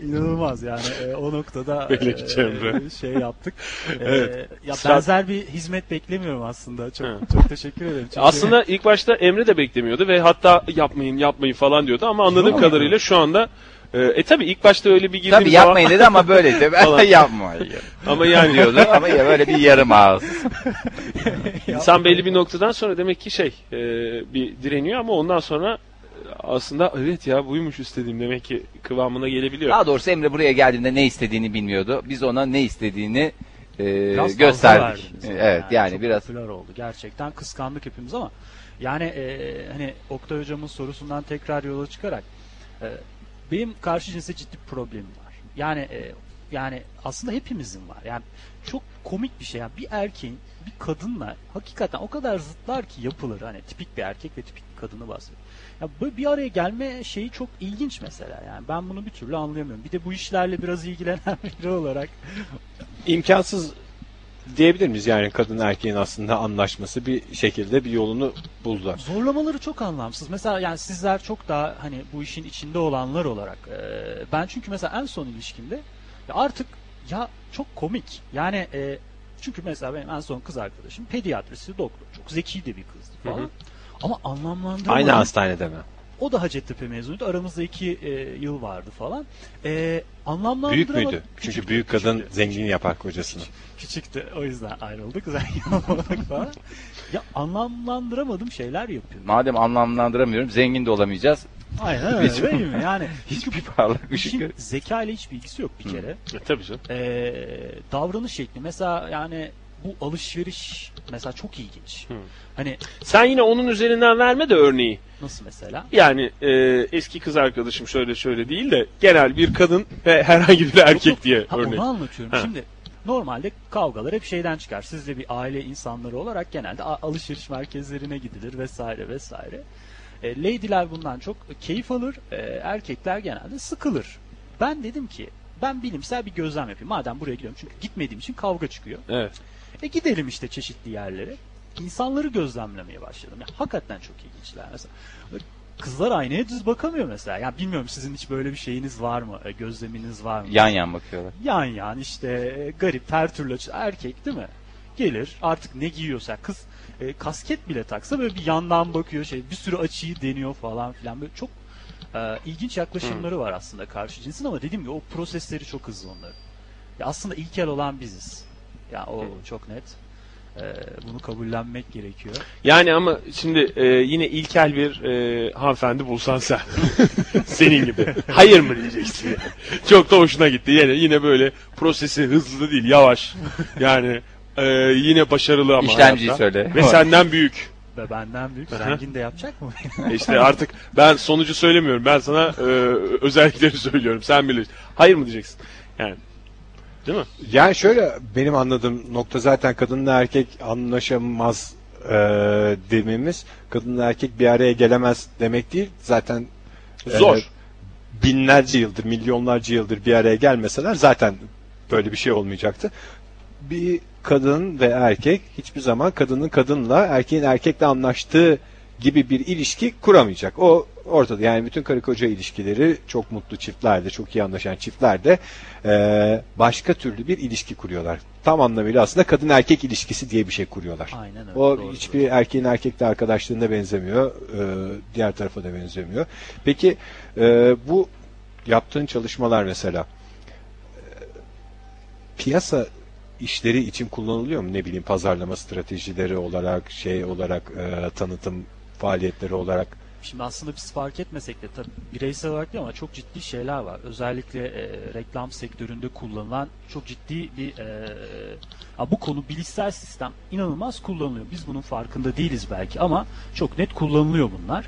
Speaker 5: İnanılmaz yani E, o
Speaker 2: (laughs)
Speaker 5: noktada e,
Speaker 2: Belek Cemre.
Speaker 5: şey
Speaker 2: (laughs)
Speaker 5: yaptık. E,
Speaker 2: Evet.
Speaker 5: Ya
Speaker 2: Sen-
Speaker 5: benzer bir hizmet beklemiyorum aslında. Çok
Speaker 2: Evet.
Speaker 5: çok teşekkür ederim. Çünkü-
Speaker 2: Aslında ilk başta Emre de beklemiyordu ve hatta yapmayın yapmayın falan diyordu ama anladığım
Speaker 5: Yok.
Speaker 2: kadarıyla şu anda e, e tabi ilk başta öyle bir girdiğim
Speaker 3: Tabii
Speaker 2: zaman-
Speaker 3: yapmayın dedi ama böyle de ben
Speaker 2: Falan.
Speaker 3: yapma
Speaker 2: ama (laughs) yani
Speaker 3: diyordu ama ya böyle bir yarım ağız.
Speaker 2: insan belli bir noktadan sonra demek ki şey e, bir direniyor ama ondan sonra e, aslında evet ya buymuş istediğim demek ki kıvamına gelebiliyor.
Speaker 3: Daha doğrusu Emre buraya geldiğinde ne istediğini bilmiyordu. Biz ona ne istediğini e,
Speaker 5: Biraz fazla
Speaker 3: gösterdik.
Speaker 5: verdiniz ona
Speaker 3: Evet yani
Speaker 5: çok
Speaker 3: biraz
Speaker 5: popüler oldu. Gerçekten kıskandık hepimiz ama yani e, hani Oktay hocamın sorusundan tekrar yola çıkarak e, benim karşı cinse ciddi bir problemim var. Yani e, yani aslında hepimizin var. Yani çok komik bir şey. Yani bir erkeğin bir kadınla hakikaten o kadar zıtlar ki yapıları hani tipik bir erkek ve tipik bir kadını bahsediyor. Ya böyle bir araya gelme şeyi çok ilginç mesela. Yani ben bunu bir türlü anlayamıyorum. Bir de bu işlerle biraz ilgilenen (laughs) biri olarak
Speaker 1: imkansız diyebilir miyiz yani kadın erkeğin aslında anlaşması bir şekilde bir yolunu buldular.
Speaker 5: Zorlamaları çok anlamsız. Mesela yani sizler çok daha hani bu işin içinde olanlar olarak. e, ben çünkü mesela en son ilişkimde ya artık ya çok komik. Yani e, çünkü mesela benim en son kız arkadaşım pediatrisi doktor. Çok zeki de bir kızdı falan. Ama anlamlandıramadım.
Speaker 1: Aynı hastanede mi?
Speaker 5: O da Hacettepe mezunuydu. Aramızda iki e, yıl vardı falan. E, anlamlandıramadım.
Speaker 1: Büyük müydü? Çünkü
Speaker 5: Küçüktü,
Speaker 1: büyük kadın
Speaker 5: küçüktü.
Speaker 1: zengin yapar kocasını.
Speaker 5: Küçüktü. O yüzden ayrıldık. (laughs) Zengin olamadık falan. ya anlamlandıramadım şeyler yapıyor.
Speaker 3: Madem anlamlandıramıyorum zengin de olamayacağız.
Speaker 5: Aynen öyle
Speaker 3: Hiç-
Speaker 5: değil mi?
Speaker 2: (laughs)
Speaker 5: Yani
Speaker 3: Hiçbir parlak şey. ışık
Speaker 5: işin
Speaker 3: yok.
Speaker 5: zeka ile hiçbir ilgisi yok bir kere.
Speaker 2: E, tabii canım.
Speaker 5: Ee, davranış şekli mesela yani bu alışveriş mesela çok ilginç. Hani
Speaker 2: Sen yine onun üzerinden verme de örneği.
Speaker 5: nasıl mesela?
Speaker 2: Yani e, eski kız arkadaşım şöyle şöyle değil de genel bir kadın ve (laughs) herhangi bir erkek diye
Speaker 5: Ha,
Speaker 2: örneği.
Speaker 5: onu anlatıyorum.
Speaker 2: Ha.
Speaker 5: Şimdi normalde kavgalar hep şeyden çıkar. Siz de bir aile insanları olarak genelde a- alışveriş merkezlerine gidilir vesaire vesaire. E, lady'ler bundan çok keyif alır. e, erkekler genelde sıkılır. Ben dedim ki ben bilimsel bir gözlem yapayım. Madem buraya gidiyorum çünkü gitmediğim için kavga çıkıyor.
Speaker 2: Evet.
Speaker 5: E gidelim işte çeşitli yerlere. İnsanları gözlemlemeye başladım. Ya, hakikaten çok ilginçler mesela. e, Kızlar aynaya düz bakamıyor mesela. Ya bilmiyorum sizin hiç böyle bir şeyiniz var mı? E, Gözleminiz var mı?
Speaker 3: Yan yan bakıyorlar.
Speaker 5: yan yan işte e, garip her türlü açı- erkek değil mi? Gelir artık ne giyiyorsa kız e, kasket bile taksa böyle bir yandan bakıyor şey bir sürü açıyı deniyor falan filan böyle çok e, ilginç yaklaşımları var aslında karşı cinsin ama dediğim gibi o prosesleri çok hızlı onların. Ya aslında ilkel olan biziz. Ya o çok net. E, bunu kabullenmek gerekiyor.
Speaker 2: Yani ama şimdi e, yine ilkel bir e, hanımefendi bulsan sen. (laughs) Senin gibi. Hayır mı diyeceksin (laughs) yani. Çok da hoşuna gitti. Yine yine böyle prosesi hızlı değil yavaş. Yani e, yine başarılı ama
Speaker 3: İşlemciyi
Speaker 2: hayatta.
Speaker 3: söyle.
Speaker 2: Ve senden büyük.
Speaker 5: Ve benden büyük zengin de yapacak mı?
Speaker 2: E İşte artık ben sonucu söylemiyorum. Ben sana e, özellikleri (laughs) söylüyorum. Sen bilirsin. Hayır mı diyeceksin? Yani. Değil mi?
Speaker 1: Yani şöyle benim anladığım nokta zaten kadınla erkek anlaşamaz e, dememiz kadınla erkek bir araya gelemez demek değil. Zaten e,
Speaker 2: Zor.
Speaker 1: binlerce yıldır, milyonlarca yıldır bir araya gelmeseler zaten böyle bir şey olmayacaktı. Bir kadın ve erkek hiçbir zaman kadının kadınla, erkeğin erkekle anlaştığı gibi bir ilişki kuramayacak. O ortada. Yani bütün karı koca ilişkileri çok mutlu çiftlerde, çok iyi anlaşan çiftlerde eee, başka türlü bir ilişki kuruyorlar. Tam anlamıyla aslında kadın erkek ilişkisi diye bir şey kuruyorlar.
Speaker 5: Aynen öyle.
Speaker 1: O
Speaker 5: doğru.
Speaker 1: hiçbir erkeğin erkekle arkadaşlığına benzemiyor. Ee, diğer tarafa da benzemiyor. Peki e, bu yaptığın çalışmalar mesela e, piyasa işleri için kullanılıyor mu? Ne bileyim pazarlama stratejileri olarak, şey olarak, e, tanıtım faaliyetleri olarak.
Speaker 5: Şimdi aslında biz fark etmesek de tabii bireysel olarak değil ama çok ciddi şeyler var. Özellikle e, reklam sektöründe kullanılan çok ciddi bir e, ha, bu konu bilişsel sistem inanılmaz kullanılıyor. Biz bunun farkında değiliz belki ama çok net kullanılıyor bunlar.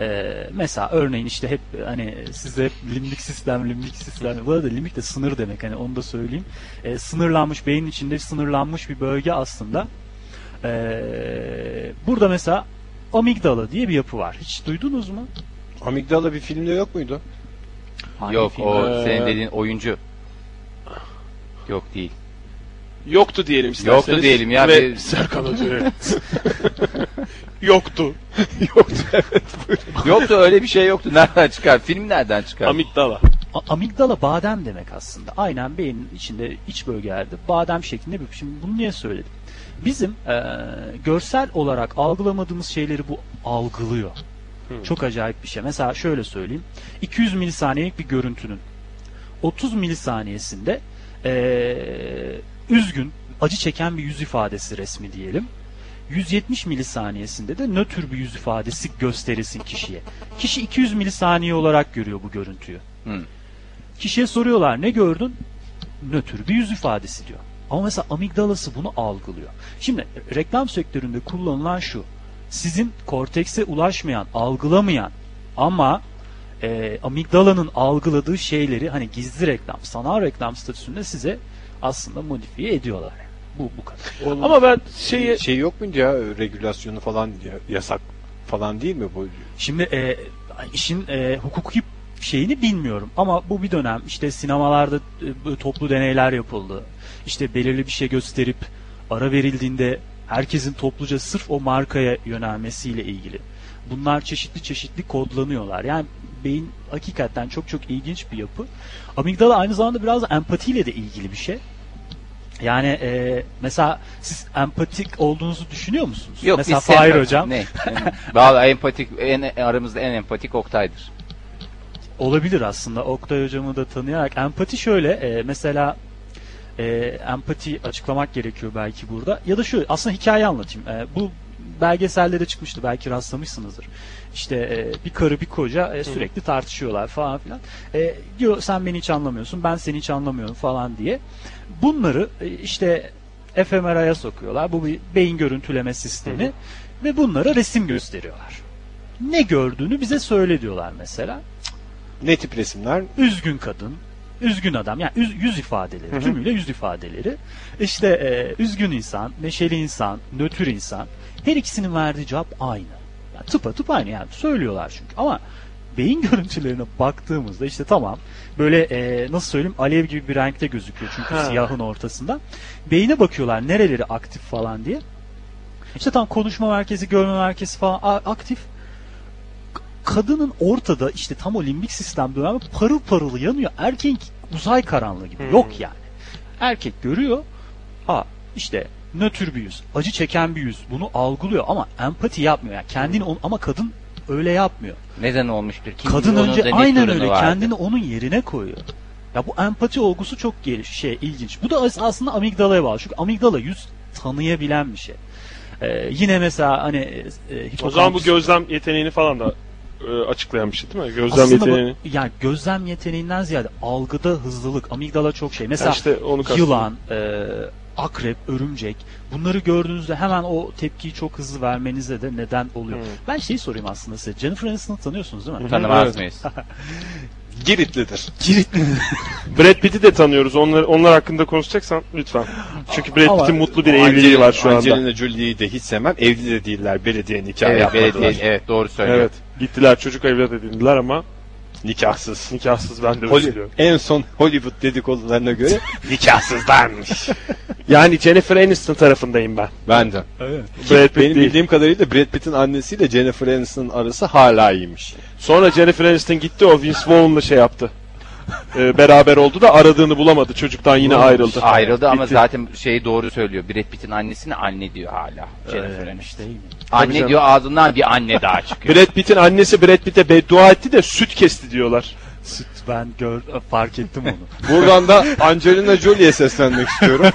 Speaker 5: E, mesela örneğin işte hep hani sizde hep limbik sistem, limbik sistem. Bu arada limbik de sınır demek hani onu da söyleyeyim. E, sınırlanmış beynin içinde sınırlanmış bir bölge aslında. E, burada mesela amigdala diye bir yapı var. Hiç duydunuz mu?
Speaker 1: Amigdala bir filmde yok muydu?
Speaker 5: Hangi
Speaker 3: Yok
Speaker 5: film?
Speaker 3: o
Speaker 2: Ee,
Speaker 3: senin dediğin oyuncu. Yok değil.
Speaker 2: Yoktu diyelim isterseniz.
Speaker 3: Yoktu diyelim ya.
Speaker 2: Ve
Speaker 3: Bir-
Speaker 2: Serkan Ödül'e. Yoktu.
Speaker 3: (laughs) Yoktu öyle bir şey yoktu. Nereden çıkar? Film nereden çıkar?
Speaker 2: Amigdala.
Speaker 5: A- amigdala badem demek aslında. Aynen beynin içinde iç bölgelerde badem şeklinde bir. Şimdi bunu niye söyledim? Bizim eee, görsel olarak algılamadığımız şeyleri bu algılıyor. Çok acayip bir şey. Mesela şöyle söyleyeyim. 200 milisaniyelik bir görüntünün 30 milisaniyesinde eee, üzgün, acı çeken bir yüz ifadesi resmi diyelim. 170 milisaniyesinde de nötr bir yüz ifadesi gösterilsin kişiye. Kişi 200 milisaniye olarak görüyor bu görüntüyü.
Speaker 3: Hı.
Speaker 5: Kişiye soruyorlar ne gördün? Nötr bir yüz ifadesi diyor. Ama mesela amigdalası bunu algılıyor. Şimdi reklam sektöründe kullanılan şu. Sizin kortekse ulaşmayan, algılamayan ama e, amigdalanın algıladığı şeyleri hani gizli reklam, sanal reklam statüsünde size aslında modifiye ediyorlar. Bu bu kadar.
Speaker 1: Onun
Speaker 2: Ama ben
Speaker 1: bir
Speaker 2: şeyi
Speaker 1: şey yok muydu ya? Regülasyonu falan ya- yasak falan değil mi bu?
Speaker 5: Şimdi e, işin e, hukuki şeyini bilmiyorum ama bu bir dönem işte sinemalarda e, bu toplu deneyler yapıldı. İşte belirli bir şey gösterip ara verildiğinde herkesin topluca sırf o markaya yönelmesiyle ilgili. Bunlar çeşitli çeşitli kodlanıyorlar. Yani beyin hakikaten çok çok ilginç bir yapı. Amigdala aynı zamanda biraz da empatiyle de ilgili bir şey. Yani e, mesela siz empatik olduğunuzu düşünüyor musunuz?
Speaker 3: Yok
Speaker 5: mesela
Speaker 3: biz sen-
Speaker 5: Fahir hocam
Speaker 3: Ne? Vallahi empatik en aramızda en empatik Oktay'dır.
Speaker 5: olabilir aslında Oktay hocamı da tanıyarak. Empati şöyle e, mesela e, empati açıklamak gerekiyor belki burada. Ya da şu aslında hikaye anlatayım. E, bu belgesellere çıkmıştı belki rastlamışsınızdır. İşte e, bir karı bir koca e, sürekli tartışıyorlar falan filan. E, diyor sen beni hiç anlamıyorsun ben seni hiç anlamıyorum falan diye. Bunları e, işte fMRI'ye sokuyorlar. Bu bir beyin görüntüleme sistemi ve bunlara resim gösteriyorlar. Ne gördüğünü bize söyle diyorlar mesela
Speaker 1: Ne tip resimler?
Speaker 5: üzgün kadın, üzgün adam yani üz- yüz ifadeleri, tümüyle yüz ifadeleri. İşte e, üzgün insan, neşeli insan, nötr insan. Her ikisinin verdiği cevap aynı. Yani tıpa tıp aynı yani söylüyorlar çünkü ama beyin (laughs) görüntülerine baktığımızda işte tamam böyle e, nasıl söyleyeyim alev gibi bir renkte gözüküyor çünkü siyahın ortasında. Beyine bakıyorlar nereleri aktif falan diye. İşte tam konuşma merkezi, görme merkezi falan a- aktif kadının ortada işte tam o limbik sistem dönemi parıl parıl yanıyor. Erkeğin uzay karanlığı gibi. Yok yani. Erkek görüyor. Ha işte nötr bir yüz, acı çeken bir yüz. Bunu algılıyor ama empati yapmıyor. Yani kendini on- ama kadın öyle yapmıyor.
Speaker 3: Neden olmuştur? Kim
Speaker 5: Kadın
Speaker 3: bilir onun da
Speaker 5: önce
Speaker 3: ne
Speaker 5: aynen
Speaker 3: sorunu
Speaker 5: öyle
Speaker 3: vardı.
Speaker 5: kendini onun yerine koyuyor. Ya bu empati olgusu çok geliş şey ilginç. Bu da as- aslında amigdalaya bağlı. Çünkü amigdala yüz tanıyabilen bir şey. Ee, yine mesela hani e,
Speaker 2: O zaman bu
Speaker 5: hipokampüs-
Speaker 2: gözlem yeteneğini falan da e, açıklayan bir şey değil mi? Gözlem
Speaker 5: Aslında bu-
Speaker 2: yeteneğini.
Speaker 5: yani gözlem yeteneğinden ziyade algıda hızlılık, amigdala çok şey.
Speaker 2: Yani
Speaker 5: Mesela
Speaker 2: işte onu kastediyorum.
Speaker 5: yılan, e, akrep, örümcek bunları gördüğünüzde hemen o tepkiyi çok hızlı vermenize de neden oluyor. Ben şeyi sorayım aslında size. Jennifer Aniston'u tanıyorsunuz değil mi?
Speaker 3: Tanımaz mıyız?
Speaker 1: Giritlidir.
Speaker 2: Brad Pitt'i de tanıyoruz. Onlar, onlar hakkında konuşacaksan lütfen. Çünkü Brad
Speaker 5: Ama-
Speaker 2: Pitt'in mutlu bir evliliği var şu anda.
Speaker 1: Angelina Jolie'yi de hiç sevmem. Evli de değiller. Belediye nikahı
Speaker 3: Evet,
Speaker 1: yapmadılar.
Speaker 3: belediye, evet doğru söylüyor.
Speaker 2: Evet. Gittiler çocuk evlat edindiler ama
Speaker 1: Nikahsız.
Speaker 2: nikahsız ben de
Speaker 1: Hol-
Speaker 2: üzülüyorum.
Speaker 1: en son Hollywood dedikodularına göre
Speaker 2: Nikahsızlarmış. (laughs) yani Jennifer Aniston tarafındayım ben.
Speaker 1: ben de.
Speaker 2: Brad Pitt
Speaker 1: Benim
Speaker 2: değil.
Speaker 1: bildiğim kadarıyla Brad Pitt'in annesiyle Jennifer Aniston'ın arası hala iyiymiş.
Speaker 2: Sonra Jennifer Aniston gitti o Vince Vaughn'la şey yaptı. Ee, beraber oldu da aradığını bulamadı. Çocuktan yine ayrıldı.
Speaker 3: Ayrıldı ama
Speaker 2: Bitti.
Speaker 3: zaten şeyi doğru söylüyor. Brad Pitt'in annesini anne diyor hala. Jennifer Aniston.
Speaker 5: Değil mi?
Speaker 3: Anne
Speaker 2: canım.
Speaker 3: diyor ağzından bir anne daha çıkıyor.
Speaker 2: Brad Pitt'in annesi Brad Pitt'e beddua etti de süt kesti diyorlar.
Speaker 5: Süt- Ben gör, fark ettim onu.
Speaker 1: Buradan da Angelina Jolie'ye seslenmek istiyorum.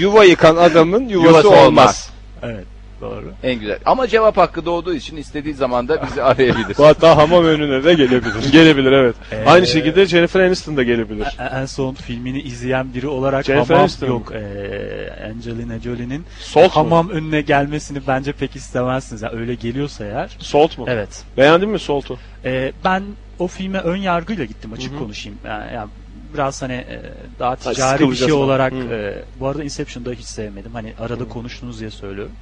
Speaker 1: Yuva yıkan adamın yuvası,
Speaker 3: Yuvası
Speaker 1: olmaz.
Speaker 3: olmaz.
Speaker 5: evet. Doğru.
Speaker 3: (laughs) en güzel. Ama cevap hakkı doğduğu için istediği zaman da (laughs) bizi arayabilir.
Speaker 2: Bu hatta hamam önüne
Speaker 1: (laughs)
Speaker 2: de gelebilir. gelebilir evet.
Speaker 1: Ee,
Speaker 2: Aynı şekilde Jennifer Aniston da gelebilir.
Speaker 5: E- En son filmini izleyen biri olarak
Speaker 2: Jennifer
Speaker 5: hamam
Speaker 2: Aniston
Speaker 5: yok. e, Angelina Jolie'nin
Speaker 2: Salt mu?
Speaker 5: hamam önüne gelmesini bence pek istemezsiniz. Yani öyle geliyorsa eğer.
Speaker 2: Salt mu?
Speaker 5: Evet.
Speaker 2: Beğendin mi Salt'u?
Speaker 5: Ee, ben o filme ön yargıyla gittim açık konuşayım. Yani, yani biraz hani e, daha ticari bir şey
Speaker 2: sıkılacağız ama.
Speaker 5: olarak
Speaker 2: Hı.
Speaker 5: e, bu arada Inception'da hiç sevmedim. Hani arada konuştunuz diye söylüyorum.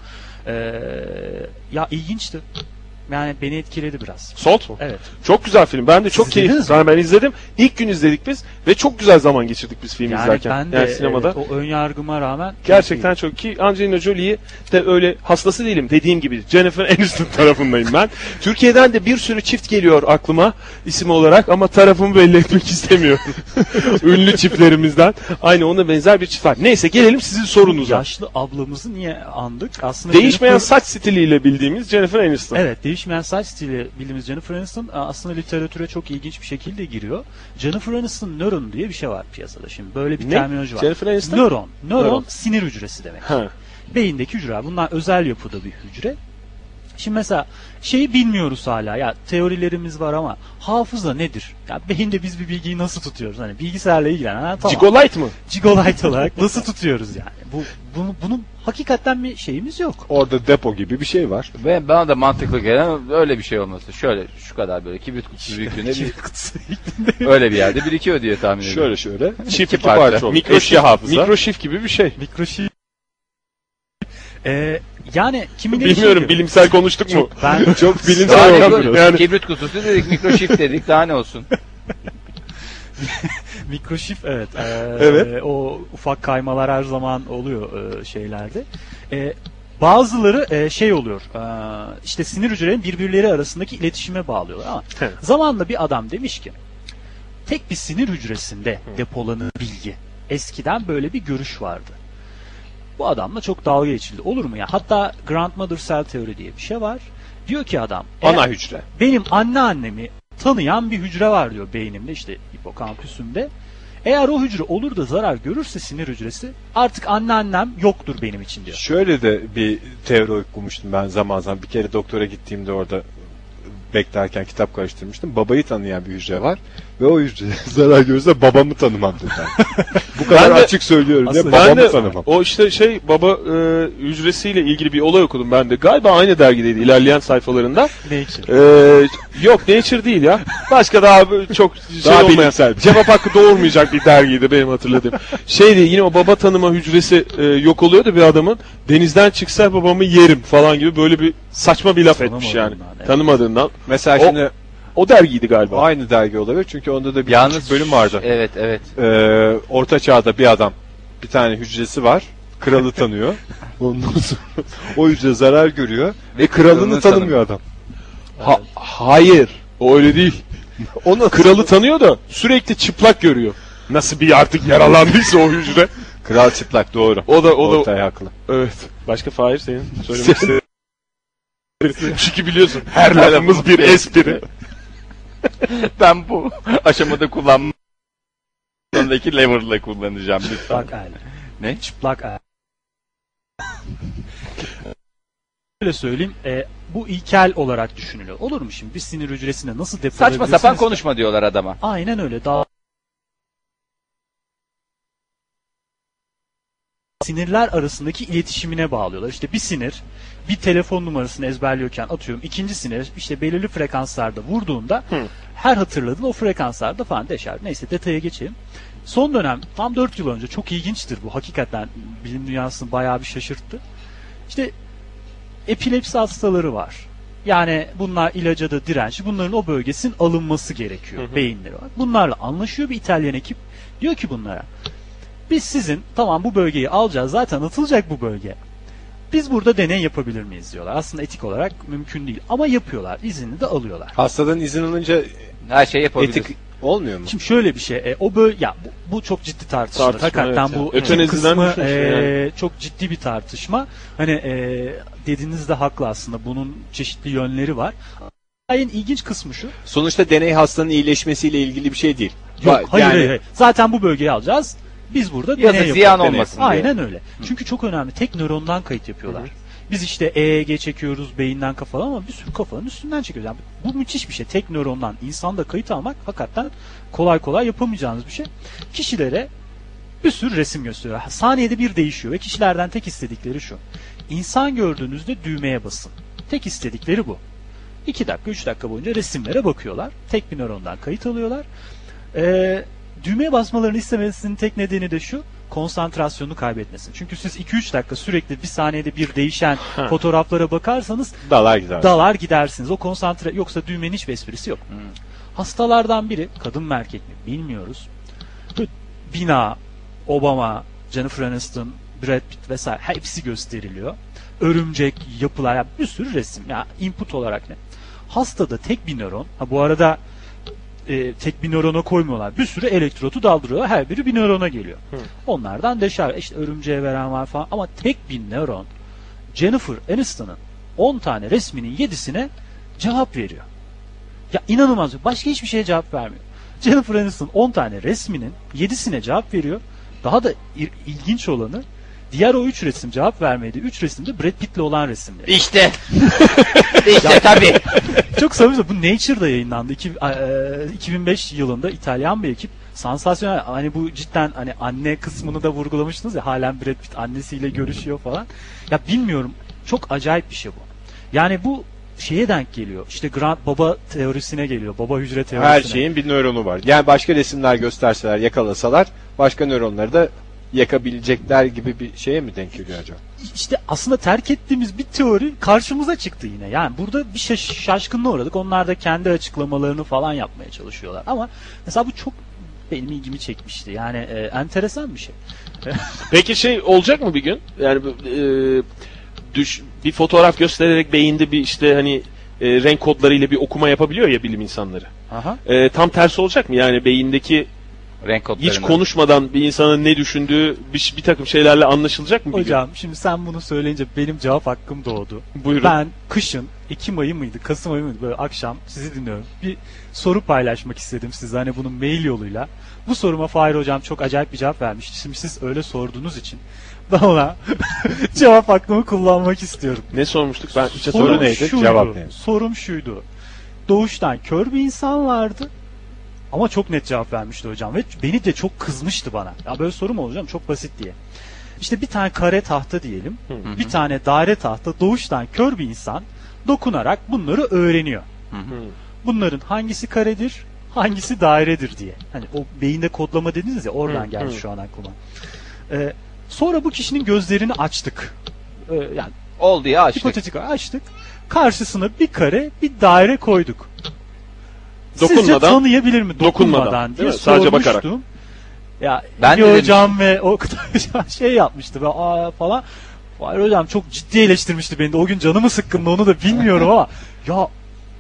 Speaker 5: Ee, ya ilginçti. Yani beni etkiledi biraz.
Speaker 2: Salt mu?
Speaker 5: Evet.
Speaker 2: Çok güzel film. Ben de çok
Speaker 5: Siz
Speaker 2: keyif.
Speaker 5: izlediniz
Speaker 2: Ben, ben izledim. İlk gün izledik biz ve çok güzel zaman geçirdik biz filmi
Speaker 5: Yani
Speaker 2: izlerken.
Speaker 5: ben de
Speaker 2: yani sinemada.
Speaker 5: evet, o ön yargıma rağmen
Speaker 2: Gerçekten çok ki Angelina Jolie'yi de öyle hastası değilim dediğim gibi Jennifer (laughs) Aniston tarafındayım ben. Türkiye'den de bir sürü çift geliyor aklıma isim olarak ama tarafımı belli etmek (laughs) istemiyorum.
Speaker 5: (laughs)
Speaker 2: Ünlü çiftlerimizden. Aynı ona benzer bir çift var. Neyse gelelim sizin sorunuza.
Speaker 5: yaşlı ablamızı niye andık? Aslında
Speaker 2: Değişmeyen
Speaker 5: Jennifer-
Speaker 2: saç stiliyle bildiğimiz Jennifer Aniston.
Speaker 5: Evet, değişmeyen saç stili bildiğimiz Jennifer Aniston e, aslında literatüre çok ilginç bir şekilde giriyor. Jennifer Aniston nöron diye bir şey var piyasada şimdi. Böyle bir
Speaker 2: Ne?
Speaker 5: terminoloji var.
Speaker 2: Jennifer Aniston?
Speaker 5: Nöron. Nöron,
Speaker 2: Nöron.
Speaker 5: sinir hücresi demek.
Speaker 2: Ha.
Speaker 5: Beyindeki hücre. Bunlar özel yapıda bir hücre. Şimdi mesela şeyi bilmiyoruz hala. Ya teorilerimiz var ama hafıza nedir? Ya beyinde biz bir bilgiyi nasıl tutuyoruz? Hani bilgisayarla ilgilenen ha, tamam.
Speaker 2: Gigolite mı?
Speaker 5: (laughs) Gigolite olarak nasıl tutuyoruz yani? Bu bunu bunun hakikaten bir
Speaker 2: (laughs)
Speaker 5: şeyimiz yok.
Speaker 1: Orada depo gibi bir şey var.
Speaker 3: Ve bana da mantıklı gelen öyle bir şey olması. Şöyle şu kadar böyle kibrit kutusu büyüklüğünde bir, öyle bir yerde birikiyor diye tahmin
Speaker 1: Şöyle
Speaker 3: ediyorum.
Speaker 1: şöyle. Çift iki
Speaker 3: parça.
Speaker 1: parça. olur.
Speaker 2: Mikroşip-
Speaker 1: Eşya hafıza.
Speaker 2: Mikroşif gibi bir şey.
Speaker 5: Mikroşi Ee, yani kimileri
Speaker 2: Bilmiyorum
Speaker 5: şey diyor.
Speaker 2: bilimsel konuştuk mu?
Speaker 5: ben (laughs)
Speaker 1: Çok
Speaker 3: Daha
Speaker 1: bilimsel
Speaker 3: ne
Speaker 1: oldu.
Speaker 3: olur?
Speaker 2: yani.
Speaker 3: Kibrit kutusu dedik, mikroşif dedik daha ne olsun?
Speaker 5: mikroşif evet. Ee,
Speaker 2: Evet.
Speaker 5: O ufak kaymalar her zaman oluyor e, şeylerde. Ee, bazıları e, şey oluyor. e, işte sinir hücrelerin birbirleri arasındaki iletişime bağlıyorlar ama
Speaker 2: Evet.
Speaker 5: zamanla bir adam demiş ki tek bir sinir hücresinde depolanan bilgi. Eskiden böyle bir görüş vardı. Bu adamla çok dalga geçildi. Olur mu ya? Hatta grandmother cell teori diye bir şey var. Diyor ki adam eğer
Speaker 1: Ana hücre.
Speaker 5: benim anneannemi tanıyan bir hücre var diyor beynimde işte hipokampüsümde. Eğer o hücre olur da zarar görürse sinir hücresi artık anneannem yoktur benim için diyor.
Speaker 1: Şöyle de bir teori okumuştum ben zaman zaman. Bir kere doktora gittiğimde orada beklerken kitap karıştırmıştım. Babayı tanıyan bir hücre var ve o hücre (laughs) zarar görürse babamı tanımam dedi. Bu kadar
Speaker 2: Ben de-
Speaker 1: açık söylüyorum diye
Speaker 2: Aslında
Speaker 1: babamı
Speaker 2: ben de
Speaker 1: tanımam.
Speaker 2: o işte şey baba e, hücresiyle ilgili bir olay okudum ben de. Galiba aynı dergideydi ilerleyen sayfalarında.
Speaker 5: Ne için?
Speaker 2: E, yok Nature değil ya. Başka daha böyle çok şey
Speaker 1: Daha
Speaker 2: olmayan.
Speaker 1: bilimsel.
Speaker 2: Cevap hakkı doğurmayacak bir dergiydi benim hatırladığım. Şeydi yine o baba tanıma hücresi e, yok oluyordu bir adamın. Denizden çıksa babamı yerim falan gibi böyle bir saçma bir laf etmiş yani.
Speaker 5: Tanımadığından, evet.
Speaker 2: Tanımadığından.
Speaker 1: Mesela
Speaker 2: O-
Speaker 1: şimdi
Speaker 2: O dergiydi galiba.
Speaker 1: aynı dergi olabilir çünkü onda da bir
Speaker 3: Yalnız-
Speaker 1: küçük bölüm vardı.
Speaker 3: Evet evet.
Speaker 1: Ee, orta çağda bir adam bir tane hücresi var. Kralı
Speaker 2: (laughs)
Speaker 1: tanıyor. Ondan sonra o hücre zarar görüyor ve kralını,
Speaker 3: kralını
Speaker 1: tanımıyor adam.
Speaker 2: Ha- hayır. O öyle değil.
Speaker 1: (laughs) Onu
Speaker 2: Kralı tanıyor da sürekli çıplak görüyor. Nasıl bir artık yaralandıysa o hücre.
Speaker 1: Kral çıplak doğru.
Speaker 2: O da o da
Speaker 1: Ortaya haklı.
Speaker 2: evet. Başka Fahir (laughs) senin söylemek istediğin. Çünkü biliyorsun her lafımız bir espri.
Speaker 3: Ben bu aşamada kullanmam. Sonraki lever'la kullanacağım lütfen.
Speaker 5: Çıplak el.
Speaker 3: Ne?
Speaker 5: Çıplak el. Böyle söyleyeyim. e, bu ilkel olarak düşünülüyor. Olur mu şimdi? Bir sinir hücresine nasıl
Speaker 3: Saçma
Speaker 5: depolayabilirsiniz?
Speaker 3: sapan konuşma diyorlar adama.
Speaker 5: Aynen öyle. Daha sinirler arasındaki iletişimine bağlıyorlar. İşte bir sinir bir telefon numarasını ezberliyorken atıyorum ikinci sinir işte belirli frekanslarda vurduğunda her hatırladığın o frekanslarda falan deşer. Neyse detaya geçelim. Son dönem tam 4 yıl önce çok ilginçtir bu. Hakikaten bilim dünyasını bayağı bir şaşırttı. İşte epilepsi hastaları var. Yani bunlar ilaca da direnç. Bunların o bölgesinin alınması gerekiyor. Beyinleri var. Bunlarla anlaşıyor bir İtalyan ekip. Diyor ki bunlara biz sizin tamam bu bölgeyi alacağız zaten atılacak bu bölge. Biz burada deney yapabilir miyiz diyorlar. Aslında etik olarak mümkün değil ama yapıyorlar. İznini de alıyorlar.
Speaker 1: (laughs) Hastadan izin alınca
Speaker 3: Her şey yapabiliriz.
Speaker 1: etik olmuyor mu?
Speaker 5: Şimdi şöyle bir şey, e, o böyle ya bu, bu çok ciddi tartışma.
Speaker 2: Tartışma,
Speaker 5: Hakikaten
Speaker 2: evet,
Speaker 5: bu
Speaker 2: evet.
Speaker 5: etik
Speaker 2: Ötenizden
Speaker 5: kısmı
Speaker 2: düşünüyorsun
Speaker 5: e, çok ciddi bir tartışma. Hani e, dediğiniz de haklı aslında. Bunun çeşitli yönleri var. Hikayenin ilginç kısmı şu.
Speaker 1: Sonuçta deney hastanın iyileşmesiyle ilgili bir şey değil.
Speaker 5: Yok,
Speaker 1: Ba-
Speaker 5: hayır,
Speaker 1: yani
Speaker 5: hayır, hayır. Zaten bu bölgeyi alacağız. Biz burada
Speaker 3: Ya
Speaker 5: deney
Speaker 3: da
Speaker 5: yapıyoruz.
Speaker 3: ziyan olmasın diye.
Speaker 5: Aynen öyle. Çünkü çok önemli. Tek nörondan kayıt yapıyorlar. Biz işte EEG çekiyoruz beyinden kafadan ama bir sürü kafanın üstünden çekiyoruz. Yani bu müthiş bir şey. Tek nörondan insanda kayıt almak hakikaten kolay kolay yapamayacağınız bir şey. Kişilere bir sürü resim gösteriyor. Saniyede bir değişiyor ve kişilerden tek istedikleri şu. İnsan gördüğünüzde düğmeye basın. Tek istedikleri bu. 2 dakika 3 dakika boyunca resimlere bakıyorlar. Tek bir nörondan kayıt alıyorlar. Ee, düğmeye basmalarını istemesinin tek nedeni de şu konsantrasyonunu kaybetmesin. Çünkü siz 2-3 dakika sürekli bir saniyede bir değişen fotoğraflara bakarsanız
Speaker 1: Dalar gider.
Speaker 5: dalar gidersiniz. O konsantre yoksa düğmenin hiçbir esprisi yok. Hastalardan biri kadın mı erkek mi bilmiyoruz. Böyle Bina, Obama, Jennifer Aniston, Brad Pitt vesaire hepsi gösteriliyor. Örümcek, yapılar ya bir sürü resim ya input olarak ne? Hastada tek bir nöron. Ha bu arada e, tek bir nörona koymuyorlar. Bir sürü elektrotu daldırıyorlar. Her biri bir nörona geliyor. Onlardan deşer. İşte örümceğe veren var falan. Ama tek bir nöron Jennifer Aniston'ın 10 tane resminin 7'sine cevap veriyor. Ya inanılmaz. Başka hiçbir şeye cevap vermiyor. Jennifer Aniston 10 tane resminin 7'sine cevap veriyor. Daha da il- ilginç olanı diğer o 3 resim cevap vermedi. 3 resimde Brad Pitt'le olan
Speaker 1: (laughs)
Speaker 5: resimleri.
Speaker 3: İşte. işte tabii.
Speaker 5: Çok samimi bu Nature'da yayınlandı. İki- e, 2005 yılında İtalyan bir ekip sansasyonel hani bu cidden hani anne kısmını da vurgulamıştınız ya halen Brad Pitt annesiyle görüşüyor falan. Ya bilmiyorum çok acayip bir şey bu. Yani bu şeye denk geliyor. İşte Grant baba teorisine geliyor. Baba hücre teorisine.
Speaker 1: Her şeyin bir nöronu var. Yani başka resimler gösterseler, yakalasalar başka nöronları da yakabilecekler gibi bir şeye mi denk geliyor acaba?
Speaker 5: İşte aslında terk ettiğimiz bir teori karşımıza çıktı yine. Yani burada bir şaş- şaşkınlığa uğradık. Onlar da kendi açıklamalarını falan yapmaya çalışıyorlar. Ama mesela bu çok benim ilgimi çekmişti. Yani e, enteresan bir şey.
Speaker 2: Peki şey olacak mı bir gün? Yani bu, e, düş bir fotoğraf göstererek beyinde bir işte hani e, renk kodlarıyla bir okuma yapabiliyor ya bilim insanları.
Speaker 5: Aha.
Speaker 2: E, tam tersi olacak mı? Yani beyindeki
Speaker 3: Renk kodlarını.
Speaker 2: Hiç konuşmadan bir insanın ne düşündüğü bir, bir takım şeylerle anlaşılacak mı? bir gün?
Speaker 5: Hocam şimdi sen bunu söyleyince benim cevap hakkım doğdu.
Speaker 2: Buyurun.
Speaker 5: Ben kışın Ekim ayı mıydı, Kasım ayı mıydı böyle akşam sizi dinliyorum. Bir soru paylaşmak istedim size hani bunun mail yoluyla. Bu soruma Fahir hocam çok acayip bir cevap vermişti. Şimdi siz öyle sorduğunuz için valla (laughs) cevap hakkımı kullanmak istiyorum.
Speaker 2: Ne sormuştuk? Ben hiç
Speaker 5: Sorum
Speaker 2: hatırlamıyorum.
Speaker 1: neydi?
Speaker 5: şuydu,
Speaker 1: Cevap neydi?
Speaker 5: Sorum şuydu. Doğuştan kör bir insan vardı. Ama çok net cevap vermişti hocam ve beni de çok kızmıştı bana. Ya böyle soru mu olur hocam? Çok basit diye. İşte bir tane kare tahta diyelim.
Speaker 3: hı.
Speaker 5: Bir tane daire tahta doğuştan kör bir insan dokunarak bunları öğreniyor. Bunların hangisi karedir, hangisi dairedir diye. Hani o beyinde kodlama dediniz ya oradan geldi şu an aklıma. Ee, sonra bu kişinin gözlerini açtık. Ee, yani
Speaker 3: Oldu ya açtık.
Speaker 5: hipotetik olarak açtık. Karşısına bir kare, bir daire koyduk. Sizce
Speaker 2: Dokunmadan-
Speaker 5: tanıyabilir mi? Dokunmadan,
Speaker 2: dokunmadan,
Speaker 5: diye
Speaker 2: değil mi? Sadece bakarak.
Speaker 5: sormuştum. Ya
Speaker 3: Ben
Speaker 5: ben
Speaker 3: de
Speaker 5: hocam ve o (laughs) hocam şey yapmıştı ve aa falan. Fahir hocam çok ciddi eleştirmişti beni de. O gün canımı sıkkındı onu da
Speaker 2: (laughs)
Speaker 5: bilmiyorum ama ya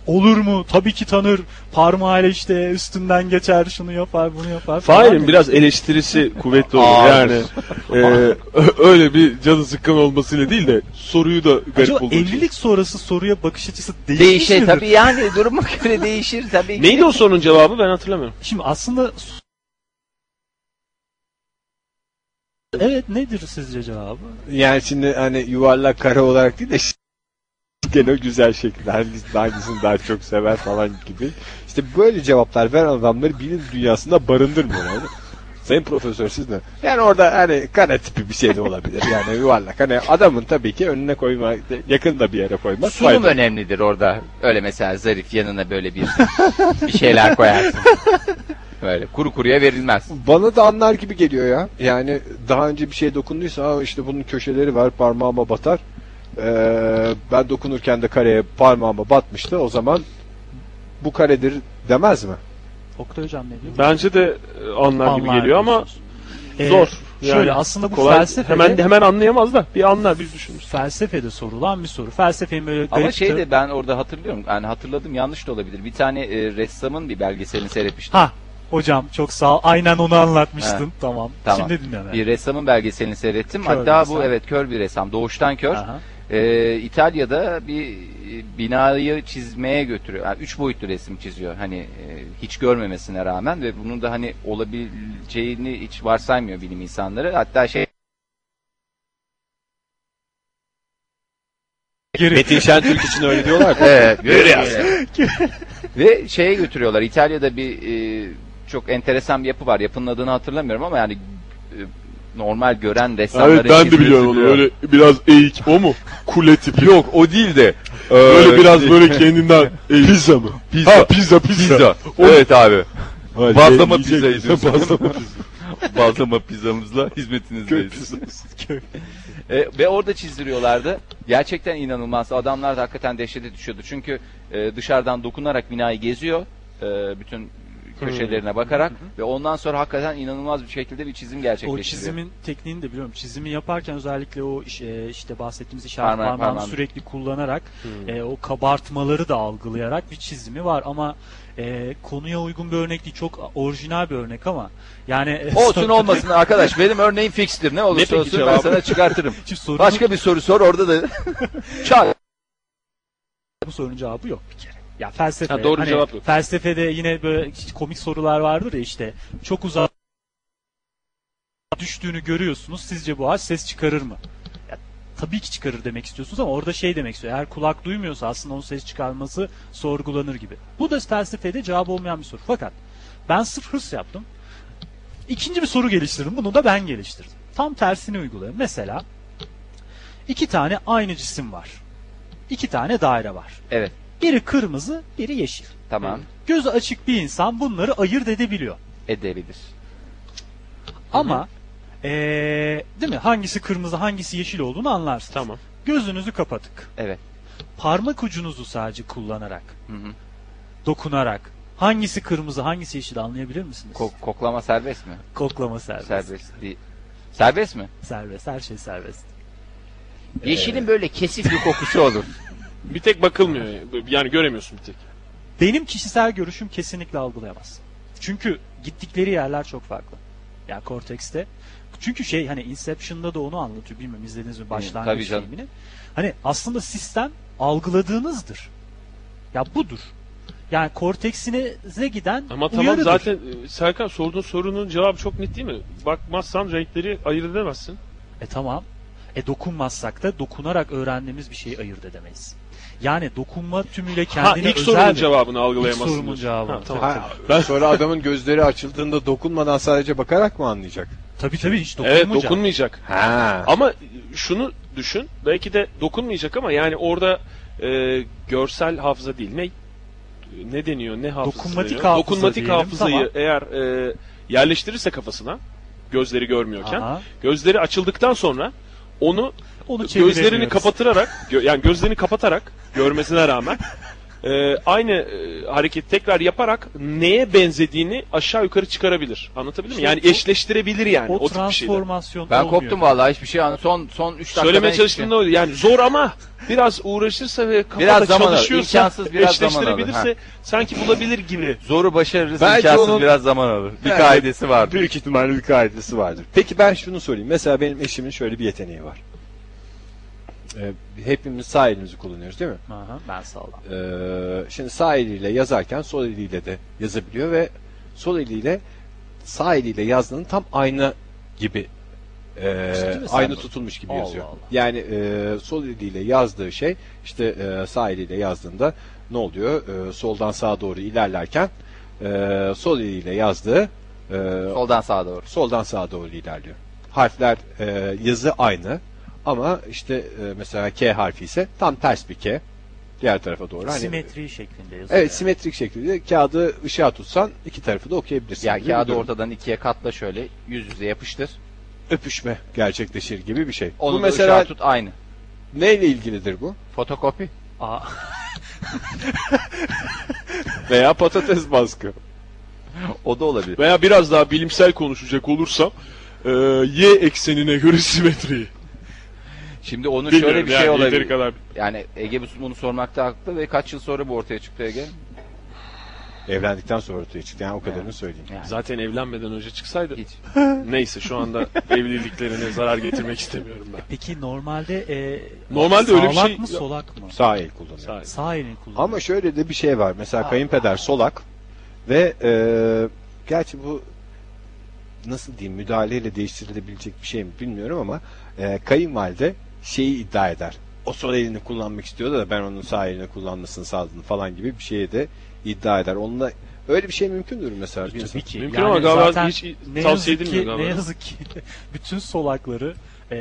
Speaker 5: olur mu? Tabii ki tanır. Parmağıyla işte üstünden geçer, şunu yapar, bunu yapar. falan
Speaker 2: Fahir'in
Speaker 5: dedi.
Speaker 2: biraz
Speaker 5: (laughs)
Speaker 2: eleştirisi kuvvetli olur yani. e, ö- öyle bir canı sıkkın olmasıyla değil de soruyu da garip
Speaker 5: Acaba
Speaker 2: bulduğu şey. için.
Speaker 5: evlilik sonrası soruya bakış açısı değişmiş
Speaker 3: Değişir
Speaker 5: midir?
Speaker 3: tabii yani duruma göre değişir tabii ki.
Speaker 2: Neydi o sorunun cevabı ben hatırlamıyorum.
Speaker 5: Şimdi aslında Evet nedir sizce cevabı?
Speaker 1: Yani şimdi hani yuvarlak kare olarak değil de (laughs) ş- gene o güzel şekilde hangisi- hangisini daha çok sever falan gibi. İşte böyle cevaplar veren adamları bilim dünyasında barındırmıyor. Yani. Sayın profesör siz ne? Yani orada hani kare tipi bir şey de olabilir. Yani yuvarlak. Hani adamın tabii ki önüne koyma, yakında bir yere koymak
Speaker 3: Sunum
Speaker 1: faydalı.
Speaker 3: önemlidir orada. Öyle mesela zarif yanına böyle bir bir şeyler (laughs) koyarsın. Böyle kuru kuruya verilmez.
Speaker 1: Bana da anlar gibi geliyor ya. Yani daha önce bir şey dokunduysa "Aa işte bunun köşeleri var parmağıma batar. Ee, ben dokunurken de kareye parmağıma batmıştı. O zaman bu karedir demez mi?
Speaker 5: Oktay hocam ne diyor?
Speaker 2: Bence de e, anlar gibi
Speaker 5: Anlar
Speaker 2: geliyor ama
Speaker 5: diyorsunuz. Ee,
Speaker 2: zor. Yani
Speaker 5: şöyle aslında bu
Speaker 2: kolay-
Speaker 5: felsefede
Speaker 2: hemen hemen anlayamaz da bir anlar bir düşünür.
Speaker 5: felsefede sorulan bir soru. Felsefenin böyle
Speaker 3: Ama
Speaker 5: garip
Speaker 3: şey
Speaker 5: tar-
Speaker 3: de ben orada hatırlıyorum. Yani hatırladım yanlış da olabilir. Bir tane e, ressamın bir belgeselini seyretmiştim.
Speaker 5: Ha hocam çok sağ ol. Aynen onu anlatmıştın. tamam.
Speaker 3: Tamam.
Speaker 5: Şimdi dinleme.
Speaker 3: Bir ressamın belgeselini seyrettim.
Speaker 5: Kör
Speaker 3: Hatta
Speaker 5: bir
Speaker 3: bu
Speaker 5: ressam.
Speaker 3: evet kör bir ressam. Doğuştan kör.
Speaker 5: Aha.
Speaker 3: Ee, İtalya'da bir e, binayı çizmeye götürüyor. Yani üç boyutlu resim çiziyor. Hani e, hiç görmemesine rağmen ve bunun da hani olabileceğini hiç varsaymıyor bilim insanları. Hatta şey
Speaker 1: Metin Şentürk için öyle
Speaker 3: (laughs)
Speaker 1: diyorlar.
Speaker 3: Evet, (laughs) Ve şeye götürüyorlar. İtalya'da bir e, çok enteresan bir yapı var. Yapının adını hatırlamıyorum ama yani e, normal gören ressamların
Speaker 2: Evet ben de
Speaker 3: çizdiği-
Speaker 2: biliyorum onu. Öyle biraz eğik o mu? Kule tipi. Yok
Speaker 4: O değil de.
Speaker 2: Böyle
Speaker 4: e,
Speaker 2: biraz böyle kendinden eğik. Pizza mı?
Speaker 4: Pizza.
Speaker 2: Ha pizza pizza.
Speaker 4: Pizza. Evet abi.
Speaker 1: Hayır,
Speaker 4: Bazlama
Speaker 1: yiyecek-
Speaker 4: pizza izliyoruz.
Speaker 1: (laughs) Bazlama
Speaker 4: Bazlama pizzamızla hizmetinizdeyiz.
Speaker 3: E, ve orada çizdiriyorlardı. Gerçekten inanılmaz. Adamlar da hakikaten dehşete düşüyordu. Çünkü e, dışarıdan dokunarak binayı geziyor. e, bütün köşelerine bakarak ve ondan sonra hakikaten inanılmaz bir şekilde bir çizim
Speaker 5: O
Speaker 3: gerçekleştiriyor.
Speaker 5: çizimin tekniğini de biliyorum. Çizimi yaparken özellikle o iş- e, işte bahsettiğimiz işaret
Speaker 3: Parmak-
Speaker 5: parmağını
Speaker 3: parmağını.
Speaker 5: sürekli kullanarak e, o kabartmaları da algılayarak bir çizimi var ama e, konuya uygun bir örnek değil. Çok orijinal bir örnek ama yani e,
Speaker 3: Olsun olmasın arkadaş. Benim örneğim fixtir. Ne olursa
Speaker 2: peki
Speaker 3: olsun ben
Speaker 2: cevabı?
Speaker 3: sana çıkartırım.
Speaker 5: Şimdi sorunun-
Speaker 3: Başka bir soru sor orada (laughs) da çal.
Speaker 5: bu sorunun cevabı yok bir kere. Ya felsefe.
Speaker 2: Ha, doğru
Speaker 5: hani
Speaker 2: cevap yok.
Speaker 5: Felsefede yine böyle komik sorular vardır ya işte çok uzak düştüğünü görüyorsunuz. Sizce bu ağaç ses çıkarır mı? Ya, tabii ki çıkarır demek istiyorsunuz ama orada şey demek istiyor. Eğer kulak duymuyorsa aslında onun ses çıkarması sorgulanır gibi. Bu da felsefede cevap olmayan bir soru. Fakat ben sırf hırs yaptım. İkinci bir soru geliştirdim. Bunu da ben geliştirdim. Tam tersini uygulayalım. Mesela iki tane aynı cisim var. İki tane daire var.
Speaker 3: Evet.
Speaker 5: Biri kırmızı, biri yeşil.
Speaker 3: Tamam.
Speaker 5: Gözü açık bir insan bunları ayırt edebiliyor.
Speaker 3: Edebilir.
Speaker 5: Ama eee, değil mi? Hangisi kırmızı, hangisi yeşil olduğunu anlarsınız.
Speaker 2: Tamam.
Speaker 5: Gözünüzü kapatık.
Speaker 3: Evet.
Speaker 5: Parmak ucunuzu sadece kullanarak,
Speaker 3: Hı hı.
Speaker 5: dokunarak hangisi kırmızı, hangisi yeşil anlayabilir misiniz?
Speaker 3: Ko- koklama serbest mi?
Speaker 5: Koklama serbest. serbest.
Speaker 3: Serbest değil. Serbest mi?
Speaker 5: her şey serbest.
Speaker 3: Yeşilin böyle kesif bir kokusu olur.
Speaker 2: Bir tek bakılmıyor. Yani göremiyorsun bir tek.
Speaker 5: Benim kişisel görüşüm kesinlikle algılayamaz. Çünkü gittikleri yerler çok farklı. Ya yani Cortex'te. Çünkü şey hani Inception'da da onu anlatıyor. Bilmiyorum izlediniz mi
Speaker 3: tabii
Speaker 5: başlangıç
Speaker 3: canım.
Speaker 5: filmini. Hani aslında sistem algıladığınızdır. Ya budur. Yani korteksinize giden
Speaker 2: Ama tamam
Speaker 5: uyarıdır.
Speaker 2: zaten e, Serkan sorduğun sorunun cevabı çok net değil mi? Bakmazsan renkleri ayırt edemezsin.
Speaker 5: E tamam. E dokunmazsak da dokunarak öğrendiğimiz bir şeyi ayırt edemeyiz. Yani dokunma tümüyle
Speaker 2: Ha
Speaker 5: kendine
Speaker 2: ilk
Speaker 5: özel
Speaker 2: sorunun
Speaker 5: bir-
Speaker 2: cevabını
Speaker 5: İlk
Speaker 2: algılayamazsın.
Speaker 5: sorumun cevabı.
Speaker 2: Ha, tamam.
Speaker 1: Ha, sonra adamın gözleri açıldığında dokunmadan sadece bakarak mı anlayacak?
Speaker 5: Tabii tabii hiç
Speaker 2: Evet
Speaker 5: dokunmayacak.
Speaker 2: dokunmayacak.
Speaker 1: Ha.
Speaker 2: Ama şunu düşün. Belki de dokunmayacak ama yani orada e, görsel hafıza değil. Ne ne deniyor? Ne hafızası
Speaker 5: Dokunmatik
Speaker 2: deniyor?
Speaker 5: hafıza
Speaker 2: Dokunmatik
Speaker 5: diyelim,
Speaker 2: hafızayı
Speaker 5: tamam.
Speaker 2: eğer e, yerleştirirse kafasına gözleri görmüyorken
Speaker 5: Aha.
Speaker 2: gözleri açıldıktan sonra onu
Speaker 5: Onu
Speaker 2: gözlerini
Speaker 5: çeviremiyoruz.
Speaker 2: kapatırarak gö- yani gözlerini kapatarak görmesine rağmen e, aynı e, hareketi tekrar yaparak neye benzediğini aşağı yukarı çıkarabilir. Anlatabildim mi?
Speaker 5: İşte
Speaker 2: Yani
Speaker 5: o-
Speaker 2: eşleştirebilir yani o,
Speaker 5: o
Speaker 2: tip bir şeyden.
Speaker 5: transformasyon
Speaker 3: Ben
Speaker 5: olmuyor.
Speaker 3: koptum vallahi hiçbir şey anlamadım. Son son 3 dakika. ben
Speaker 2: Söylemeye
Speaker 3: hiçbir şey-
Speaker 2: çalıştığım da oydu. Yani zor ama biraz uğraşırsa ve kafada
Speaker 3: Biraz zaman alır.
Speaker 2: çalışıyorsa,
Speaker 3: İmkansız biraz zaman alır.
Speaker 2: eşleştirebilirse sanki bulabilir gibi.
Speaker 4: Zoru başarırız
Speaker 1: Belki
Speaker 4: imkansız
Speaker 1: onun-
Speaker 4: biraz zaman alır. Bir
Speaker 1: Yani-
Speaker 4: kaidesi vardır.
Speaker 1: Büyük ihtimalle bir kaidesi vardır. Peki ben şunu sorayım. Mesela benim eşimin şöyle bir yeteneği var. Ee, hepimiz sağ elimizi kullanıyoruz değil mi?
Speaker 5: Aha, ben sağlam.
Speaker 1: Ee, şimdi sağ eliyle yazarken sol eliyle de yazabiliyor ve sol eliyle sağ eliyle yazdığının tam aynı gibi e,
Speaker 3: Ciddi misin
Speaker 1: aynı
Speaker 3: sen?
Speaker 1: tutulmuş gibi
Speaker 5: Allah
Speaker 1: yazıyor.
Speaker 5: Allah.
Speaker 1: Yani e, sol eliyle yazdığı şey işte e, sağ eliyle yazdığında ne oluyor? E, soldan sağa doğru ilerlerken e, sol eliyle yazdığı e,
Speaker 3: Soldan sağa doğru.
Speaker 1: soldan sağa doğru ilerliyor. Harfler e, yazı aynı ama işte e, mesela K harfi ise tam ters bir K diğer tarafa doğru. Hani-
Speaker 5: Simetri şeklinde yazıyor.
Speaker 1: Evet simetrik şekilde kağıdı ışığa tutsan iki tarafı da okuyabilirsin.
Speaker 3: Ya
Speaker 1: gibi bir
Speaker 3: kağıdı
Speaker 1: durum.
Speaker 3: ortadan ikiye katla şöyle yüz yüze yapıştır.
Speaker 1: öpüşme gerçekleşir gibi bir şey.
Speaker 3: Onu
Speaker 1: bu
Speaker 3: mesela
Speaker 1: mesela
Speaker 3: tut aynı.
Speaker 1: neyle ilgilidir bu?
Speaker 3: Fotokopi.
Speaker 5: Aa,
Speaker 1: Veya patates baskı. (laughs)
Speaker 4: O da olabilir.
Speaker 2: Veya biraz daha bilimsel konuşacak olursam e, y eksenine göre simetriyi.
Speaker 3: Şimdi onu
Speaker 2: Bilmiyorum
Speaker 3: şöyle bir
Speaker 2: yani,
Speaker 3: şey
Speaker 2: yeteri
Speaker 3: olabilir.
Speaker 2: kadar.
Speaker 3: Yani Ege bu- bunu sormakta haklı ve kaç yıl sonra bu ortaya çıktı Ege?
Speaker 1: Evlendikten sonra ortaya çıktı. Yani o kadarını söyleyeyim.
Speaker 3: Yani
Speaker 2: Zaten evlenmeden önce çıksaydı.
Speaker 3: hiç.
Speaker 2: Neyse şu
Speaker 3: (laughs)
Speaker 2: anda evliliklerine zarar getirmek istemiyorum ben.
Speaker 5: peki normalde e,
Speaker 2: Normalde öyle bir
Speaker 5: sağlak
Speaker 2: şey-
Speaker 5: mı solak mı?
Speaker 1: Sağ el kullanıyor.
Speaker 2: Sağ el.
Speaker 5: Sağ elini kullanıyor.
Speaker 1: Ama şöyle de bir şey var. Mesela kayınpeder solak ve eee gerçi bu nasıl diyeyim müdahaleyle değiştirilebilecek bir şey mi bilmiyorum ama eee kayınvalide şeyi iddia eder. O sol elini kullanmak istiyordu da ben onun sağ elini kullanmasını sağladım falan gibi bir şeye de iddia eder. Onunla öyle bir şey mümkündür mesela. bir insan.
Speaker 5: Tabii ki.
Speaker 2: Mümkün ama galiba hiç tavsiye
Speaker 5: ne yazık ki-
Speaker 2: edilmiyor galiba.
Speaker 5: Ne yazık ki (laughs) bütün solakları e,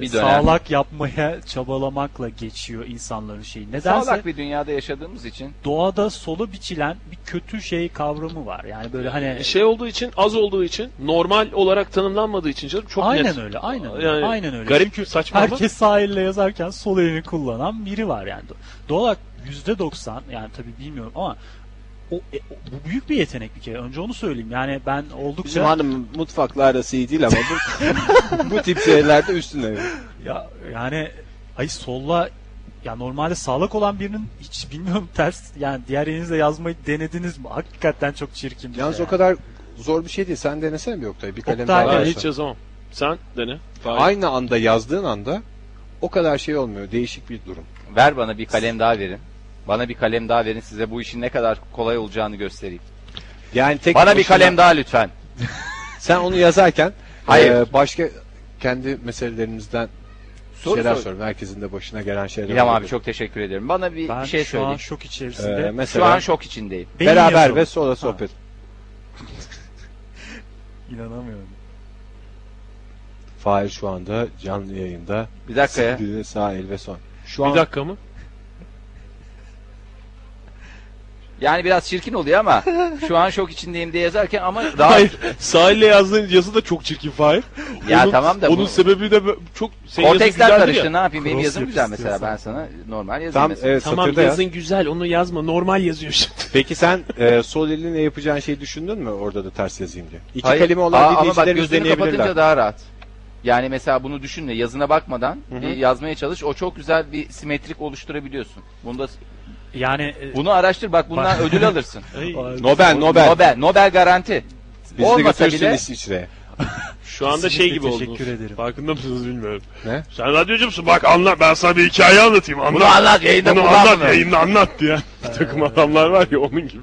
Speaker 3: Bir dönem.
Speaker 5: sağlak yapmaya çabalamakla geçiyor insanların şeyi. Nedense
Speaker 3: Sağlak bir dünyada yaşadığımız için
Speaker 5: doğada solu biçilen bir kötü şey kavramı var. Yani böyle hani
Speaker 2: Şey olduğu için az olduğu için normal olarak tanımlanmadığı için canım çok
Speaker 5: aynen
Speaker 2: net.
Speaker 5: öyle, aynen öyle.
Speaker 2: Yani
Speaker 5: aynen öyle.
Speaker 2: Garip
Speaker 5: Çünkü
Speaker 2: saçma ama.
Speaker 5: herkes sağ elle yazarken sol elini kullanan biri var yani. Do- Doğal olarak %90 yani tabii bilmiyorum ama o, e, o- bu büyük bir yetenek bir kere. Önce onu söyleyeyim. Yani ben oldukça
Speaker 1: Bizim hanım mutfakla arası iyi değil ama (laughs) bu, bu tip şeylerde üstüne.
Speaker 5: Ya yani ay solla ya normalde sağlak olan birinin hiç bilmiyorum (laughs) ters yani diğer elinizle yazmayı denediniz mi? Hakikaten çok çirkin bir
Speaker 1: Yalnız
Speaker 5: şey.
Speaker 1: o kadar zor bir şey değil. Sen denesene bir Oktay. Bir kalem
Speaker 5: Oktay,
Speaker 1: daha
Speaker 2: Ben
Speaker 5: Arkadaşlar.
Speaker 2: hiç yazamam. Sen dene.
Speaker 1: aynı anda yazdığın anda o kadar şey olmuyor. Değişik bir durum.
Speaker 3: ver bana bir kalem daha verin. Bana bir kalem daha verin size bu işin ne kadar kolay olacağını göstereyim.
Speaker 1: Yani tek
Speaker 3: Bana bir
Speaker 1: başına-
Speaker 3: kalem daha lütfen.
Speaker 1: Sen onu yazarken
Speaker 3: Hayır.
Speaker 1: e, başka kendi meselelerimizden
Speaker 3: Soru
Speaker 1: şeyler
Speaker 3: sor.
Speaker 1: sorun. Herkesin de başına gelen şeyler.
Speaker 3: İlham abi
Speaker 1: olabilir.
Speaker 3: çok teşekkür ederim. Bana bir
Speaker 5: Ben
Speaker 3: şey
Speaker 5: şu
Speaker 3: söyleyin.
Speaker 5: an şok
Speaker 1: E,
Speaker 5: içerisinde.
Speaker 1: mesela
Speaker 3: Şu an şok içindeyim.
Speaker 5: Beyin
Speaker 1: beraber
Speaker 5: yazıyorum.
Speaker 1: ve sonra sohbet.
Speaker 5: İnanamıyorum.
Speaker 1: Fahir şu anda canlı yayında.
Speaker 3: Bir
Speaker 1: (laughs)
Speaker 3: dakika ya.
Speaker 1: Bir de sağ el ve son. Şu
Speaker 2: Bir
Speaker 1: an
Speaker 2: dakika mı?
Speaker 3: Yani biraz çirkin oluyor ama şu an şok içindeyim diye yazarken ama daha
Speaker 2: Hayır. Sahille yazdığın yazı da çok çirkin Fahir.
Speaker 3: Ya
Speaker 2: Onun-
Speaker 3: tamam da
Speaker 2: Onun
Speaker 3: bu-
Speaker 2: sebebi de bö- çok... senin yazın
Speaker 3: kontekstler
Speaker 2: güzeldir ya.
Speaker 3: karıştı. Ne yapayım? Benim
Speaker 5: Cross
Speaker 3: yazım
Speaker 5: yap
Speaker 3: güzel mesela. Ben
Speaker 5: istiyorsan.
Speaker 3: sana normal yazayım
Speaker 1: tam
Speaker 3: mesela.
Speaker 1: evet,
Speaker 2: Tamam
Speaker 1: satırda
Speaker 2: yazın
Speaker 1: yaz.
Speaker 2: güzel onu yazma normal yazıyor şimdi.
Speaker 1: Peki sen e, sol elinle yapacağın şeyi düşündün mü orada da ters yazayım diye? İki
Speaker 3: Hayır.
Speaker 1: kelime olan
Speaker 3: Aa, ama bak
Speaker 1: dinleyicilerimiz
Speaker 3: gözünü kapatınca
Speaker 1: deneyebilirler.
Speaker 3: daha rahat. Yani mesela bunu düşünme yazına bakmadan e, yazmaya çalış. O çok güzel bir simetrik oluşturabiliyorsun. Bunu da
Speaker 5: Yani e,
Speaker 3: bunu araştır bak bundan ödül alırsın.
Speaker 5: ay,
Speaker 1: Nobel Nobel.
Speaker 3: Nobel, Nobel garanti.
Speaker 1: Bizi de
Speaker 3: Olmasa
Speaker 1: götürsün
Speaker 3: bile
Speaker 1: İsviçre'ye.
Speaker 2: Şu anda
Speaker 5: Kesinlikle
Speaker 2: şey gibi
Speaker 5: teşekkür
Speaker 2: oldunuz.
Speaker 5: ederim.
Speaker 2: Farkında mısınız bilmiyorum.
Speaker 1: Ne?
Speaker 2: Sen radyocumsun bak anlat ben sana bir hikaye anlatayım. Anlat.
Speaker 3: bunu anlat yayında
Speaker 2: Bunu
Speaker 3: kullanma.
Speaker 2: anlat yayında anlat diye. Bir takım adamlar var ya onun gibi.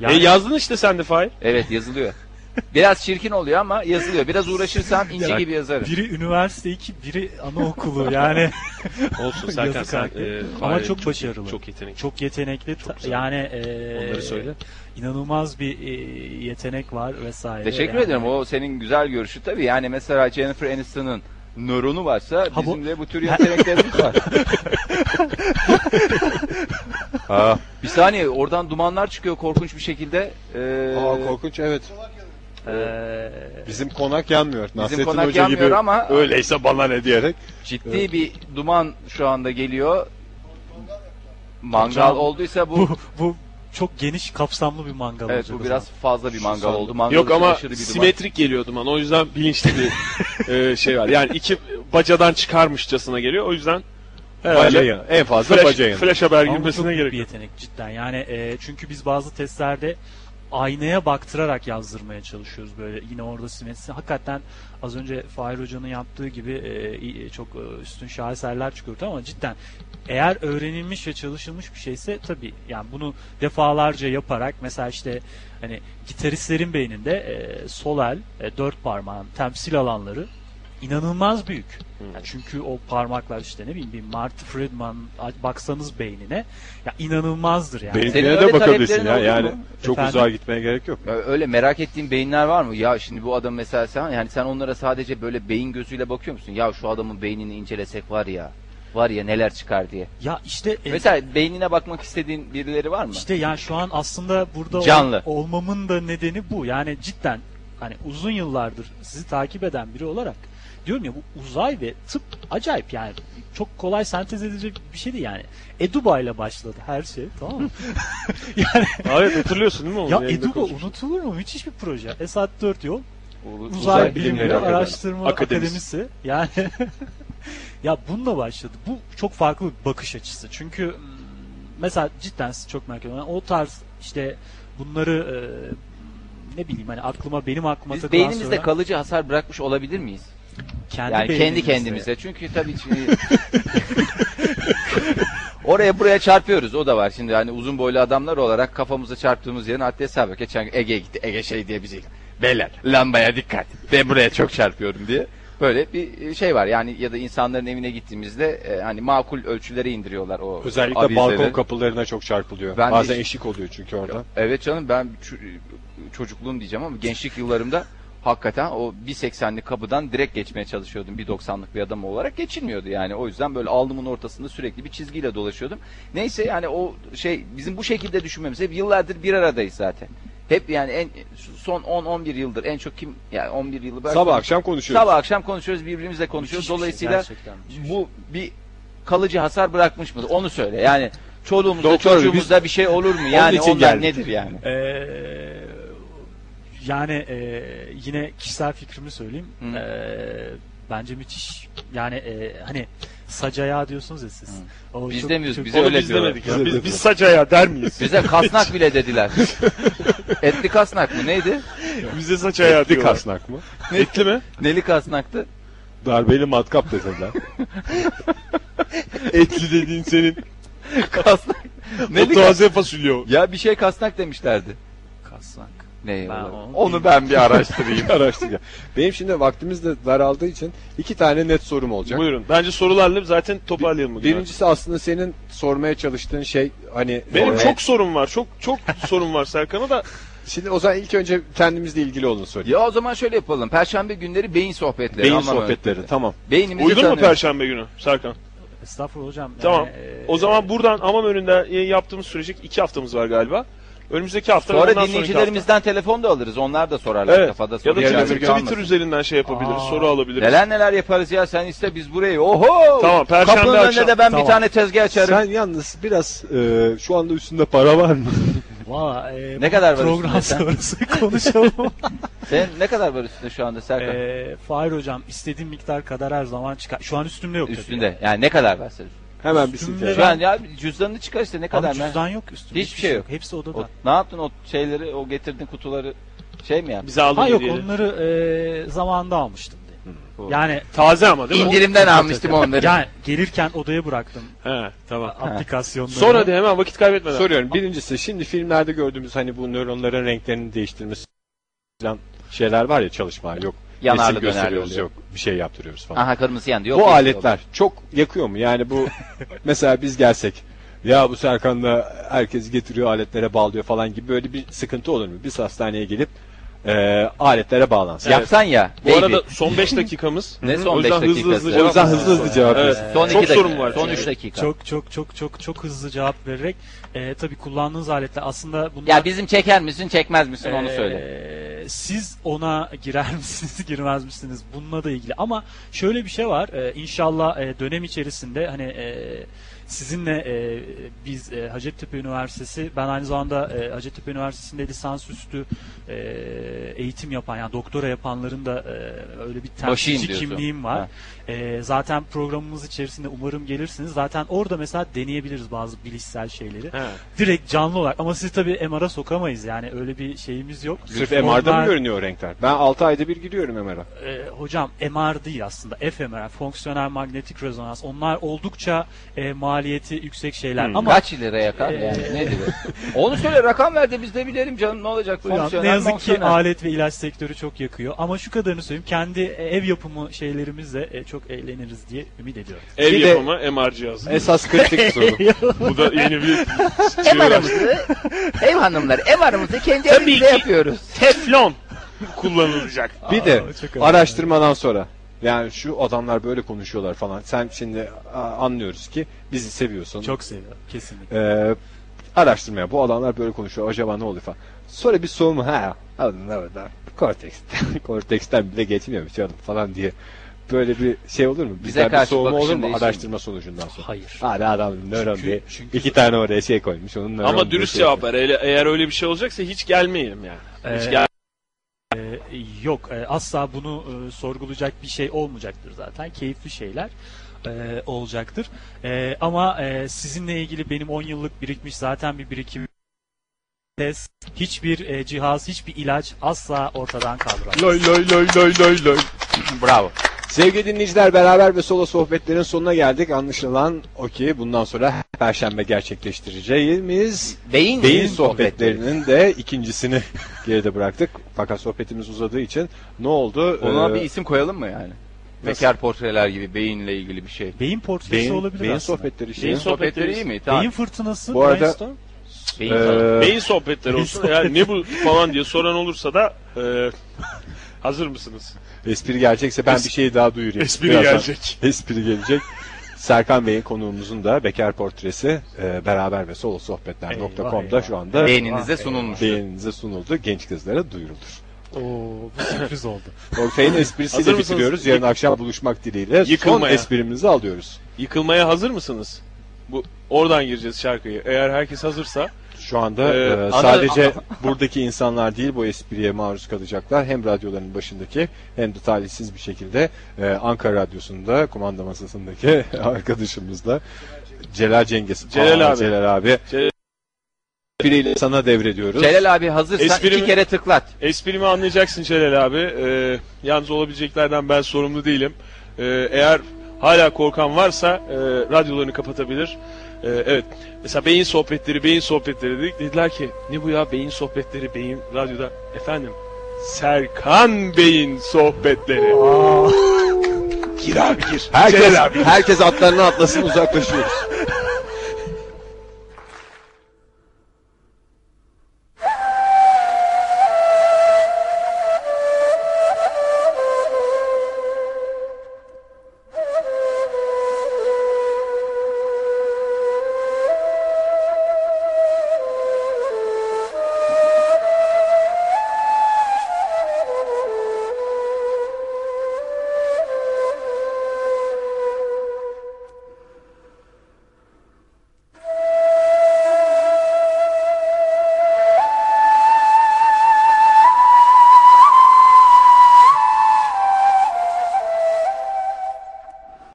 Speaker 5: Yani-
Speaker 2: E yazdın işte sen de Fahir.
Speaker 3: Evet yazılıyor. Biraz çirkin oluyor ama yazılıyor. Biraz uğraşırsam ince gibi yazarım.
Speaker 5: biri üniversite iki, biri anaokulu yani.
Speaker 2: Olsun (laughs)
Speaker 5: Serkan,
Speaker 2: Serkan
Speaker 5: sen,
Speaker 2: sen.
Speaker 5: e, Fahir çok- çok
Speaker 2: Çok Ee, yetenekli.
Speaker 5: Çok yetenekli. ta-
Speaker 2: güzel.
Speaker 5: yani e,
Speaker 2: Onları söyle.
Speaker 5: inanılmaz bir e, yetenek var vesaire.
Speaker 3: Teşekkür
Speaker 5: Yani-
Speaker 3: ederim. O senin güzel görüşü tabii. Yani mesela Jennifer Aniston'ın nöronu varsa
Speaker 5: Ha bu-
Speaker 3: bizim de bu tür yeteneklerimiz var.
Speaker 4: Ha.
Speaker 3: Bir saniye oradan dumanlar çıkıyor korkunç bir şekilde. Ee,
Speaker 1: Aa korkunç evet.
Speaker 5: Ee,
Speaker 1: Bizim konak yanmıyor. Nasrettin
Speaker 3: konak
Speaker 1: Hoca gibi
Speaker 3: yanmıyor ama-
Speaker 1: öyleyse bana ne diyerek.
Speaker 3: ciddi bir duman şu anda geliyor. Mangal
Speaker 5: Hocam,
Speaker 3: olduysa bu,
Speaker 5: bu bu çok geniş kapsamlı bir mangal
Speaker 3: evet
Speaker 5: olacak o
Speaker 3: bu biraz fazla bir mangal oldu. Mangal
Speaker 2: Yok
Speaker 3: için
Speaker 2: ama
Speaker 3: aşırı bir duman.
Speaker 2: simetrik geliyor duman. O yüzden bilinçli bir
Speaker 3: (laughs)
Speaker 2: e, şey var. Yani iki bacadan çıkarmışçasına geliyor. O yüzden herhalde
Speaker 1: Bacayın. En fazla
Speaker 2: flash,
Speaker 1: bacayın.
Speaker 2: flash haber
Speaker 5: Ama bu çok
Speaker 2: girmesine
Speaker 5: büyük
Speaker 2: gerek
Speaker 5: bir
Speaker 2: yok.
Speaker 5: yetenek cidden. Yani e, çünkü biz bazı testlerde aynaya baktırarak yazdırmaya çalışıyoruz böyle. Yine orada simetri. Hakikaten az önce Fahir Hoca'nın yaptığı gibi e, i- çok e, üstün şaheserler çıkıyordu ama cidden eğer öğrenilmiş ve çalışılmış bir şeyse tabii yani bunu defalarca yaparak mesela işte hani gitaristlerin beyninde e, sol el e, dört parmağın temsil alanları inanılmaz büyük. Yani çünkü o parmaklar işte ne bileyim bir Marty Friedman a- baksanız beynine ya inanılmazdır yani.
Speaker 3: Senin
Speaker 1: Benimkine
Speaker 3: öyle
Speaker 1: de
Speaker 3: taleplerin
Speaker 1: bakabilirsin ya.
Speaker 3: oldu mu?
Speaker 1: Yani çok
Speaker 5: Efendim?
Speaker 1: uzağa gitmeye gerek yok.
Speaker 3: Ya Öyle merak ettiğin beyinler var mı? Ya şimdi bu adam mesela sen yani sen onlara sadece böyle beyin gözüyle bakıyor musun? Ya şu adamın beynini incelesek var ya. Var ya neler çıkar diye.
Speaker 5: Ya işte e,
Speaker 3: Mesela beynine bakmak istediğin birileri var mı?
Speaker 5: işte yani şu an aslında burada ol-
Speaker 3: Canlı.
Speaker 5: olmamın da nedeni bu. Yani cidden hani uzun yıllardır sizi takip eden biri olarak diyorum ya bu uzay ve tıp acayip yani çok kolay sentez edilecek bir şey değil yani. Eduba ile başladı her şey tamam mı? yani
Speaker 2: Evet hatırlıyorsun değil mi onu?
Speaker 5: ya
Speaker 2: Yayında
Speaker 5: Eduba
Speaker 2: konuştuk.
Speaker 5: unutulur mu? Müthiş bir proje. Esat Dört Yol
Speaker 3: Uzay,
Speaker 5: Uzay, Bilimleri
Speaker 1: Bilimleri
Speaker 5: Araştırma
Speaker 2: Akademisi.
Speaker 5: Akademisi. Yani (laughs) ya bununla başladı. Bu çok farklı bir bakış açısı. Çünkü mm, mesela cidden siz çok merak ediyorum. Yani o tarz işte bunları e, ne bileyim hani aklıma benim aklıma
Speaker 3: Biz
Speaker 5: takılan
Speaker 3: beynimizde
Speaker 5: söylen-
Speaker 3: kalıcı hasar bırakmış olabilir miyiz?
Speaker 5: kendi
Speaker 3: Yani kendi
Speaker 5: beynimizde.
Speaker 3: kendimize. Çünkü tabii şimdi (laughs) Oraya buraya çarpıyoruz. O da var. Şimdi hani uzun boylu adamlar olarak kafamıza çarptığımız yerin adli hesabı. yok. Geçen gün Ege'ye gitti. Ege şey diye bizi beyler lambaya dikkat. Ben buraya çok çarpıyorum diye. Böyle bir şey var. Yani ya da insanların evine gittiğimizde e, hani makul ölçülere indiriyorlar o
Speaker 1: Özellikle
Speaker 3: avizeleri.
Speaker 1: balkon kapılarına çok çarpılıyor.
Speaker 3: Ben de
Speaker 1: Bazen
Speaker 3: işte-
Speaker 1: eşik oluyor çünkü orada.
Speaker 3: Evet canım ben ço- çocukluğum diyeceğim ama gençlik yıllarımda hakikaten o 1.80'lik kapıdan direkt geçmeye çalışıyordum. 1.90'lık bir adam olarak geçilmiyordu yani. O yüzden böyle alnımın ortasında sürekli bir çizgiyle dolaşıyordum. Neyse yani o şey bizim bu şekilde düşünmemiz hep yıllardır bir aradayız zaten. Hep yani en son 10-11 yıldır en çok kim yani 11 yılı belki-
Speaker 1: Sabah akşam konuşuyoruz.
Speaker 3: Sabah akşam konuşuyoruz birbirimizle konuşuyoruz.
Speaker 5: Müthiş bir şey,
Speaker 3: Dolayısıyla
Speaker 5: gerçekten müthiş.
Speaker 3: bu bir kalıcı hasar bırakmış mıdır? Onu söyle. Yani çoluğumuzda
Speaker 1: Doktor,
Speaker 3: çocuğumuzda bir şey olur mu? Yani
Speaker 1: için
Speaker 3: onlar
Speaker 1: geldik.
Speaker 3: nedir yani?
Speaker 5: Ee, yani e, yine kişisel fikrimi söyleyeyim.
Speaker 3: Hı.
Speaker 5: Ee, bence müthiş. Yani e, hani sacaya diyorsunuz ya siz. O
Speaker 3: Biz
Speaker 5: çok-
Speaker 3: demiyoruz,
Speaker 5: çok-
Speaker 3: bize
Speaker 2: Onu
Speaker 3: öyle
Speaker 2: biz
Speaker 3: diyorlar.
Speaker 2: demedik ya. Biz, biz saç ayağı der (laughs) miyiz?
Speaker 3: Bize kasnak bile dediler. Etli kasnak mı neydi?
Speaker 2: Bize saç ayağı
Speaker 1: Dik
Speaker 2: diyorlar.
Speaker 1: asnak mı?
Speaker 2: Etli mi?
Speaker 3: Neli kasnaktı?
Speaker 1: Darbeli matkap dediler. Etli dediğin senin
Speaker 3: kasnak.
Speaker 1: o
Speaker 3: Neli kas-
Speaker 1: taze fasulye o.
Speaker 3: Ya bir şey kasnak demişlerdi.
Speaker 5: Kasnak.
Speaker 3: Ne?
Speaker 5: Ben
Speaker 3: oğlum?
Speaker 5: onu
Speaker 3: onu ben bir araştırayım.
Speaker 1: Araştır ya. Benim şimdi vaktimiz de daraldığı için iki tane net sorum olacak.
Speaker 2: Buyurun. Bence sorularla zaten toparlayalım bugün.
Speaker 1: Birincisi aslında senin sormaya çalıştığın şey hani
Speaker 2: Benim
Speaker 1: Ee,
Speaker 2: çok sorum var. Çok çok sorum var Serkan'a da.
Speaker 1: şimdi o zaman ilk önce kendimizle ilgili olanı sorayım.
Speaker 3: ya o zaman şöyle yapalım. Perşembe günleri beyin sohbetleri.
Speaker 1: Beyin
Speaker 3: anlamı-
Speaker 1: sohbetleri tamam.
Speaker 3: Beynimizi
Speaker 2: Uygun mu
Speaker 3: tanıyoruz.
Speaker 2: Perşembe günü Serkan?
Speaker 5: Estağfurullah hocam.
Speaker 2: Tamam.
Speaker 5: Yani, e,
Speaker 2: O zaman buradan Amam önünde e, yaptığımız sürece iki haftamız var galiba. Önümüzdeki hafta ve
Speaker 3: Sonra
Speaker 2: ondan sonraki hafta.
Speaker 3: dinleyicilerimizden telefon da alırız. Onlar da sorarlar
Speaker 2: Evet.
Speaker 3: kafada soru
Speaker 2: Ya da Twitter,
Speaker 3: işareti
Speaker 2: Twitter
Speaker 3: kalmasın.
Speaker 2: üzerinden şey yapabiliriz,
Speaker 5: Aa.
Speaker 2: soru alabiliriz.
Speaker 3: Neler neler yaparız ya sen iste biz burayı. Oho!
Speaker 2: Tamam, Perşembe
Speaker 3: Kapının önüne
Speaker 2: akşam.
Speaker 3: de ben
Speaker 5: Tamam.
Speaker 3: bir tane tezgah açarım.
Speaker 1: Sen yalnız biraz e, şu anda üstünde para var mı? (laughs)
Speaker 5: Valla e,
Speaker 4: Ne
Speaker 5: bu
Speaker 4: kadar var
Speaker 5: program
Speaker 4: üstünde sen?
Speaker 5: sonrası (laughs)
Speaker 4: (laughs)
Speaker 5: konuşalım.
Speaker 4: Senin ne kadar var üstünde şu anda Serkan?
Speaker 5: e, Fahir hocam istediğim miktar kadar her zaman çıkar. Şu an üstümde yok. tabii.
Speaker 4: üstünde. Yani ne kadar var senin?
Speaker 8: Hemen bir
Speaker 5: Üstümde
Speaker 8: silke.
Speaker 4: Şu an ya cüzdanını çıkar işte ne
Speaker 5: Abi
Speaker 4: kadar. ben-
Speaker 5: cüzdan yok üstümde.
Speaker 4: Hiçbir şey yok.
Speaker 5: Hepsi odada.
Speaker 4: O- ne yaptın o şeyleri o getirdiğin kutuları şey mi yaptın?
Speaker 2: Bize aldın
Speaker 5: ha yok
Speaker 2: hediyeleri.
Speaker 5: onları e, zamanında almıştım. diye.
Speaker 4: doğru.
Speaker 5: Yani
Speaker 2: Taze ama değil mi?
Speaker 3: İndirimden almıştım onları.
Speaker 5: yani gelirken odaya bıraktım
Speaker 2: He tamam.
Speaker 5: aplikasyonları.
Speaker 2: Sonra hadi hemen vakit kaybetmeden.
Speaker 1: Soruyorum. Birincisi şimdi filmlerde gördüğümüz hani bu nöronların renklerini değiştirmesi falan şeyler var ya çalışma yok.
Speaker 3: Yanarlı
Speaker 1: Resim
Speaker 3: dönerli
Speaker 1: gösteriyoruz
Speaker 3: oluyor.
Speaker 1: yok. Bir şey yaptırıyoruz falan.
Speaker 3: Aha kırmızı yandı. Yok,
Speaker 1: bu
Speaker 3: yeşil
Speaker 1: aletler çok yakıyor mu? Yani
Speaker 3: (laughs)
Speaker 1: bu mesela biz gelsek ya bu Serkan'la herkes getiriyor aletlere bağlıyor falan gibi böyle bir sıkıntı olur mu? Biz hastaneye gelip eee, aletlere bağlansın.
Speaker 3: oldu. Yapsan ya.
Speaker 2: Bu
Speaker 3: baby.
Speaker 2: arada son 5 dakikamız.
Speaker 3: Ne son
Speaker 2: O
Speaker 3: beş
Speaker 2: yüzden hızlı hızlı
Speaker 3: dakikası? O
Speaker 2: cevap.
Speaker 1: O yüzden hızlı hızlı cevap
Speaker 2: Evet.
Speaker 1: verin.
Speaker 3: son
Speaker 2: Çok
Speaker 3: iki
Speaker 2: sorum
Speaker 3: dakika,
Speaker 2: var
Speaker 3: Son
Speaker 2: çünkü.
Speaker 3: 3 dakika.
Speaker 5: çok çok çok çok çok hızlı cevap vererek e, tabii kullandığınız aletler aslında bunlar
Speaker 3: Ya bizim çeker misin çekmez misin onu
Speaker 5: Ee,
Speaker 3: söyle.
Speaker 5: Siz ona girer (laughs) misiniz, girmez misiniz? Bununla da ilgili. Ama şöyle bir şey var. Ee, inşallah e, dönem içerisinde hani e, sizinle e, biz e, Hacettepe Üniversitesi, ben aynı zamanda e, Hacettepe Üniversitesi'nde lisansüstü e, eğitim yapan, yani doktora yapanların da e, öyle bir
Speaker 3: Başıyım
Speaker 5: temsilci
Speaker 3: diyorsun.
Speaker 5: kimliğim var.
Speaker 3: Ha.
Speaker 5: E, zaten programımız içerisinde umarım gelirsiniz. Zaten orada mesela deneyebiliriz bazı bilişsel şeyleri
Speaker 2: He.
Speaker 5: direkt canlı olarak ama sizi tabii MR'a sokamayız yani öyle bir şeyimiz yok.
Speaker 1: Sırf MR'da
Speaker 5: Onlar,
Speaker 1: mı görünüyor o renkler? Ben 6 ayda bir giriyorum MR'a.
Speaker 5: e, hocam MR değil aslında fMR fonksiyonel manyetik rezonans onlar oldukça e, maliyeti yüksek şeyler ama
Speaker 3: Kaç liraya yakar yani nedir? Onu söyle rakam ver de biz de bilelim canım ne olacak
Speaker 5: Hocam,
Speaker 3: fonksiyonel
Speaker 5: ne yazık ki
Speaker 3: fonksiyonel.
Speaker 5: alet ve ilaç sektörü çok yakıyor ama şu kadarını söyleyeyim kendi e, ev yapımı şeylerimizle e, çok eğleniriz diye ümit ediyorum.
Speaker 2: Ev
Speaker 1: Bir de-
Speaker 2: yapımı MR cihazı.
Speaker 1: Esas kritik soru.
Speaker 2: Bu da yeni
Speaker 3: (laughs)
Speaker 2: bir
Speaker 3: MR'ımızı ev hanımları MR'ımızı kendi
Speaker 2: Tabii
Speaker 3: evimizde
Speaker 2: ki.
Speaker 3: yapıyoruz.
Speaker 2: teflon kullanılacak.
Speaker 1: Bir de
Speaker 5: çok önemli.
Speaker 1: araştırmadan sonra yani şu adamlar böyle konuşuyorlar falan. Sen şimdi a, anlıyoruz ki bizi seviyorsun.
Speaker 5: Çok seviyorum kesinlikle.
Speaker 1: Ee, araştırmaya bu adamlar böyle konuşuyor. Acaba ne oluyor falan. Sonra bir soğuma ha. Alın oradan. Korteksten, (laughs) korteksten bile geçmiyormuş canım falan diye. Böyle bir şey olur mu? Bizden bir
Speaker 3: karşı
Speaker 1: soğuma olur
Speaker 3: bakışın
Speaker 1: mu
Speaker 3: değişir
Speaker 1: araştırma sonucundan sonra?
Speaker 5: Hayır.
Speaker 1: Hadi adam nöron
Speaker 5: Çünkü-
Speaker 1: diye.
Speaker 5: çünkü-
Speaker 1: iki tane oraya şey koymuş. Onun nöron
Speaker 2: Ama
Speaker 1: diye
Speaker 2: dürüst
Speaker 1: şey
Speaker 2: cevap
Speaker 1: yapıyor.
Speaker 2: ver. Eğer, eğer öyle bir şey olacaksa hiç gelmeyelim yani. Hiç
Speaker 5: Ee,
Speaker 2: gel-
Speaker 5: Ee, yok e, asla bunu e, sorgulayacak bir şey olmayacaktır zaten keyifli şeyler e, olacaktır E, ama e, sizinle ilgili benim 10 yıllık birikmiş zaten bir birikim test hiçbir e, cihaz hiçbir ilaç asla ortadan kaldıramaz.
Speaker 2: Loy loy loy loy loy loy.
Speaker 3: Bravo.
Speaker 1: Sevgili dinleyiciler beraber ve solo sohbetlerin sonuna geldik. Anlaşılan o ki bundan sonra her perşembe gerçekleştireceğimiz
Speaker 3: Beyin,
Speaker 1: beyin sohbetlerinin de ikincisini (laughs) geride bıraktık. Fakat sohbetimiz uzadığı için ne oldu?
Speaker 3: Ona
Speaker 1: Ee,
Speaker 3: bir isim koyalım mı yani? Bekar portreler gibi beyinle ilgili bir şey.
Speaker 5: Beyin portresi
Speaker 1: beyin,
Speaker 5: olabilir
Speaker 1: beyin
Speaker 5: aslında.
Speaker 1: sohbetleri Ee, işte.
Speaker 2: Beyin
Speaker 3: Beyin
Speaker 2: sohbetleri
Speaker 3: sohbetleri iyi mi?
Speaker 5: Beyin
Speaker 3: Tamam.
Speaker 5: fırtınası
Speaker 1: Bu arada-
Speaker 5: brainstorm.
Speaker 3: Beyin,
Speaker 1: Ee,
Speaker 2: Beyin sohbetleri olsun.
Speaker 5: Beyin
Speaker 2: Ya ne bu falan diye soran olursa da
Speaker 5: (laughs)
Speaker 2: e, hazır mısınız?
Speaker 1: espri gelecekse ben bir şey daha duyurayım.
Speaker 2: Espri
Speaker 1: Birazdan
Speaker 2: gelecek.
Speaker 1: (laughs) Espri gelecek. Serkan Bey'in konuğumuzun da bekar portresi e, beraber ve solo sohbetler.com'da
Speaker 5: eyvah.
Speaker 1: şu anda
Speaker 3: beyninize
Speaker 1: Ee,
Speaker 3: sunulmuş.
Speaker 1: beyninize sunuldu. Genç kızlara duyurulur.
Speaker 5: Oo, bu sürpriz oldu.
Speaker 1: Ortay'ın
Speaker 2: Hazır
Speaker 1: esprisiyle
Speaker 2: mısınız?
Speaker 1: bitiriyoruz. Yarın akşam buluşmak dileğiyle son
Speaker 2: Yıkılmaya.
Speaker 1: esprimizi alıyoruz.
Speaker 2: Yıkılmaya hazır mısınız? Bu oradan gireceğiz şarkıyı. Eğer herkes hazırsa
Speaker 1: Şu anda
Speaker 2: Ee,
Speaker 1: e,
Speaker 2: ana- (laughs)
Speaker 1: sadece buradaki insanlar değil bu espriye maruz kalacaklar. Hem radyoların başındaki hem de talihsiz bir şekilde e, Ankara Radyosu'nda kumanda masasındaki (laughs) arkadaşımız da Celal Cengiz.
Speaker 2: Celal
Speaker 1: Aa,
Speaker 2: abi.
Speaker 1: Celal abi.
Speaker 2: Celal-
Speaker 1: Biriyle sana devrediyoruz.
Speaker 3: Celal abi hazırsan
Speaker 2: Espri mi?
Speaker 3: iki kere tıklat.
Speaker 2: esprimi anlayacaksın Celal abi. E, yalnız olabileceklerden ben sorumlu değilim. E, eğer hala korkan varsa e, radyolarını kapatabilir. E, evet. Mesela beyin sohbetleri, beyin sohbetleri dedik. Dediler ki ne bu ya beyin sohbetleri, beyin radyoda. Efendim Serkan Bey'in sohbetleri.
Speaker 1: Herkes, herkes atlarına atlasın uzaklaşıyoruz.